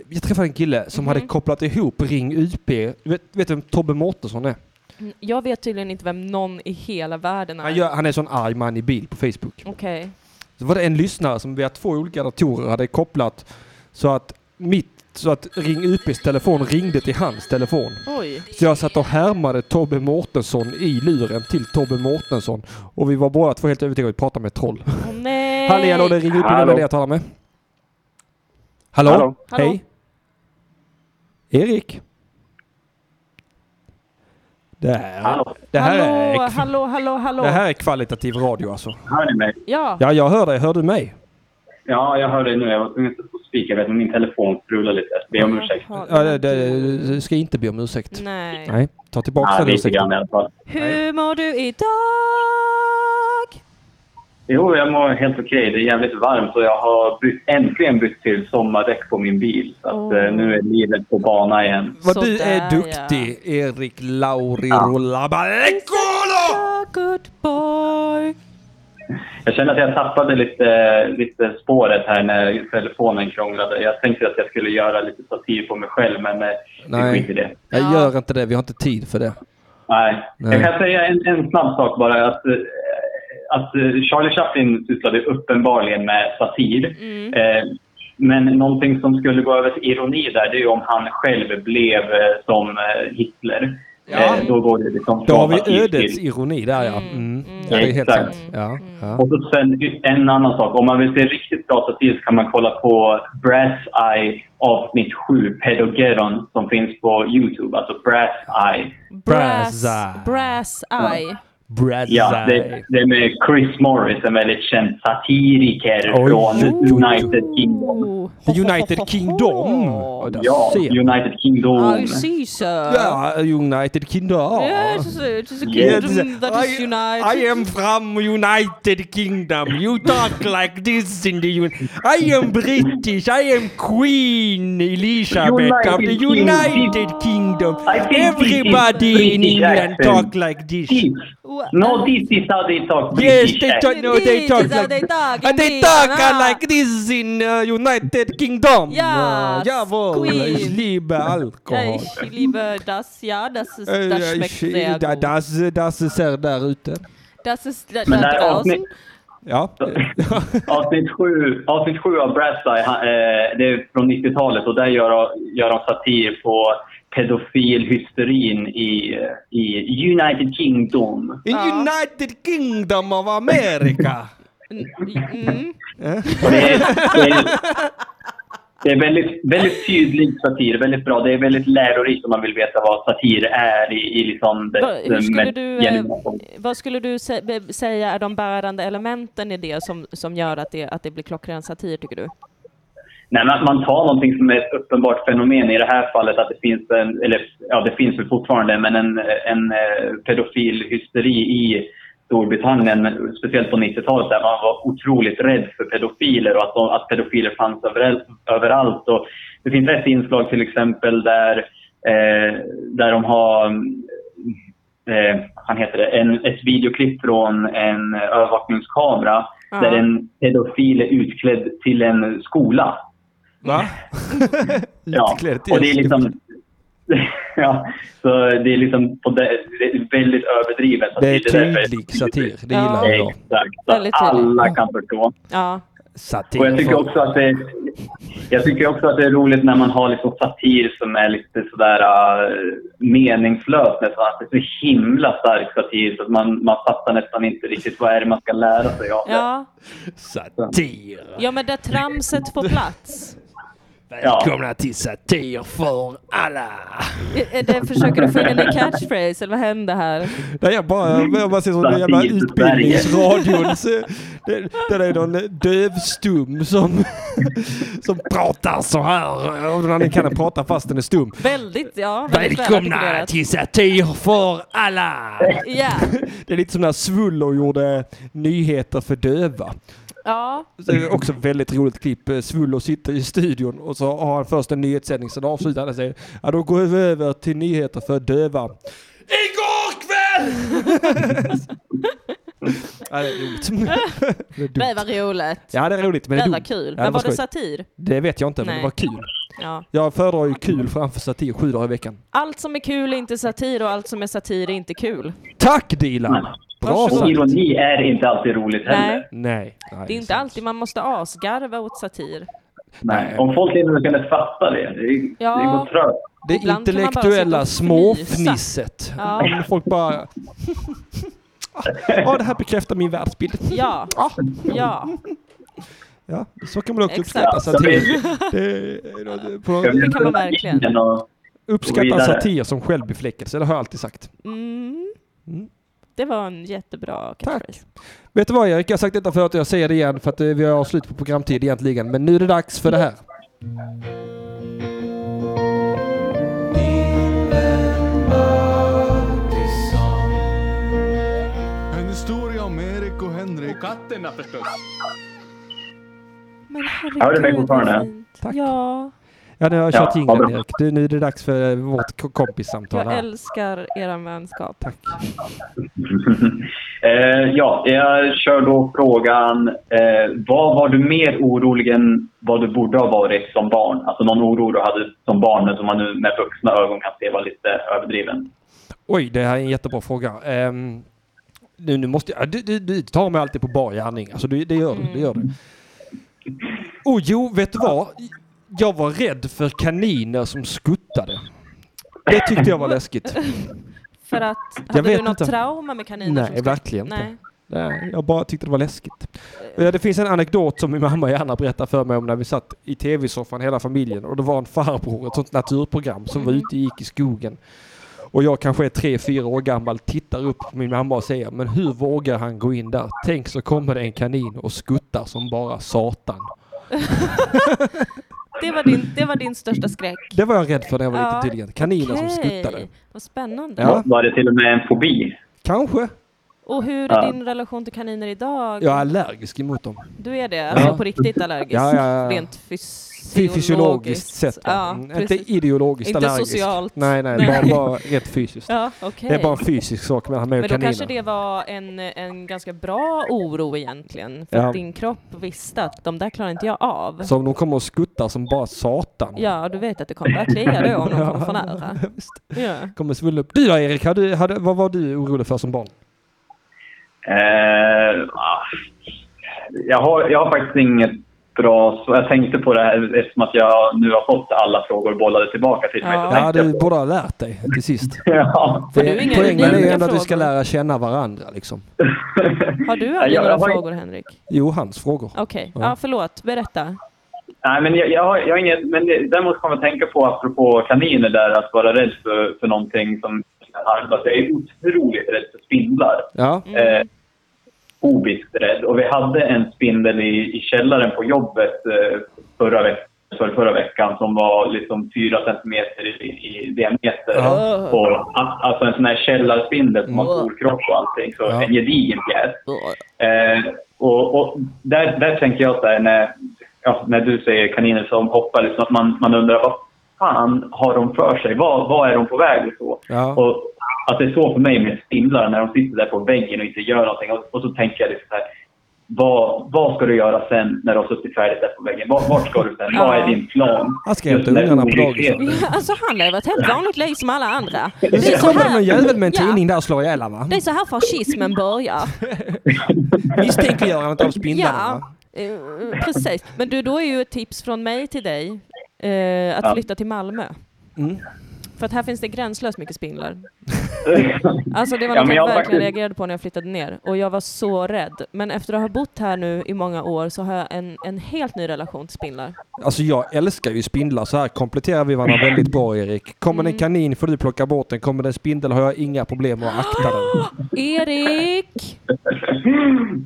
jag träffade en kille som hade kopplat ihop Ring UP. Vet, vet du vem Tobbe Mårtensson är? Mm, Jag vet tydligen inte vem någon i hela världen är. Han, gör, han är sån arg man i bil på Facebook. Okej. Så var det en lyssnare som via två olika datorer hade kopplat så att mitt så att Ring UPs telefon ringde till hans telefon. Oj. Så jag satt och härmade Tobbe Mårtensson i luren till Tobbe Mårtensson. Och vi var båda två helt övertygade om att vi pratade med ett troll. Åh, nej. Hallå, hallå, det ringer upp. Vem är det jag talar med? Hallå? Hallå. Hej? Erik? Det här, det här, Hallå, är, hallå, hallå, hallå. det här är kvalitativ radio alltså. Hör ni mig? Ja. Ja, jag hör dig. Hör du mig? Ja, jag hör dig nu. Jag var tvungen att sätta på speaker. Jag vet att min telefon strulade lite. Be om ursäkt. Ja, det, det, du ska inte be om ursäkt. Nej. ta tillbaka Ja, den lite ursäkten. grann i alla fall. Hur mår du idag? Jo, jag mår helt okej. Det är jävligt varmt och jag har bytt, äntligen bytt till sommardäck på min bil. Så att, eh, nu är livet på bana igen. Oh. Vad du är duktig, Erik Lauri ja. A good boy. Jag känner att jag tappade lite, lite spåret här när telefonen krånglade. Jag tänkte att jag skulle göra lite satir på mig själv, men eh, det Nej. skit i det. Jag gör inte det. Vi har inte tid för det. Nej. Nej. Jag kan säga en, en snabb sak bara. Att, eh, att eh, Charlie Chaplin sysslade uppenbarligen med satir. Eh, Men någonting som skulle gå över till ironi där, det är ju om han själv blev eh, som eh, Hitler. Eh, Då går det liksom Då från har vi satir till- ödets ironi där ja. Mm. ja det är helt Exakt. sant. Ja. Mm, Ja. Och så sen y- en annan sak. Om man vill se riktigt bra satir så kan man kolla på Brass Eye avsnitt 7, Pedogeron, som finns på Youtube. Alltså Brass Eye. Brass, brass eye. Brass Ja, det, det är med Chris Morris, en väldigt känd satiriker Oj, från oj, oj. United Oh. Kingdom. United Kingdom! där Ja, ser man. United Kingdom. I see sir. Ja, United Kingdom. Yes, it is a Yes. er kingdom that is I- united. I am from United Kingdom. You talk like this in the un- I am British. I am Queen Elizabeth of the United Kingdom. United Kingdom. I think Everybody this is in British England accent. talk like this. No, this is how they talk. Yes, British they talk. accent. No, they talk. how they Like, talk and they indeed. talk uh, Ah. like this in uh, United Kingdom. Ja, Uh, jawohl, Queen. ich liebe Ja, Alkohol. ich liebe das, ja, das ist, Äh, das ich- schmeckt sehr da- gut. das, das ist er där ute. Das ist da, Men da där avsnitt, draußen. Ja. avsnitt, sju, avsnitt sju av Brass Eye, han, eh, det är från 90-talet och där gör, gör de satir på pedofilhysterin i, eh, i United Kingdom. In United Kingdom of America. Mm. Och Det är, det är, det är väldigt, väldigt tydlig satir, väldigt bra. Det är väldigt lärorikt om man vill veta vad satir är i, i liksom dess Va- Hur skulle mest du, eh, genuina form. vad skulle du sä be- säga är de bärande elementen i det som, som gör att det, att det blir klockren satir, tycker du? Nej, men att man tar någonting som är ett uppenbart fenomen. I det här fallet att det finns en, eller ja det finns väl fortfarande, men en, en eh, pedofilhysteri i Storbritannien, speciellt på 90-talet där man var otroligt rädd för pedofiler och att, de, att pedofiler fanns överallt. överallt. Och det finns ett inslag till exempel där, eh, där de har mm, eh, han heter det, en, ett videoklipp från en övervakningskamera Ja. där en pedofil är utklädd till en skola. Va? Ja, och det är liksom... ja, så det är liksom på det, det är väldigt överdrivet. Det är därför- tydlig satir. Det Ja. gillar jag. Exakt, så att Väldigt tydlig. alla kan förstå. Ja. Satir. Och jag tycker också att det, jag tycker också att det är roligt när man har liksom satir som är lite sådär äh, meningslös nästan. Att det är så himla stark satir så att man, man fattar nästan inte riktigt vad är det man ska lära sig av det. Ja, Satir. ja men där tramset får plats. Välkomna till satir för alla. Är- är Det, försöker du få in en ny catchphrase, eller vad händer här? Nej, jag bara, jag bara ser som den Satir jävla för Sverige. utbildningsradion. Så Det, det är någon dövstum som, som pratar så här. Och den andra kan prata fast den är stum. Väldigt, ja. väldigt Välkomna välartikulerat. till satir för alla. Ja, Det är lite som när Svullo gjorde nyheter för döva. ja. Så det är också ett väldigt roligt klipp. Eh, Svullo sitter i studion och så har han först en nyhetssändning, sen avslutar han och säger ja då går vi över till nyheter för döva. Igår kväll! Ja, det är roligt. Det är dumt. Det var roligt. Ja det är roligt men det är Jävla dumt. kul. Ja, Men var det skoj. satir? Det vet jag inte men Nej. det var kul. Ja. Jag föredrar ju kul framför satir sju dagar i veckan. Allt som är kul är inte satir och allt som är satir är inte kul. Tack Dilan! Bra Och sagt. ironi är inte alltid roligt heller. Nej. Nej. det är inte alltid man måste asgarva åt satir. Nej. Om folk inte kunde fatta det, det, Ja. det går trögt. Det Ibland kan man bara intellektuella sitta och fnysa. småfnisset. Ja. Om folk bara... Ja, det här bekräftar min världsbild. Ah. Ja. ja. Ja, så kan man också Exakt. uppskatta satir. Ja, Det, är- det, är på, Det kan man verkligen. Uppskatta vidare. satir som självbefläckelse, det har jag alltid sagt. Mm. Det var en jättebra catchphrase. Vet du vad Erik, jag har sagt detta förut och jag säger det igen för att eh, vi har slut på programtid egentligen. Men nu är det dags för det här. En historia om Erik och Henrik. Och katterna förstås. Men herregud. Hör du mig fortfarande? Tack. Ja, Ja, nu har jag Ja, kört vad jingeln bra. Erik. Du, nu är det dags för eh, vårt k- kompissamtal jag här. älskar er vänskap. Tack. Eh, ja, jag kör då frågan. Eh, vad var du mer orolig än vad du borde ha varit som barn? Alltså någon oro du hade som barn men som man nu med vuxna ögon kan se var lite överdriven. Oj, det här är en jättebra fråga. Ehm, nu, nu måste jag... Du, du, du tar mig alltid på bar gärning. Alltså, du, det gör du. Det gör du. Oh, jo, vet du vad? Jag var rädd för kaniner som skuttade. Det tyckte jag var läskigt. För att, hade vet du något inte. trauma med kaniner? som Nej, skulle- verkligen Nej. inte. Nej, Eh, jag bara tyckte det var läskigt. Ja, Det finns en anekdot som min mamma gärna berättar för mig om när vi satt i tv-soffan hela familjen och det var en farbror, ett sånt naturprogram, som Mhm. var ute och gick i skogen. Och jag kanske är tre, fyra år gammal, tittar upp på min mamma och säger men hur vågar han gå in där? Tänk så kommer det en kanin och skuttar som bara satan. Det, var din, det var din största skräck? Det var jag rädd för när jag var Ja, liten tydligen. Kaniner som okej. skuttade. Vad spännande. Ja. Var det till och med en fobi? Kanske. Och hur är Ja. din relation till kaniner idag? Jag är allergisk emot dem. Du är det? Alltså Ja. på riktigt allergisk? Ja, ja, ja. Rent Fy- fysiologiskt? Fysiologiskt sett. va? Ja, Mm, precis. inte ideologiskt Inte allergisk. socialt. Nej, nej, Nej. Bara, bara rent fysiskt. Ja, okej. Det är bara en fysisk sak mellan mig Men då och kaninen. kanske det var en, en ganska bra oro egentligen? För Ja. att din kropp visste att de där klarar inte jag av. Så om de kommer och skuttar som bara satan. Ja, du vet att det kommer börja klia då om de kommer för Ja, nära. Ja. Kommer svullna upp. Du då Erik, hade, hade, vad var du orolig för som barn? Eh, ah. jag, har, jag har faktiskt inget bra svar. Jag tänkte på det här eftersom att jag nu har fått alla frågor bollade tillbaka till mig. Så Ja, tänkte jag du borde ha lärt dig till sist. Ja. Det, Har du inga poängen är ju unika ändå att vi ska frågor? lära känna varandra liksom. Har du Ja, aldrig jag några har- frågor, Henrik? Jo, hans frågor. Okej, Ja. ja. förlåt. Berätta. Nej, men jag, jag, har, jag har inget, men det- däremot kommer jag tänka på apropå kaniner där, att vara rädd för, för någonting som att jag är otroligt rädd för spindlar. Ja. Eh, obiskt rädd. Och vi hade en spindel i, i källaren på jobbet eh, förra, veck, för förra veckan som var liksom fyra centimeter i, i diameter. Ja. Och, a- alltså en sån här källarspindel som har stor kropp och allting. Så en gedigen pjäs. Eh, och, och där, där tänker jag så här när, ja, när du säger kaniner som hoppar, liksom att man, man undrar vad fan har de för sig? Vad, vad är de på väg? Och så. Ja. Och att det är så för mig med spindlar, när de sitter där på väggen och inte gör någonting. Och, och så tänker jag liksom så här, vad, vad ska du göra sen när du har suttit färdigt där på väggen? Vart, vart ska du sen? Vad är din plan? Jag ska Just hämta den här ungarna på ovissheten. Ja, alltså han lever ett helt vanligt liv som alla andra. Det Det är så kommer någon jävel med en Ja. tidning där och slår ihjäl han, va? Det är så här fascismen börjar. Misstänkliggörandet av spindlarna va? Ja, eh, precis. Men du, då är ju ett tips från mig till dig eh, att Ja. flytta till Malmö. Mm. För att här finns det gränslöst mycket spindlar. Alltså det var Ja, något men jag jag har verkligen faktiskt- reagerade på när jag flyttade ner och jag var så rädd. Men efter att ha bott här nu i många år så har jag en, en helt ny relation till spindlar. Alltså jag älskar ju spindlar. Så här kompletterar vi varandra väldigt bra Erik. Kommer Mm. det en kanin får du plocka bort den. Kommer det en spindel har jag inga problem med att akta den. Erik!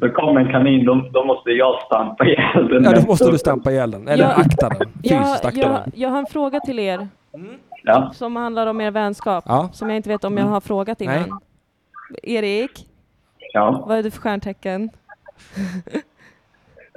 Så kommer en kanin, då, då måste jag stampa ihjäl den. Ja, då måste du stampa ihjäl den. Eller Ja. akta den. Fysiskt Jag, akta jag, den. jag har en fråga till er Ja. som handlar om er vänskap Ja. Mm. som jag inte vet om jag har frågat Nej. innan. Erik, Ja. vad är du för stjärntecken?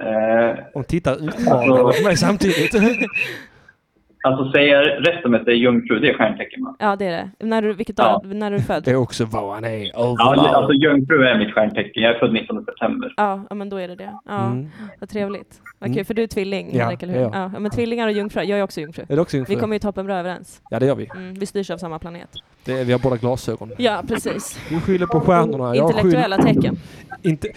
Eh, Hon tittar utmanande på mig samtidigt. alltså säger rätt om att det är jungfru, det är stjärntecken va? Ja, det är det. När du, vilket Ja. dag, när du är född? Det är också vad han är. Oh, Ja, Overall. det- alltså jungfru är mitt stjärntecken. Jag är född 19 september. Ja, ja, men då är det det. Ja, Mm. Vad trevligt. Vad Mm. kul, för du är tvilling, Ja, Henrik, eller hur? ja. Ja. ja, men tvillingar och jungfru. Jag är också jungfru. Är du också jungfru? Vi kommer ju toppenbra överens. Ja, det gör vi. Mm, vi styrs av samma planet. Det är, vi har båda glasögon. Ja, precis. Du skyller på stjärnorna. Jag Intellektuella skyller- tecken. Inte...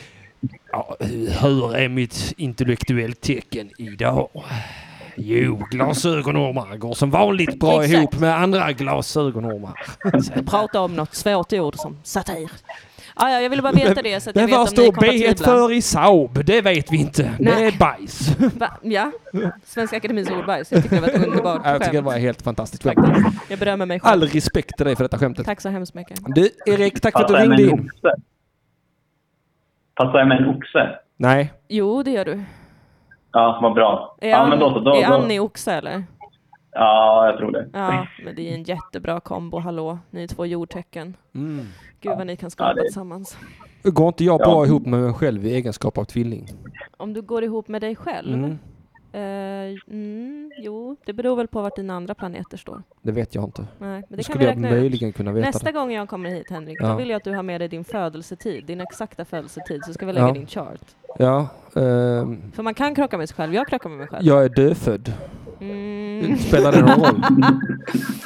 Ja, hur är mitt intellektuellt tecken idag? Jo, glasögonormar går som vanligt bra Exakt. ihop med andra glasögonormar. Prata Alltså, om något svårt ord som satir. Ah, ja, jag ville bara veta det så att jag vet vad om ni står kommer B att för tvivla. i Saab? Det vet vi inte. Det Nej. är bajs. Va? Ja, Svenska Akademiens ordbajs. Jag tyckte det var ett underbart Jag tycker det skämt. var helt fantastiskt skämt. Jag berömmer mig själv. All respekt till dig för detta skämtet. Tack så hemskt mycket. Du, Erik, tack för att du Passar jag med ringde en in. oxe? Passar jag med en oxe? Nej. Jo, det gör du. Ja, vad bra. Är, ja, Ann- men då så. Då, är då. Annie oxe eller? Ja, jag tror det. Ja, men det är en jättebra kombo, hallå. Ni är två jordtecken. Mm. Gud vad ni kan skapa Ja, det- tillsammans. Går inte jag Ja. bra ihop med mig själv i egenskap av tvilling? Om du går ihop med dig själv? Mm. Eh, mm, jo, det beror väl på vart dina andra planeter står. Det vet jag inte. Nej, men Då det kan skulle vi jag räkna ut. möjligen kunna veta Nästa det. gång jag kommer hit, Henrik, Ja. då vill jag att du har med dig din födelsetid, din exakta födelsetid, så ska vi lägga Ja. din chart. Ja, ehm, För man kan krocka med sig själv, jag krockar med mig själv. jag är dödfödd. Mm. Spelar det någon roll?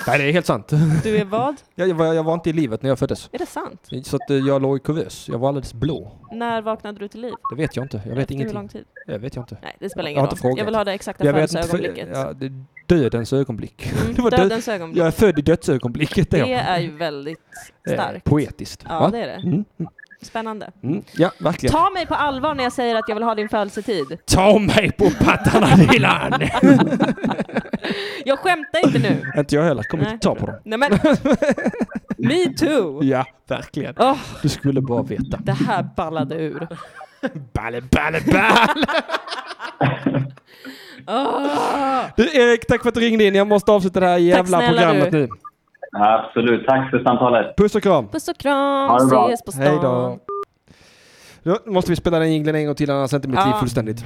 Nej, det är helt sant. Du är vad? Jag, jag, var, jag var inte i livet när jag föddes. Är det sant? Så att eh, jag låg i kuvös. Jag var alldeles blå. När vaknade du till liv? Det vet jag inte. Jag vet Efter hur ingenting. lång tid? Det vet jag inte. Nej, det spelar Jag ingen har inte roll. frågat. Jag vill ha det exakta Jag vet inte, för- födelseögonblicket. Ja, det är dödens ögonblick. Mm, Det var dö- dödens ögonblick. Jag är född i dödsögonblicket. är jag. Det är ju väldigt Eh, starkt. Poetiskt. Ja, va? det är det. Mm, mm, Spännande. mm. Ja, verkligen. Ta mig på allvar när jag säger att jag vill ha din födelsetid. Ta mig på pattarna Dilan! Jag skämtar inte nu. inte jag heller. Kommer Nej. inte ta på dem. Nej men, me too! Ja, verkligen. Åh. Du skulle bara veta. Det här ballade ur. Balle, balle, balle! Åh! Du Erik, tack för att du ringde in. Jag måste avsluta det här jävla snälla programmet du. nu. Absolut. Tack för samtalet. Puss och kram. Puss och kram, Ha det bra. ses på stan. Hej då. Då måste vi spela den jingeln en gång till annars är inte mitt Ja. liv fullständigt.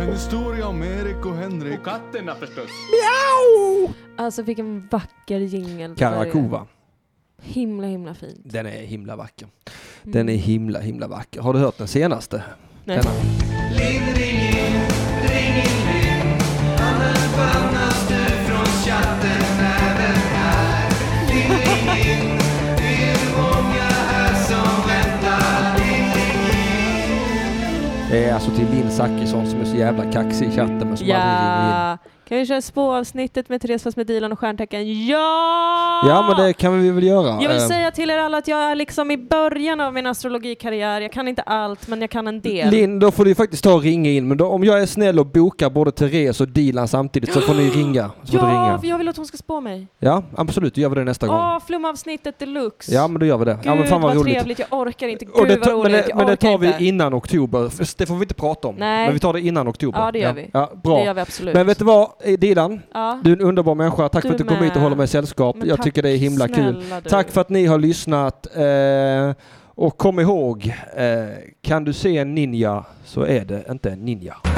En historia om Erik och Henrik. Och katterna förstås. Mjau! Alltså vilken vacker jingel. det var ju. Karakova. Himla himla fin. Den är himla vacker. Den är himla, himla vacker. Har du hört den senaste? Nej. Denna. Ring, ring in, ring in, ring. Anna bannas du från chatten även här. Ring, ring in. Det är många här som väntar. Ring, ring in. Det är alltså till Linn Zachrisson som är så jävla kaxig i chatten men som aldrig ringer in. Ja, kan vi köra spåavsnittet med Therese fast med Dilan och stjärntecken? Ja! Ja men det kan vi väl göra. Jag vill Eh, säga till er alla att jag är liksom i början av min astrologikarriär. Jag kan inte allt, men jag kan en del. Linn, då får du faktiskt ta och ringa in. Men då, om jag är snäll och bokar både Therese och Dilan samtidigt så får ni ringa. Så får du ja, ringa. för jag vill att hon ska spå mig. ja, absolut. Då gör vi det nästa gång. Åh, flumavsnittet deluxe. Ja, men då gör vi det. ja, men Gud fan vad, roligt. trevligt, jag orkar inte. Gud Och det vad tar, roligt, men det, jag men det orkar tar vi inte. innan oktober. För Det får vi inte prata om. Nej. Men vi tar det innan oktober. Ja, det gör ja. vi. Ja, bra. Det gör vi absolut. Men vet du vad, eh, Dilan? Ja. Du är en underbar människa. Tack Du för att du kom med. hit och håller mig sällskap. Men Jag tack, tycker det är himla kul. snälla du. Tack för att ni har lyssnat. Eh, och kom ihåg, eh, kan du se en ninja så är det inte en ninja.